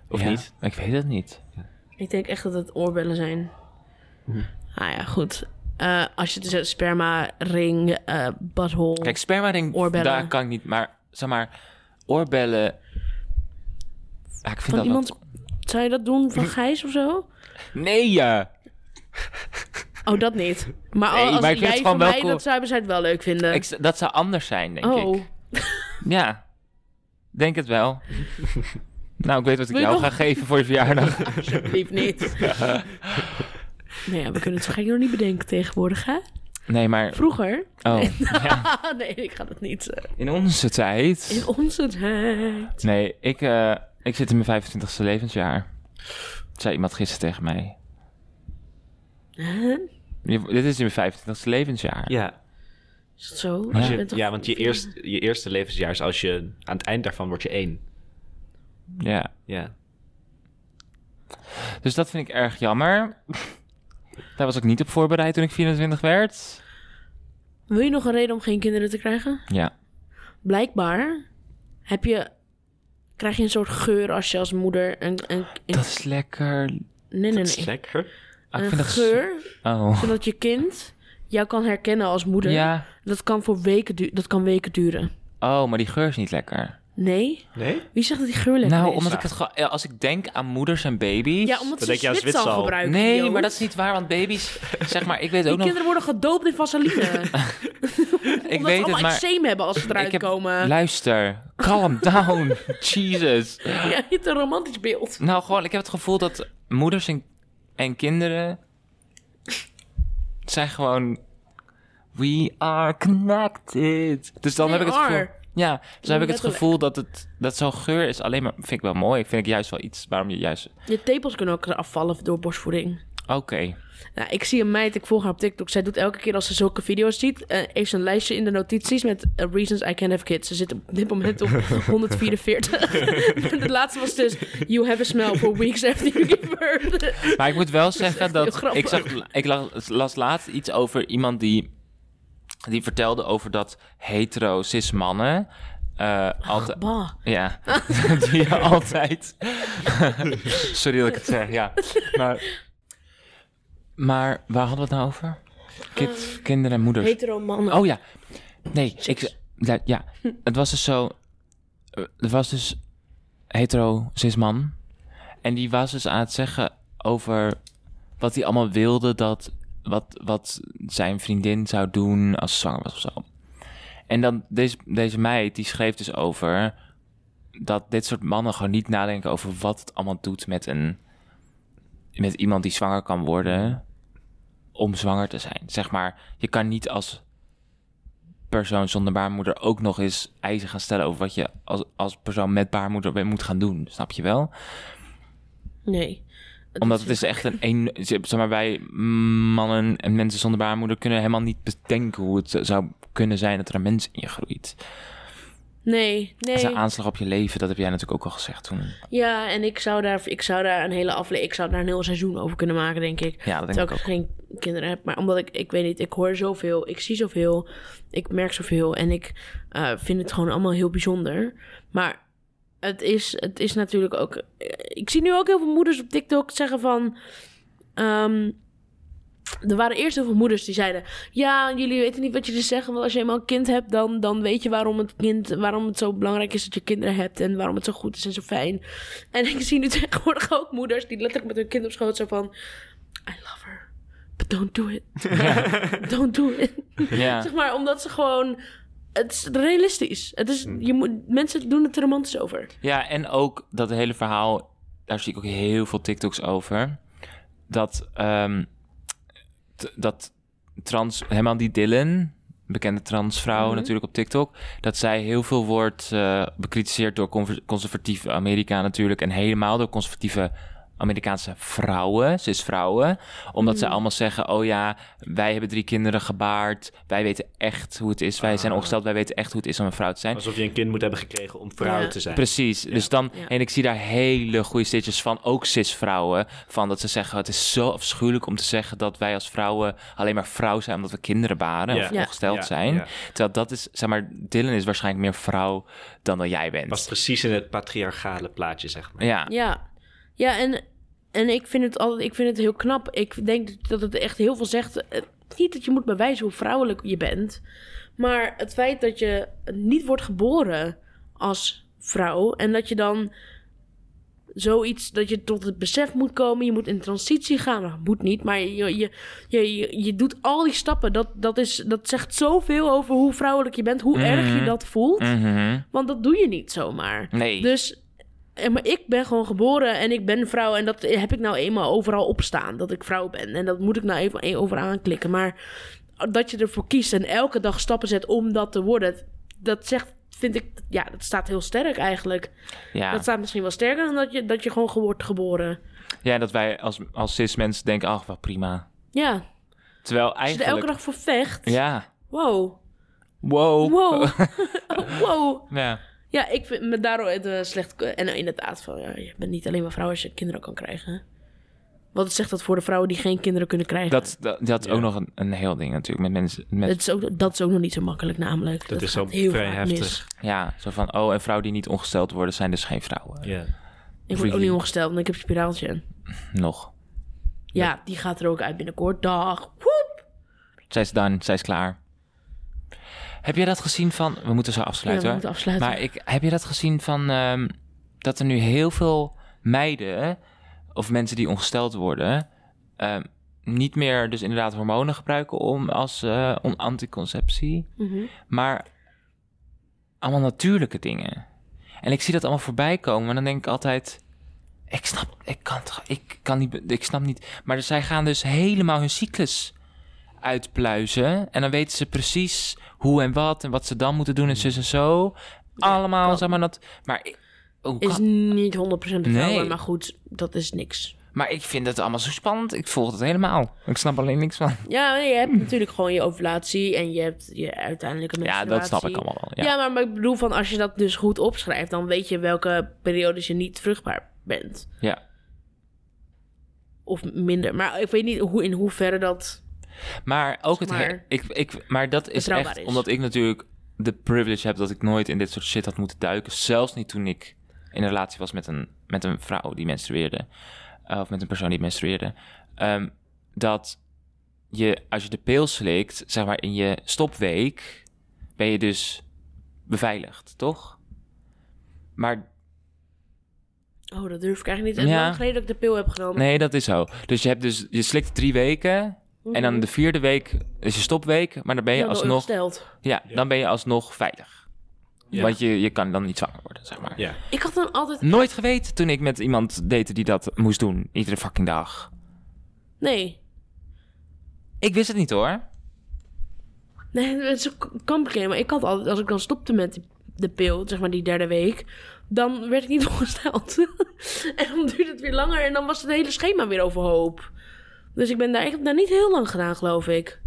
S3: Of
S2: Ja,
S3: niet?
S2: Ik weet het niet.
S1: Ik denk echt dat het oorbellen zijn.
S2: Hm.
S1: Ah ja, goed. Eh, als je dus sperma, ring, eh butthole...
S2: Kijk, sperma ring,
S1: Oorbellen.
S2: daar kan ik niet, maar zeg maar, oorbellen. Ja, ik vind
S1: van
S2: dat
S1: iemand,
S2: wel-
S1: zou je dat doen van Gijs of zo?
S2: Nee, ja.
S1: Oh, dat niet. Maar
S2: Nee,
S1: als
S2: maar ik vind
S1: jij
S2: het
S1: van
S2: gewoon wel
S1: mij
S2: cool.
S1: dat zou hebben, zou je het wel leuk vinden.
S2: Ik, dat zou anders zijn, denk
S1: oh,
S2: ik. Ja, denk het wel. nou, ik weet wat ik
S1: Wil je
S2: jou
S1: nog-
S2: ga geven voor je verjaardag.
S1: lief niet. nou ja, we kunnen het zo gek nog niet bedenken tegenwoordig, hè?
S2: Nee, maar.
S1: Vroeger...
S2: Oh,
S1: Ah, nee, ik ga dat niet. eh,
S2: in onze tijd.
S1: in onze tijd.
S2: Nee, ik, eh, ik zit in mijn 25ste levensjaar. Zei iemand gisteren tegen mij.
S1: Hè?
S2: Je- Dit is in mijn 25ste levensjaar.
S3: Ja,
S1: Is dat zo?
S2: Als
S1: Je
S2: je-
S1: bent toch
S3: ja want je,
S1: vier-
S3: eerst, je eerste levensjaar is als je... Aan het eind daarvan word je één.
S2: ja.
S3: Ja.
S2: Dus dat vind ik erg jammer. Daar was ik niet op voorbereid toen ik 24 werd.
S1: Wil je nog een reden om geen kinderen te krijgen?
S2: Ja.
S1: Blijkbaar heb je... Krijg je een soort geur als je als moeder een... een, een-
S2: Dat is lekker.
S1: nee, nee,
S3: Dat is
S1: nee.
S3: lekker.
S2: Ah, ik
S1: een
S2: vind dat
S1: geur,
S2: Oh.
S1: zodat je kind jou kan herkennen als moeder.
S2: Ja.
S1: Dat kan voor weken, du- dat kan weken duren.
S2: Oh, maar die geur is niet lekker.
S1: Nee?
S3: Nee?
S1: Wie zegt dat die geur lekker
S2: nou,
S1: is?
S2: omdat ik het gewoon. ja, Als ik denk aan moeders en baby's.
S1: Ja, omdat ze
S3: denk je aan
S1: zwitsal,
S3: Zwitsal.
S1: gebruiken.
S2: Nee,
S1: idioot.
S2: maar dat is niet waar, want baby's. zeg maar, ik weet
S1: Die
S2: ook nog.
S1: kinderen worden gedoopt in vaseline. omdat
S2: ik
S1: ze
S2: weet het,
S1: allemaal
S2: maar.
S1: eczeem hebben als ze eruit
S2: ik heb,
S1: komen.
S2: Luister. Calm down. Jesus.
S1: Ja, je hebt een romantisch beeld.
S2: Nou, gewoon, ik heb het gevoel dat moeders en, en kinderen. zijn gewoon We are connected. Dus dan
S1: We
S2: heb ik het gevoel...
S1: are.
S2: Ja, dus dan heb ik het
S1: Letterlijk.
S2: gevoel dat, het, dat zo'n geur is alleen maar... Vind ik wel mooi. Vind ik juist wel iets waarom je juist...
S1: Je tepels kunnen ook afvallen door borstvoeding.
S2: Oké.
S1: Nou, ik zie een meid, ik volg haar op TikTok. Zij doet elke keer als ze zulke video's ziet, eh, heeft ze een lijstje in de notities met eh, reasons I can't have kids. Ze zit op dit moment op 144. de laatste was dus, you have a smell for weeks after you give birth.
S2: Maar ik moet wel
S1: echt
S2: zeggen
S1: heel
S2: dat.
S1: grappig.
S2: Ik, zag, ik las, las laatst iets over iemand die. die vertelde over dat hetero cis mannen. eh, altijd.
S1: Bah.
S2: Ja, die altijd. Sorry dat ik het zeg, ja. Maar, maar waar hadden we het nou over? Kind, kinderen en moeders.
S1: Hetero mannen.
S2: Oh ja. Nee, ik, ja, ja. Het was dus zo. eh, Er was dus hetero cis man. En die was dus aan het zeggen over wat hij allemaal wilde dat. Wat, wat zijn vriendin zou doen als ze zwanger was of zo. En dan deze, deze meid die schreef dus over dat dit soort mannen gewoon niet nadenken over wat het allemaal doet met een met iemand die zwanger kan worden om zwanger te zijn. Zeg maar, je kan niet als persoon zonder baarmoeder ook nog eens eisen gaan stellen over wat je als, als persoon met baarmoeder weer moet gaan doen. Snap je wel?
S1: Nee. Dat
S2: Omdat het is echt een, een zeg maar wij mannen en mensen zonder baarmoeder kunnen helemaal niet bedenken hoe het zou kunnen zijn dat er een mens in je groeit.
S1: Nee, nee.
S2: Dat is een aanslag op je leven, dat heb jij natuurlijk ook al gezegd toen.
S1: Ja, en ik zou daar, ik zou daar een hele aflevering, ik zou daar een heel seizoen over kunnen maken, denk ik.
S2: Ja, dat denk
S1: Terwijl
S2: ik ook.
S1: geen kinderen heb, maar omdat ik, ik weet niet, ik hoor zoveel, ik zie zoveel, ik merk zoveel en ik eh, vind het gewoon allemaal heel bijzonder. Maar het is, het is natuurlijk ook, eh, ik zie nu ook heel veel moeders op TikTok zeggen van, ehm, er waren eerst heel veel moeders die zeiden: Ja, jullie weten niet wat jullie zeggen. Want als je eenmaal een kind hebt, dan, dan weet je waarom het, kind, waarom het zo belangrijk is dat je kinderen hebt. En waarom het zo goed is en zo fijn. En ik zie nu tegenwoordig ook moeders die letterlijk met hun kind op schoot zijn van: I love her, but don't do it. don't do it.
S2: Ja,
S1: Zeg maar, omdat ze gewoon. Het is realistisch. Het is, je moet, mensen doen het er romantisch over.
S2: ja en ook dat hele verhaal, daar zie ik ook heel veel TikToks over. Dat, ehm, t- dat trans, helemaal die Dylan, bekende transvrouw natuurlijk op TikTok, dat zij heel veel wordt eh, bekritiseerd door conver- conservatieve Amerika natuurlijk en helemaal door conservatieve Amerikaanse vrouwen, cis vrouwen, omdat zij allemaal zeggen, oh ja, wij hebben drie kinderen gebaard, wij weten echt hoe het is, wij zijn ongesteld, wij weten echt hoe het is om een vrouw te zijn.
S3: Alsof je een kind moet hebben gekregen om vrouw
S1: Ja.
S3: te zijn.
S2: Precies. Dus dan,
S1: Ja.
S2: en ik zie daar hele goede stitches van, ook cis-vrouwen. Van dat ze zeggen: het is zo afschuwelijk om te zeggen dat wij als vrouwen alleen maar vrouw zijn omdat we kinderen baren
S3: Ja.
S2: of
S1: Ja.
S2: ongesteld
S3: Ja,
S2: zijn.
S3: ja.
S2: Terwijl dat is, zeg maar, Dylan is waarschijnlijk meer vrouw dan dat jij bent.
S3: Was precies in het patriarchale plaatje, zeg maar.
S2: Ja.
S1: Ja, ja en, en ik, vind het altijd, ik vind het heel knap. Ik denk dat het echt heel veel zegt. Eh, Niet dat je moet bewijzen hoe vrouwelijk je bent. Maar het feit dat je niet wordt geboren als vrouw. En dat je dan zoiets, dat je tot het besef moet komen. Je moet in transitie gaan. Nou, moet niet, maar je, je, je, je, je doet al die stappen. Dat, dat, is, dat zegt zoveel over hoe vrouwelijk je bent. Hoe erg je
S2: Mhm.
S1: dat voelt.
S2: Mhm.
S1: Want dat doe je niet zomaar.
S2: Nee.
S1: Dus, eh, maar ik ben gewoon geboren en ik ben vrouw. En dat heb ik nou eenmaal overal op staan. Dat ik vrouw ben. En dat moet ik nou even even overal aanklikken. Maar dat je ervoor kiest en elke dag stappen zet om dat te worden. dat- Dat zegt, vind ik, ja, dat staat heel sterk eigenlijk.
S2: ja.
S1: Dat staat misschien wel sterker dan dat je, dat je gewoon ge- wordt geboren.
S2: ja, dat wij als, als cis-mensen denken: ach, wat prima.
S1: Ja, als
S2: Terwijl
S1: je er
S2: eigenlijk.
S1: elke dag voor vecht.
S2: Ja.
S1: Wow.
S2: Wow.
S1: Wow. Oh, wow.
S2: ja.
S1: Ja, ik vind me daardoor het, eh, slecht. En inderdaad, van, ja, je bent niet alleen maar vrouw als je kinderen kan krijgen. Wat zegt dat voor de vrouwen die geen kinderen kunnen krijgen?
S2: Dat, dat, dat is ook nog een, een heel ding natuurlijk met mensen. Met,
S1: dat, is ook, dat is ook nog niet zo makkelijk, namelijk. Dat,
S3: is wel
S1: gaat heel
S3: vrij
S1: vaak
S3: heftig.
S1: mis.
S2: Ja, zo van, oh, en vrouwen die niet ongesteld worden zijn dus geen vrouwen.
S3: Ja.
S1: Ik word ook
S2: Really?
S1: niet ongesteld, want ik heb een spiraaltje. Ja,
S2: Nog.
S1: die gaat er ook uit binnenkort. Dag. Woep.
S2: Zij is done, zij is klaar. Heb jij dat gezien van... We moeten zo afsluiten.
S1: Ja, we moeten
S2: hoor.
S1: afsluiten.
S2: Maar ik, heb je dat gezien van... ehm, dat er nu heel veel meiden... of mensen die ongesteld worden... ehm, niet meer dus inderdaad hormonen gebruiken... om als eh, om anticonceptie.
S1: Mhm.
S2: Maar allemaal natuurlijke dingen. En ik zie dat allemaal voorbij komen. En dan denk ik altijd... Ik snap, ik kan, het ge- ik kan niet, be- ik snap niet. Maar zij gaan dus helemaal hun dus cyclus uitpluizen. En dan weten ze precies hoe en wat en wat ze dan moeten doen en zus en zo. Allemaal, zeg maar dat. Maar ik, hoe
S1: Is
S2: kan-
S1: niet 100% betrouwbaar,
S2: Nee.
S1: maar goed, dat is niks.
S2: maar ik vind het allemaal zo spannend. Ik volg het helemaal. Ik snap alleen niks van.
S1: Ja, nee, je hebt natuurlijk gewoon je ovulatie en je hebt je uiteindelijke
S2: Ja,
S1: menstruatie.
S2: dat snap ik allemaal wel. Ja.
S1: Ja, maar, maar ik bedoel van als je dat dus goed opschrijft, dan weet je welke periodes je niet vruchtbaar bent.
S2: ja.
S1: Of minder. Maar ik weet niet hoe, in hoeverre dat...
S2: Maar ook het. he-
S1: Maar-
S2: ik, ik, maar dat is
S1: Betrouwbaar
S2: echt
S1: is.
S2: omdat ik natuurlijk de privilege heb dat ik nooit in dit soort shit had moeten duiken. Zelfs niet toen ik in een relatie was met een, met een vrouw die menstrueerde. Eh, of met een persoon die menstrueerde. Ehm, dat je, als je de pil slikt, zeg maar in je stopweek, ben je dus beveiligd, toch? Maar
S1: Oh, dat durf ik eigenlijk niet. En
S2: Ja.
S1: lang geleden dat ik de pil heb genomen.
S2: nee, dat is zo. Dus je hebt dus, je slikt drie weken. En dan de vierde week is je stopweek. Maar dan ben je
S1: Mhm. Ja, wel
S2: alsnog
S1: ongesteld.
S2: Ja, dan ben je alsnog veilig.
S3: Ja.
S2: Want je, je kan dan niet zwanger worden, zeg maar.
S3: Ja.
S1: Ik had dan altijd...
S2: Nooit geweten toen ik met iemand date die dat moest doen. Iedere fucking dag.
S1: Nee.
S2: Ik wist het niet hoor.
S1: Nee, het is- kan bekend. Maar ik had altijd, als ik dan stopte met die- de pil, zeg maar die derde week, dan werd ik niet ongesteld. en dan duurde het weer langer en dan was het hele schema weer overhoop. Dus ik ben daar, ik heb daar niet heel lang gedaan, geloof ik.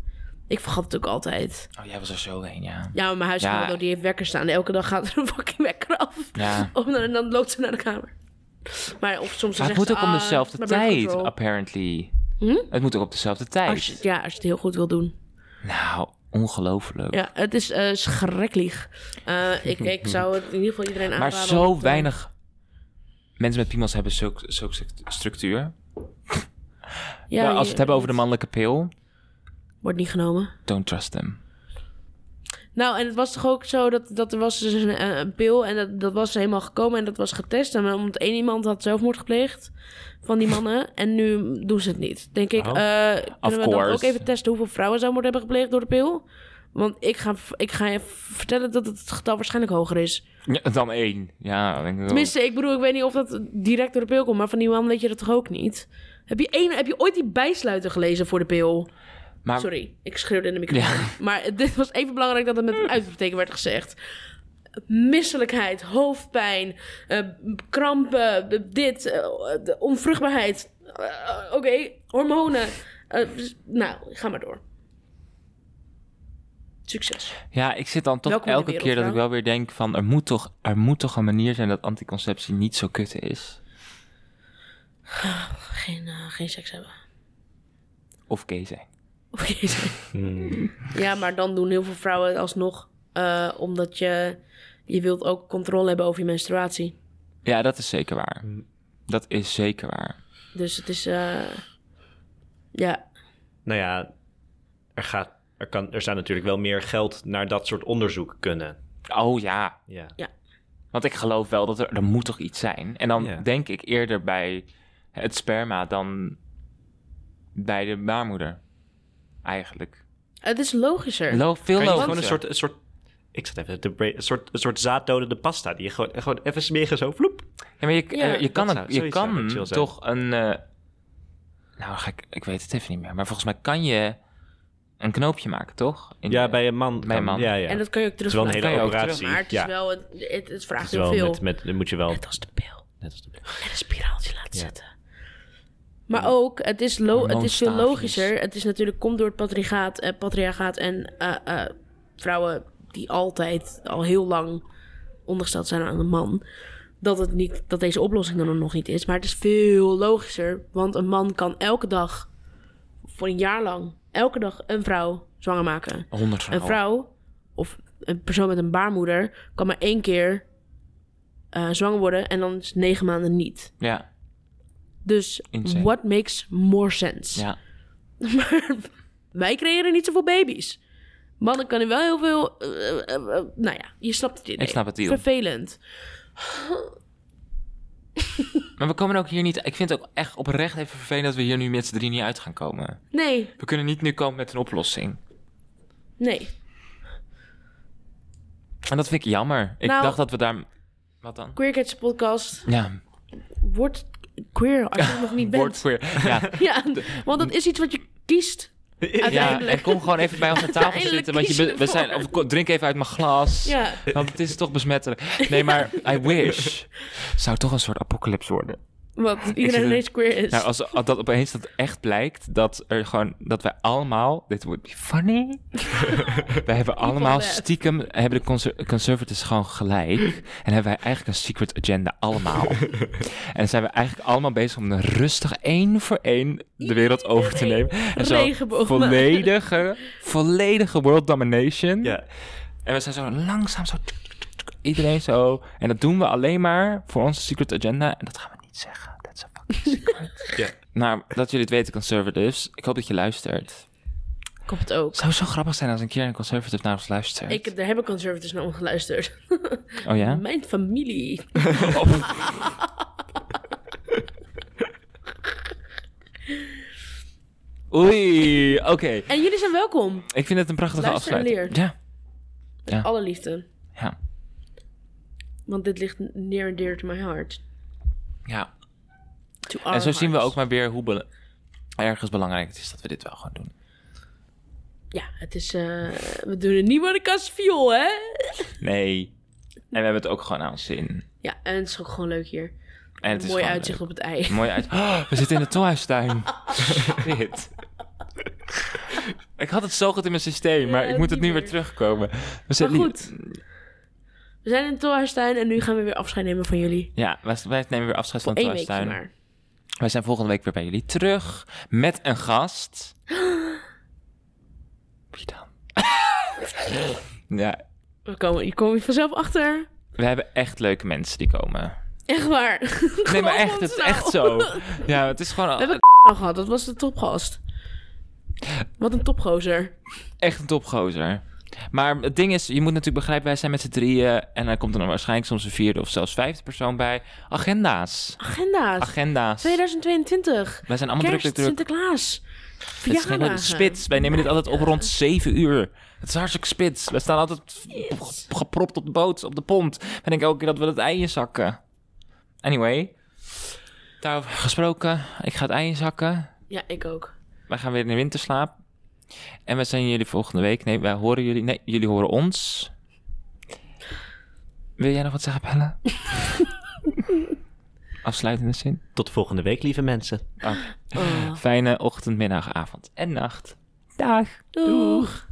S1: Ik vergat het ook altijd.
S2: Oh, jij was er zo heen, ja.
S1: Ja, maar mijn huisgenoot
S2: Ja.
S1: die heeft wekker staan. Elke dag gaat er een fucking wekker af.
S2: Ja.
S1: Om dan, en dan loopt ze naar de kamer. Maar of soms
S2: Maar
S1: zegt
S2: het moet
S1: ze,
S2: ook om
S1: "Ah,
S2: dezelfde
S1: my birth
S2: tijd,
S1: control."
S2: apparently.
S1: Hm? Oh,
S2: Het moet ook op dezelfde tijd.
S1: Als je, ja, als je het heel goed wil doen.
S2: Nou, ongelooflijk.
S1: Ja, het is eh schrikkelijk. Eh, ik, ik zou het in ieder geval iedereen
S2: maar
S1: aanraden. om
S2: zo
S1: te-
S2: weinig mensen met piemels hebben zulk, zulk struct- structuur.
S1: Ja,
S2: maar als we het hebben over de mannelijke pil,
S1: Wordt niet genomen.
S2: don't trust them.
S1: Nou, en het was toch ook zo dat, dat er was dus een, eh, een pil en dat, dat was helemaal gekomen en dat was getest. En omdat één iemand had zelfmoord gepleegd van die mannen en nu doen ze het niet. Denk ik,
S3: Oh.
S1: eh kunnen
S2: Of
S1: we dan ook
S2: course.
S1: even testen hoeveel vrouwen zelfmoord hebben gepleegd door de pil? Want ik ga, ik ga je vertellen dat het getal waarschijnlijk hoger is.
S2: Ja, dan één. Ja, denk ik wel.
S1: Tenminste, ik bedoel, ik weet niet of dat direct door de pil komt, maar van die man weet je dat toch ook niet? Heb je, één, heb je ooit die bijsluiter gelezen voor de pil?
S2: Maar-
S1: Sorry, ik schreeuwde in de microfoon. Maar dit was even belangrijk dat het met een uitroepteken werd gezegd. Misselijkheid, hoofdpijn, eh, krampen, eh, dit, eh, de onvruchtbaarheid. Eh, eh, Oké, hormonen. Eh, dus- nou, ga maar door. Succes.
S2: Ja, ik zit dan toch
S1: Welkom in de
S2: elke
S1: wereld,
S2: keer dat ik
S1: vrouw.
S2: wel weer denk van... Er moet, toch, er moet toch een manier zijn dat anticonceptie niet zo kut is?
S1: Geen, eh, geen seks hebben.
S2: Of gay zijn.
S1: Of jezus. Ja, maar dan doen heel veel vrouwen het alsnog. eh, omdat je, je wilt ook controle hebben over je menstruatie.
S2: Ja, dat is zeker waar.
S3: Mm.
S2: Dat is zeker waar.
S1: Dus het is... eh, ja,
S3: Nou ja, er, gaat, er, kan, er zou natuurlijk wel meer geld naar dat soort onderzoek kunnen.
S2: Oh ja,
S3: Ja.
S2: want ik geloof wel dat er... Er moet toch iets zijn? En dan
S3: Ja.
S2: denk ik eerder bij het sperma dan bij de baarmoeder. Eigenlijk.
S1: het is logischer.
S2: Lo veel
S3: Kan je
S2: logischer.
S3: gewoon een soort, een soort, ik zat even te bra- een soort, een soort zaaddodende pasta die je gewoon, gewoon even smeren zo, vloep.
S2: Ja, maar je,
S1: Ja,
S2: eh, je kan,
S3: dat
S2: het- je
S3: zou- zoiets zou
S2: kan
S3: wel chill zijn.
S2: toch een... eh, nou, ga ik, ik weet het even niet meer. Maar volgens mij kan je een knoopje maken, toch? In
S3: Ja,
S2: de-
S3: bij een man.
S2: Bij een
S3: kan-
S2: man.
S3: Ja, ja.
S1: en dat kan je ook
S3: is wel een
S1: terugvragen.
S3: hele
S2: kan je ook
S3: operatie.
S1: Maar het is
S3: ja.
S1: wel... Het, het, het
S3: Het
S1: vraagt
S3: is wel
S1: heel veel.
S3: met, met, dan moet je wel,
S1: Net als de pil.
S3: net als de pil.
S1: En een spiraaltje laten
S3: Ja.
S1: zetten. Maar ook, het is, lo het is veel
S2: Hormoonstaafjes.
S1: logischer. Het is natuurlijk, komt door het patriarchaat, eh, patriarchaat en eh, eh, vrouwen die altijd al heel lang ondergesteld zijn aan een man. Dat, het niet, dat deze oplossing er nog niet is. Maar het is veel logischer. Want een man kan elke dag, voor een jaar lang, elke dag een vrouw zwanger maken.
S2: 100
S1: Een vrouw of een persoon met een baarmoeder kan maar één keer eh, zwanger worden en dan is negen maanden niet.
S2: Ja,
S1: Dus
S2: Insane.
S1: what makes more sense?
S2: ja.
S1: Maar wij creëren niet zoveel baby's. Mannen kunnen wel heel veel... eh, eh, eh, nou ja, je snapt het idee.
S2: Ik snap het idee.
S1: Vervelend.
S2: Maar we komen ook hier niet... Ik vind het ook echt oprecht even vervelend dat we hier nu met z'n drie niet uit gaan komen.
S1: Nee,
S2: We kunnen niet nu komen met een oplossing.
S1: nee.
S2: En dat vind ik jammer. Ik
S1: Nou-
S2: dacht dat we daar... Wat dan?
S1: Queer Catch podcast
S2: Ja,
S1: wordt queer als je het nog niet bent.
S2: word queer. Ja,
S1: Ja, want dat is iets wat je kiest.
S2: Ja,
S1: Uiteindelijk.
S2: en kom gewoon even bij ons aan tafel
S1: Uiteindelijk
S2: zitten. Want je,
S1: kiezen
S2: be- we
S1: we
S2: zijn,
S1: voor.
S2: of ko- drink even uit mijn glas.
S1: Ja,
S2: Want het is toch besmettelijk. Nee, maar I wish. Zou toch een soort apocalypse worden.
S1: want
S2: zit
S1: iedereen
S2: er-
S1: ineens queer is.
S2: Nou, als, als dat opeens dat echt blijkt, dat er gewoon, dat wij allemaal, dit wordt funny. wij hebben allemaal
S1: that.
S2: stiekem, hebben de conser conservatives gewoon gelijk. En hebben wij eigenlijk een secret agenda allemaal. en zijn we eigenlijk allemaal bezig om dan rustig één voor één de wereld over te nemen. En zo
S1: Regenboog maken.
S2: volledige, volledige world domination.
S3: Ja.
S2: En we zijn zo langzaam zo, tuk, tuk, tuk, tuk, iedereen zo. En dat doen we alleen maar voor onze secret agenda. En dat gaan we niet zeggen. That's a fucking secret.
S3: Ja.
S2: Nou, dat jullie het weten, conservatives. Ik hoop dat je luistert.
S1: Komt het ook.
S2: Het zou zo grappig zijn als een keer een conservative naar ons luistert.
S1: Ik, daar hebben conservatives naar omgeluisterd.
S2: Oh ja?
S1: Mijn familie.
S2: Oei, oké.
S1: En jullie zijn welkom.
S2: Ik vind het een prachtige
S1: Luister en
S2: afsluiting.
S1: leer.
S2: Ja, Ja.
S1: Alle liefde.
S2: ja,
S1: Want dit ligt near and dear to my heart.
S2: ja.
S1: To our
S2: En zo zien we
S1: hearts.
S2: ook maar weer hoe bela- ergens belangrijk het is dat we dit wel gaan doen.
S1: Ja, het is... eh, we doen het niet maar de kast viool, hè?
S2: Nee. En we hebben het ook gewoon aan ons zin.
S1: Ja, en het is ook gewoon leuk hier.
S2: En het is
S1: een mooi
S2: gewoon
S1: uitzicht op het ei.
S2: Mooi uit. Oh, we zitten in de tolhuistuin. Shit. Ik had het zo goed in mijn systeem, maar
S1: Ja,
S2: ik moet het
S1: niet
S2: nu weer
S1: meer.
S2: terugkomen. We
S1: Maar
S2: zitten nu-
S1: goed. We zijn in Tolhuistuin en nu gaan we weer afscheid nemen van jullie.
S2: Ja, wij, wij nemen weer afscheid van de
S1: Eén weekje
S2: tolhuistuin.
S1: maar.
S2: Wij zijn volgende week weer bij jullie terug met een gast. Wie dan? ja,
S1: We komen, je komt hier vanzelf achter.
S2: we hebben echt leuke mensen die komen.
S1: Echt waar.
S2: Nee,
S1: Geloof
S2: maar echt,
S1: ons
S2: het is
S1: nou.
S2: echt zo. Ja, het is gewoon
S1: We hebben al gehad, dat was de topgast. Wat een topgozer.
S2: Echt een topgozer. Maar het ding is, je moet natuurlijk begrijpen, wij zijn met z'n drieën en dan komt er dan waarschijnlijk soms een vierde of zelfs vijfde persoon bij. Agenda's.
S1: Agenda's.
S2: Agenda's.
S1: 2022.
S2: Wij zijn allemaal druk,
S1: Kerst,
S2: druk, druk.
S1: Sinterklaas.
S2: Het is geen
S1: Verjaardagen.
S2: spits. Wij nemen dit altijd op rond 7 uur. Het is hartstikke spits. Wij staan altijd op- gepropt op de boot, op de pont. We denken elke keer dat we het ei zakken. Anyway, daarover gesproken. Ik ga het ei zakken.
S1: Ja, ik ook.
S2: Wij gaan weer in de winterslaap. En we zijn jullie volgende week. Nee, wij horen jullie. Nee, jullie horen ons. Wil jij nog wat zeggen, Bella? Afsluitende zin.
S3: Tot volgende week, lieve mensen.
S2: Fijne ochtend, middag, avond en nacht. Dag.
S1: Doeg.